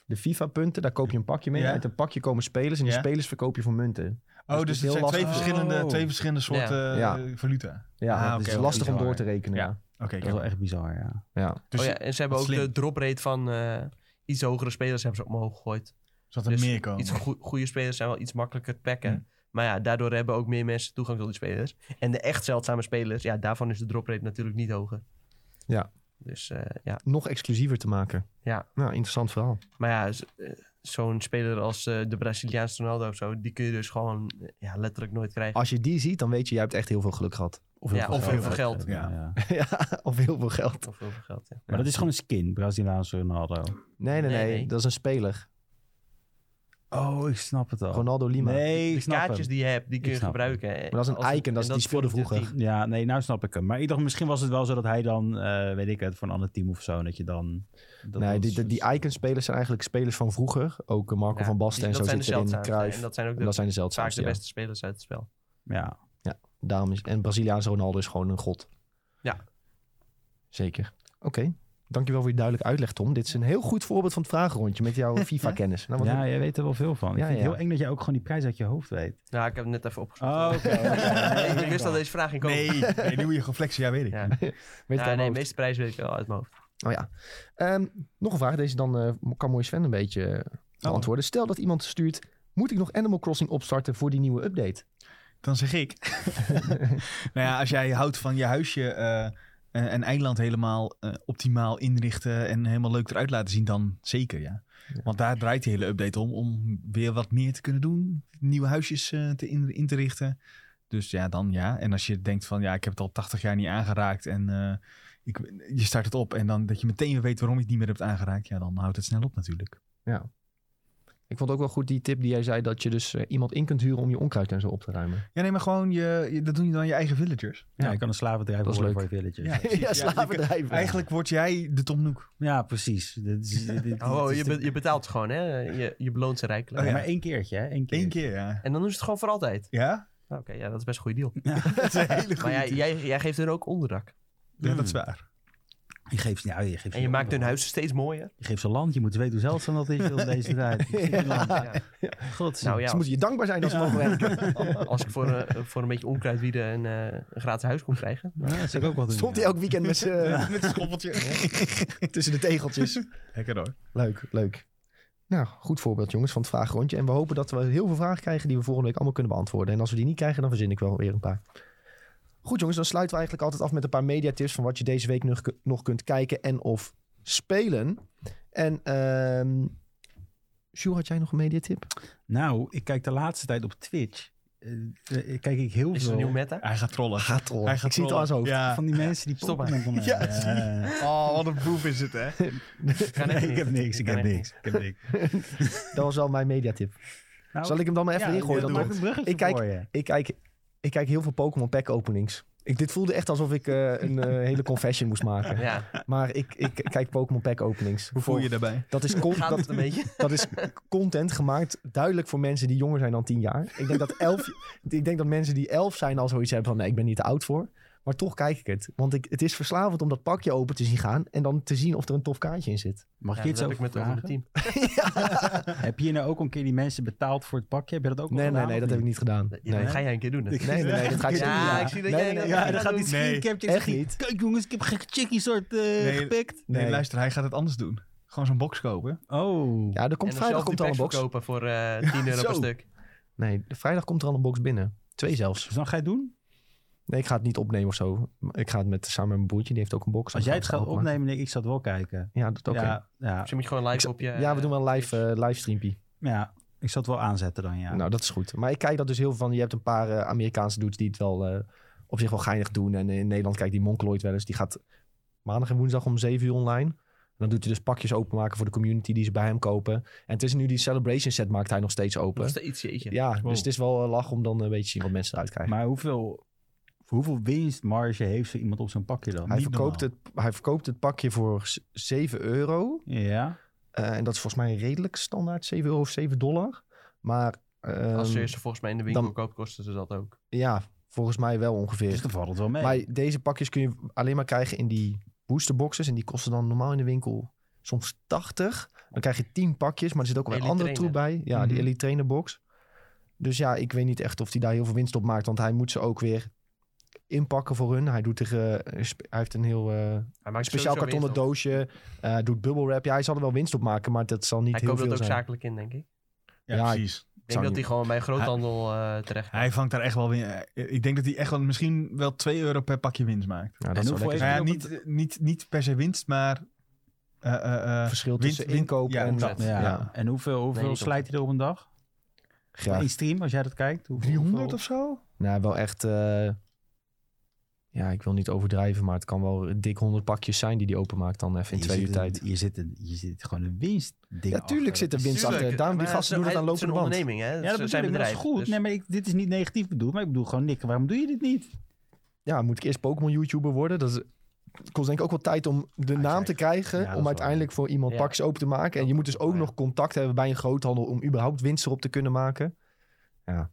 De FIFA-punten, daar koop je een pakje mee.
Ja.
Uit een pakje komen spelers en die
Ja.
spelers verkoop je voor munten.
Oh,
het
dus,
is
het
heel
zijn twee
lastig.
verschillende,
Oh.
twee verschillende soorten
Ja.
eh, valuta.
Ja,
Ah,
dat
oké,
is
oké,
lastig om
bizar,
door te
ja.
rekenen.
Ja.
Ja.
Oké,
Dat
ik
is
heb-
wel echt bizar, ja.
Ja.
dus
oh ja, en ze hebben ook
wat slim.
de droprate van eh, iets hogere spelers hebben ze omhoog gegooid.
zodat er
Dus
meer komen.
iets goe- goede spelers zijn wel iets makkelijker te packen. Maar ja, daardoor hebben ook meer mensen toegang tot die spelers. En de echt zeldzame spelers, ja, daarvan is de drop rate natuurlijk niet hoger.
Ja.
Dus eh, ja.
Nog exclusiever te maken.
Ja.
Nou, interessant verhaal.
Maar ja, z- eh, zo'n speler als eh, de Braziliaanse Ronaldo of zo, die kun je dus gewoon eh, ja, letterlijk nooit krijgen.
Als je die ziet, dan weet je, jij hebt echt heel veel geluk gehad. Of heel
Ja,
veel
of heel
geld.
veel geld.
Ja.
ja, of heel veel geld.
Of heel veel geld, ja.
Maar dat is gewoon een skin, Braziliaanse Ronaldo.
Nee, nee, nee.
Nee, nee.
Dat is een speler.
Oh, ik snap het al.
Ronaldo Lima.
nee, ik
De
snap
kaartjes
hem.
die je hebt, die kun
Ik
je
snap hem.
gebruiken. eh,
dat is een
als het-
icon, dat is-
en
die speelde
verdient het
vroeger.
team.
Ja, nee, nou snap ik hem. Maar ik dacht, misschien was het wel zo dat hij dan, eh, weet ik het, voor een ander team of zo, dat je dan... dat
nee,
dat
die, die, die
soort-
icon-spelers zijn eigenlijk spelers van vroeger. Ook eh, Marco
dus- Ja,
van Basten
die-
en zo
dat zijn de
zitten erin.
zeldzaamste.
Cruijff.
En dat zijn ook
En dat
de,
zijn de
vaak
zeldzaamste,
de
ja.
beste spelers uit het spel.
Ja.
Daarom is, en Braziliaanse Ronaldo is gewoon een god.
Ja.
Zeker. Oké. Dankjewel voor je duidelijk uitleg, Tom. Dit is een heel goed voorbeeld van het vragenrondje met jouw FIFA-kennis. Nou, wat-
ja, jij weet er wel veel van. Ik
Ja,
vind het
ja.
heel eng dat jij ook gewoon die prijs uit je hoofd weet.
Nou, ik heb het net even opgezocht.
Oh, oké.
Nee, ik wist al deze vraag ging komen.
Nee, nee, nu moet je reflexen. Ja, weet ik.
Ja.
weet
Ja,
ik uit mijn
nee,
hoofd.
de meeste prijzen weet ik wel uit mijn hoofd.
Oh ja. Ehm, nog een vraag. Deze dan eh, kan mooi Sven een beetje eh,
Oh.
beantwoorden. Stel dat iemand stuurt... Moet ik nog Animal Crossing opstarten voor die nieuwe update?
Dan zeg ik. nou ja, als jij houdt van je huisje eh, eh, en eiland helemaal eh, optimaal inrichten en helemaal leuk eruit laten zien, dan zeker ja.
Ja.
Want daar draait die hele update om, om weer wat meer te kunnen doen. Nieuwe huisjes eh, te in, in te richten. Dus ja, dan ja. En als je denkt van ja, ik heb het al 80 jaar niet aangeraakt en eh, ik, je start het op en dan dat je meteen weer weet waarom je het niet meer hebt aangeraakt, ja, dan houdt het snel op natuurlijk.
Ik vond ook wel goed die tip die jij zei... dat je dus eh, iemand in kunt huren om je onkruid en zo op te ruimen.
Ja, nee, maar gewoon, je, je- dat doen je dan je eigen villagers.
Ja, je kan een slavendrijf
Dat is
worden voor
leuk.
je villager.
Ja. precies.
ja,
Ja, je kan-
slavendrijven.
Eigenlijk word jij de Tom Nook.
Ja, precies. Dit is- dit- dit- dit
Oh,
is
je,
de-
be- je betaalt ze gewoon, hè? Je, je beloont ze rijkelijk.
Oh,
Ja,
ja.
Maar één keertje, hè? Eén keer.
Eén keer, ja.
En dan doen ze het gewoon voor altijd.
Ja?
Nou, Oké, ja, dat is best een goede deal.
Dat is een hele goede
Maar jij,
tip.
jij, jij geeft hun ook onderdak.
Ja, dat is waar.
Je geeft, nou, je geeft
En je maakt hun huizen steeds mooier.
Je geeft ze land. Je moet weten hoe zeldzaam dat is in deze tijd.
Ja.
God,
Nou ja,
Ze moeten je dankbaar zijn dat ze mogen werken.
als ik voor, eh, voor een beetje onkruidwieden een, eh, een gratis huis kon krijgen.
ja, dat zou ik ook wel doen.
Stond hij
ja.
elk weekend met z'n-
Met een schoppeltje.
tussen de tegeltjes.
Lekker hoor.
Leuk, leuk. Nou, goed voorbeeld jongens van het vraagrondje. En we hopen dat we heel veel vragen krijgen die we volgende week allemaal kunnen beantwoorden. En als we die niet krijgen, dan verzin ik wel weer een paar. Goed jongens, dan sluiten we eigenlijk altijd af met een paar mediatips van wat je deze week nog, nog kunt kijken en of spelen. En ehm Sjoerd, had jij nog een mediatip?
Nou, ik kijk de laatste tijd op Twitch. eh, eh, kijk ik heel
Is er
veel
een nieuw meta?
Hij gaat trollen.
Gaat trollen.
Hij gaat
Ik zie het al aan zijn hoofd.
Ja.
van die mensen die
Stop
Pokémon van
Ja,
Oh, wat een boef is het, hè?
Kan echt
Nee, ik
niet.
heb niks, ik
Kan
heb
echt
niks. Ik heb niks.
Dat was wel mijn mediatip.
Nou,
Zal ik hem dan maar even
ja,
ingooien?
ja,
Dan
doe
maakt-
het. bruggetje
Ik kijk-
voor je.
ik, kijk, ik kijk heel veel Pokémon pack openings. Ik, dit voelde echt alsof ik eh, een eh, hele confession moest maken.
Ja,
Maar ik, ik kijk Pokémon Pack openings.
Hoe voel je je daarbij?
Dat is, con-
gaat
dat,
het een beetje?
dat is content gemaakt duidelijk voor mensen die jonger zijn dan 10 jaar. Ik denk, dat elf, ik denk dat mensen die 11 zijn al zoiets hebben van nee, ik ben niet te oud voor. Maar toch kijk ik het. Want ik, het is verslavend om dat pakje open te zien gaan en dan te zien of er een tof kaartje in zit.
Mag
Ja,
je iets
dat heb
over
ik met ons op het
vragen?
team.
Heb je hier nou ook een keer die mensen betaald voor het pakje? Heb je dat ook al
Nee, nee,
gedaan,
nee,
of
dat heb ik niet gedaan.
Ja,
Nee,
dat ga jij een keer doen. hè?
Ik-
nee, nee, nee, dat ga ik
Ja,
zeker niet
ik zie dat
Nee,
jij
nee,
dat-
nee.
Ja, dat gaat die
Nee,
screencaptures.
echt niet.
Kijk jongens, ik heb geen chickie soort eh,
Nee.
gepikt.
Nee.
Nee.
luister, hij gaat het anders doen. Gewoon zo'n box kopen.
Oh.
Ja, er
En
komt
dan
vrijdag
zelf die
komt er al een
packs
box.
verkopen voor eh 10 euro
Zo.
per stuk.
Nee, de vrijdag komt er al een box binnen. Twee zelfs.
Dus dan ga je het doen?
Nee, ik ga het niet opnemen of zo. Ik ga het met, samen met mijn broertje, die heeft ook een box.
Als jij het gaat
Openmaken.
opnemen, denk ik, ik zal het wel kijken.
Ja, dat is oké.
Ja, ja,
Dus je moet gewoon live
Ik zal-
op je...
Ja, we doen wel een live,
Twitch.
eh, livestreampie.
ja, ik zal het wel aanzetten dan, ja.
Nou, dat is goed. Maar ik kijk dat dus heel veel van. Je hebt een paar eh, Amerikaanse dudes die het wel eh, op zich wel geinig doen. En in Nederland kijkt die Monkeloid wel eens. Die gaat maandag en woensdag om 7 uur online. En dan doet hij dus pakjes openmaken voor de community die ze bij hem kopen. En het is nu die celebration set maakt hij nog steeds open.
Nog steeds, jeetje.
eh, Ja,
Wow.
dus het is wel eh, lach om dan een beetje te zien wat mensen eruit krijgen.
Maar hoeveel, voor hoeveel winstmarge heeft zo iemand op zo'n pakje dan?
hij,
Niet
verkoopt
normaal.
het, hij verkoopt het pakje voor z- 7 euro.
Ja,
Eh, en dat is volgens mij redelijk standaard 7 euro of 7 dollar. Maar
Als
ehm,
je ze volgens mij in de winkel
dan-
koopt, kosten ze dat ook.
ja, volgens mij wel ongeveer.
dus dan valt het wel mee.
Maar deze pakjes kun je alleen maar krijgen in die boosterboxes. En die kosten dan normaal in de winkel soms 80. Dan krijg je 10 pakjes, maar er zit ook wel een
Elite
andere troep
trainer.
bij. Ja, die
Mhm.
Elite Trainer Box. Dus ja, ik weet niet echt of hij daar heel veel winst op maakt. Want hij moet ze ook weer inpakken voor hun. Hij, doet er, eh, spe- hij heeft een heel eh,
Hij maakt
speciaal
sowieso
kartonnen
winst op.
doosje. eh, doet bubble wrap. Ja, hij zal er wel winst op maken, maar dat zal niet
Hij
heel
koopt
veel
dat ook
zijn.
zakelijk in, denk ik.
Ja,
Ja,
precies.
Ik denk dat
niet-
hij gewoon bij een groothandel eh, terecht
Hij vangt daar echt wel weer. eh, Ik denk dat hij echt wel misschien wel 2 euro per pakje winst maakt.
Ja, dat
En
zou
hoeveel
lekker
Nou
is
zijn.
het?
ja, niet, niet, niet per se winst, maar. eh, eh, eh,
verschil
winst-
tussen
winst-
inkoop
ja,
en
omzet.
dat.
ja.
Ja.
En hoeveel, hoeveel
niet
slijt hij er op een dag?
Graag.
In stream, als jij dat kijkt. Hoeveel,
300
hoeveel-
of zo?
Nou, wel echt. eh, ja, ik wil niet overdrijven, maar het kan wel dik 100 pakjes zijn die die openmaakt dan even in
Je
twee
zit
uur
een-
tijd.
Je zit, een, je zit gewoon een winstding
Ja, tuurlijk
achter.
zit er winst
Tuurlijk,
achter. Daarom die
maar
gasten
het
doen
is-
het aan
Het is
lopende
een
band.
onderneming, hè?
Ja, dat
zijn dus-
bedoel ik, maar dat
bedrijf.
is goed. Nee, maar ik, dit is niet negatief bedoeld, maar ik bedoel gewoon, Nick, waarom doe je dit niet?
Ja, moet ik eerst Pokémon-YouTuber worden? Dat is, het kost denk ik ook wel tijd om de naam te krijgen.
Ja, dat is
om
wel
uiteindelijk voor iemand
Ja.
pakjes open te maken. En
Dat
je moet
is
dus
wel
ook
waar,
nog contact hebben bij een groothandel om überhaupt winst erop te kunnen maken. Ja.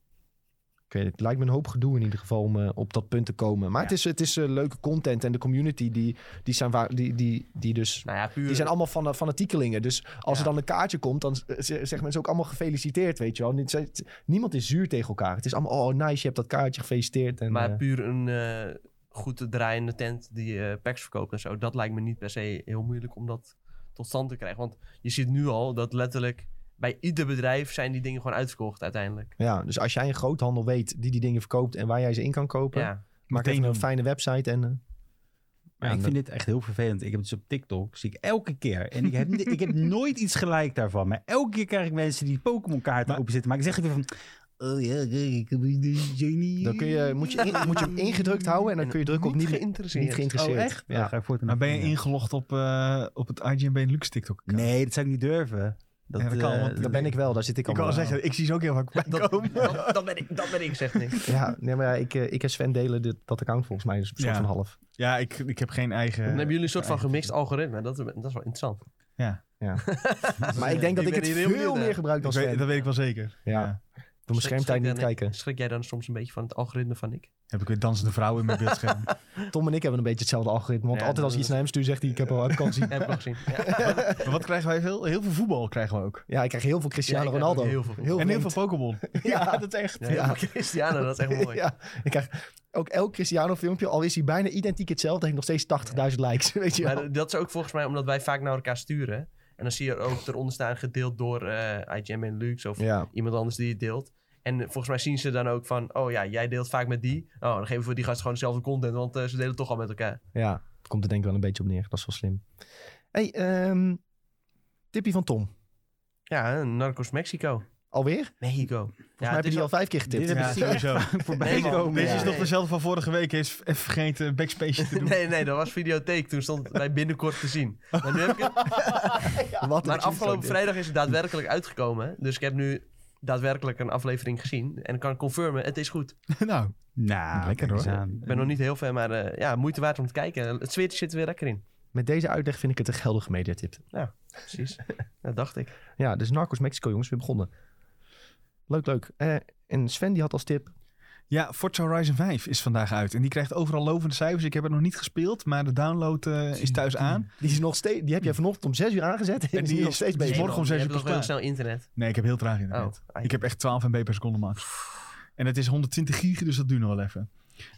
Ik weet het, het lijkt me een hoop gedoe in ieder geval om eh, op dat punt te komen. Maar
Ja.
het is, het is eh, leuke content en de community die, die, zijn waar, die, die, die dus
Nou ja, puur.
Die zijn allemaal van, fanatiekelingen. Dus als
Ja.
er dan een kaartje komt, dan z- z- zeggen mensen ook allemaal gefeliciteerd, weet je wel. Niet- ze- Niemand is zuur tegen elkaar. Het is allemaal, oh nice, je hebt dat kaartje gefeliciteerd. En,
Maar
eh,
puur een eh, goed draaiende tent die eh, packs verkoopt en zo. Dat lijkt me niet per se heel moeilijk om dat tot stand te krijgen. Want je ziet nu al dat letterlijk bij ieder bedrijf zijn die dingen gewoon uitverkocht uiteindelijk.
ja, dus als jij een groothandel weet die die dingen verkoopt en waar jij ze in kan kopen,
Ja.
maak
meteen
even een
doen.
fijne website en... eh,
Maar
Ja,
ik
dat-
vind dit echt heel vervelend. Ik heb dus op TikTok, zie ik elke keer. En ik heb, ik heb nooit iets gelijk daarvan. Maar elke keer krijg ik mensen die Pokémon kaarten
Maar-
openzetten. Maar ik zeg weer van... Oh ja, ik heb hier de genie.
dan kun je, moet, je in- moet je hem ingedrukt houden Oh, en dan kun je drukken op niet, niet
geïnteresseerd.
geïnteresseerd.
Oh echt? Ja.
Ja.
ga ik voortaan
Maar ben je
doen, ja.
ingelogd op, eh, op het IGNB Lux TikTok?
Nee, dat zou ik niet durven. Dat,
Ja, dat kan,
eh,
want-
Dat ben ik wel, daar zit ik
Ik kan
allemaal.
wel zeggen, ik zie ze ook heel vaak bij
Dat,
komen.
dat, dat ben ik, dat ben ik, zegt Nick.
Ja, nee, maar ja, ik, eh, ik en Sven delen dit, dat account volgens mij, dus een soort
Ja.
van half.
Ja, ik, ik heb geen eigen...
Dan hebben jullie een soort van gemixt algoritme. Dat, dat is wel interessant.
Maar ik denk dat
Ik
ik
ben
het
hier heel
veel
benieuwd naar.
meer gebruik dan
Ik weet-
Sven.
dat weet ik wel zeker.
Ja. Voor mijn schermtijd niet
dan-
kijken.
Schrik jij dan soms een beetje van het algoritme van ik?
Heb ik weer dansende vrouwen in mijn beeldscherm.
Tom en ik hebben een beetje hetzelfde algoritme. Want
Ja,
altijd als ik
dat
iets naar hem stuur, zegt hij: Ik heb al vakantie.
Heb ik nog gezien. Ja.
maar wat krijgen wij veel? Heel veel voetbal krijgen we ook.
Ja, ik krijg heel veel Cristiano
Ja, ik krijg
Ronaldo.
ook heel veel.
en heel
vreemd.
veel Pokémon.
Ja.
dat is echt.
Ja, ja. Cristiano, dat is echt mooi.
ja, ik krijg ook elk Cristiano filmpje, al is hij bijna identiek hetzelfde, heeft nog steeds 80.000 likes. Weet je wel.
Maar dat is ook volgens mij omdat wij vaak naar elkaar sturen. En dan zie je er ook eronder staan gedeeld door eh IGM en Lux of
Ja.
iemand anders die het deelt. En volgens mij zien ze dan ook van, oh ja, jij deelt vaak met die. Oh, dan geven we die gast gewoon dezelfde content, want eh, ze delen toch al met elkaar.
ja, het komt er denk ik wel een beetje op neer. Dat is wel slim. hey, ehm tipje van Tom.
Ja, Narcos Mexico.
Alweer?
Mexico.
Volgens mij heb je die al vijf keer getipt.
Dit heb
Ja,
ik dus-
sowieso.
voorbij
Nee, man.
komen.
Deze is
Ja.
nog dezelfde van vorige week. Hij Is even vergeten backspace te doen.
Nee, nee, dat was videotheek. Toen stond het bij binnenkort te zien. Maar, nu heb ik het-
Wat een
maar afgelopen
dit.
vrijdag is het daadwerkelijk uitgekomen. Dus ik heb nu daadwerkelijk een aflevering gezien. En kan confirmen, het is goed.
nou,
Nou,
Lekker,
kijk eens
hoor.
aan.
Ik ben nog niet heel ver, maar eh, ja, moeite waard om te kijken. Het zweertje zit er weer lekker in.
Met deze uitleg vind ik het een geldige mediatip.
Precies. Dat dacht ik.
Ja, dus Narcos Mexico, jongens, weer begonnen. Leuk, leuk. Eh, en Sven die had als tip.
ja, Forza Horizon 5 is vandaag uit. En die krijgt overal lovende cijfers. Ik heb het nog niet gespeeld, maar de download eh, is thuis aan.
Die, is nog steeds, die heb jij vanochtend om 6 uur aangezet. En die, is
die
nog
is-
steeds
die is
bezig.
morgen om zes
Je
uur
hebt
pas
nog heel
klaar.
snel internet.
Nee, ik heb heel traag internet.
Oh, ai.
Ik heb echt 12 MB per seconde max. En het is 120 gig, dus dat duurt nog wel even.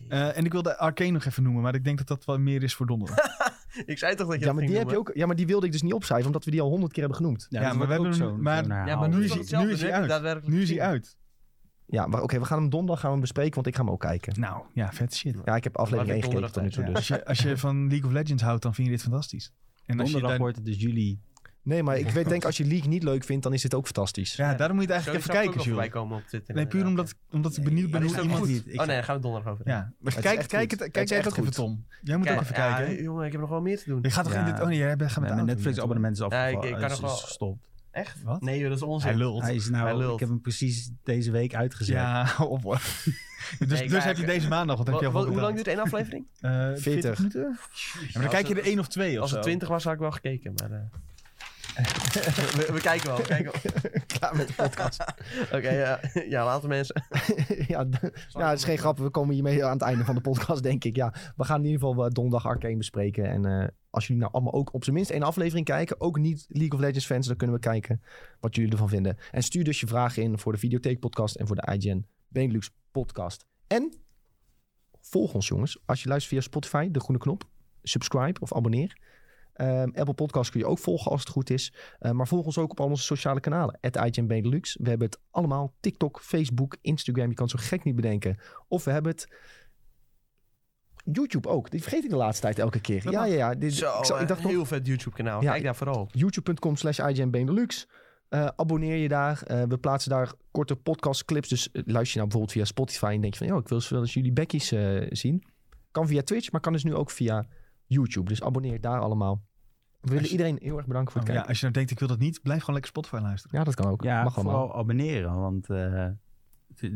Eh, en ik wilde Arcane nog even noemen, maar ik denk dat dat wel meer is voor donderdag.
ik zei toch dat je
Ja maar,
dat
die
ging
heb je
noemen?
ook, ja, maar die wilde ik dus niet opschrijven, omdat we die al honderd keer hebben genoemd.
Ja,
dat
maar we hebben
wordt ook
hem-
zo'n-
maar-
zo'n
Ja, maar
herhaal.
nu
nu
is,
is hij- nu is hij uit.
Daadwerkelijk
nu is hij
gezien.
uit.
Ja, maar oké, we gaan hem donderdag gaan we hem bespreken, want ik ga hem ook kijken.
Nou, ja, vet shit.
Ja, ik heb aflevering
Laat
1
ik
gekeken tot nu toe.
donderdag
Dus.
Als je, als je van League of Legends houdt, dan vind je dit fantastisch. En als je
Donderdag
daar-
wordt het dus juli.
Nee, maar ik weet, denk als je League niet leuk vindt, dan is dit ook fantastisch.
Ja, daarom moet je het eigenlijk even
Sowieso zou ik ook
kijken,
wel voorbij
Jules.
komen op Twitter.
Nee, puur
inderdaad,
omdat, omdat ik benieuwd
ja.
ben
Maar is
hoe
dat
iemand...
goed?
niet- ik-
oh nee, daar gaan we donderdag over.
Ja, maar
is
kijk,
echt
kijk,
goed.
het,
Het
kijk
is
jij
echt
dat even,
goed.
Tom. Jij moet ook even
ja,
kijken.
jongen, ik heb nog wel meer te doen.
Je gaat toch
Ja.
in dit... Oh nee, jij bent gaan met
Mijn
de auto.
Netflix abonnement is
Nee, ik-
afgevallen.
ik kan
is-
nog wel-
is gestopt.
Echt?
Wat?
Nee, joh, dat is
Hij
onzin.
lult.
Hij is
Hij
nou,
lult.
ik heb hem precies deze week uitgezet.
Ja, hou op hoor. Dus,
Nee,
dus
kijk,
heb je deze maandag, want heb
Wa-
je al
wa-
voor
hoe lang
betaald.
duurt één aflevering?
Eh,
40
minuten? Ja, maar dan
Als
kijk je
het-
er één of twee of
Als het
zo.
20 was, had ik wel gekeken. Maar, eh, we, we kijken wel. we kijken wel.
Klaar met de podcast.
Oké, ja, ja, later mensen.
ja, d- ja, het is geen grap. We komen hiermee aan het einde van de podcast, denk ik. Ja, we gaan in ieder geval eh, donderdag Arcane bespreken. En eh, als jullie nou allemaal ook op zijn minst één aflevering kijken, ook niet League of Legends fans, dan kunnen we kijken wat jullie ervan vinden. En stuur dus je vragen in voor de Videotheek podcast en voor de IGN Benelux podcast. En volg ons jongens. Als je luistert via Spotify, de groene knop, subscribe of abonneer. Ehm, Apple Podcast kun je ook volgen als het goed is. Eh, maar volg ons ook op al onze sociale kanalen. Het IGN Benelux. We hebben het allemaal. TikTok, Facebook, Instagram. Je kan het zo gek niet bedenken. Of we hebben het... YouTube ook. Die vergeet ik de laatste tijd elke keer.
Dat
ja,
mag.
ja, ja. Dit,
Zo, eh,
ik, zal- ik dacht nog
heel vet YouTube-kanaal.
Ja,
Kijk daar vooral op.
youtube.com slash IGN Benelux. Eh, abonneer je daar. Eh, we plaatsen daar korte podcastclips. Dus eh, luister je nou bijvoorbeeld via Spotify en denk je van... ...joh, ik wil eens wel eens jullie bekkies eh, zien. Kan via Twitch, maar kan dus nu ook via YouTube. Dus abonneer daar allemaal. We willen
je-
iedereen heel erg bedanken voor
Oh,
het
ja,
kijken.
als je nou denkt, ik wil dat niet, blijf gewoon lekker Spotify luisteren.
Ja, dat kan ook.
Ja,
Mag allemaal.
vooral abonneren, want eh,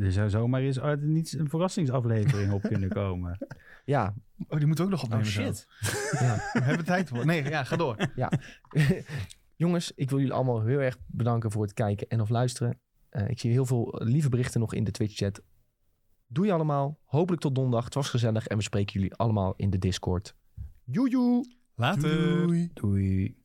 er zou zomaar eens uit niets een verrassingsaflevering op kunnen komen.
Ja,
Oh, die moeten we ook nog opnemen. zo.
ja.
We hebben tijd voor. Nee, ja, ga door.
jongens, ik wil jullie allemaal heel erg bedanken voor het kijken en of luisteren. Eh, ik zie heel veel lieve berichten nog in de Twitch-chat. Doe je allemaal. Hopelijk tot donderdag. Het was gezellig en we spreken jullie allemaal in de Discord. Joejoe!
Later.
Doei.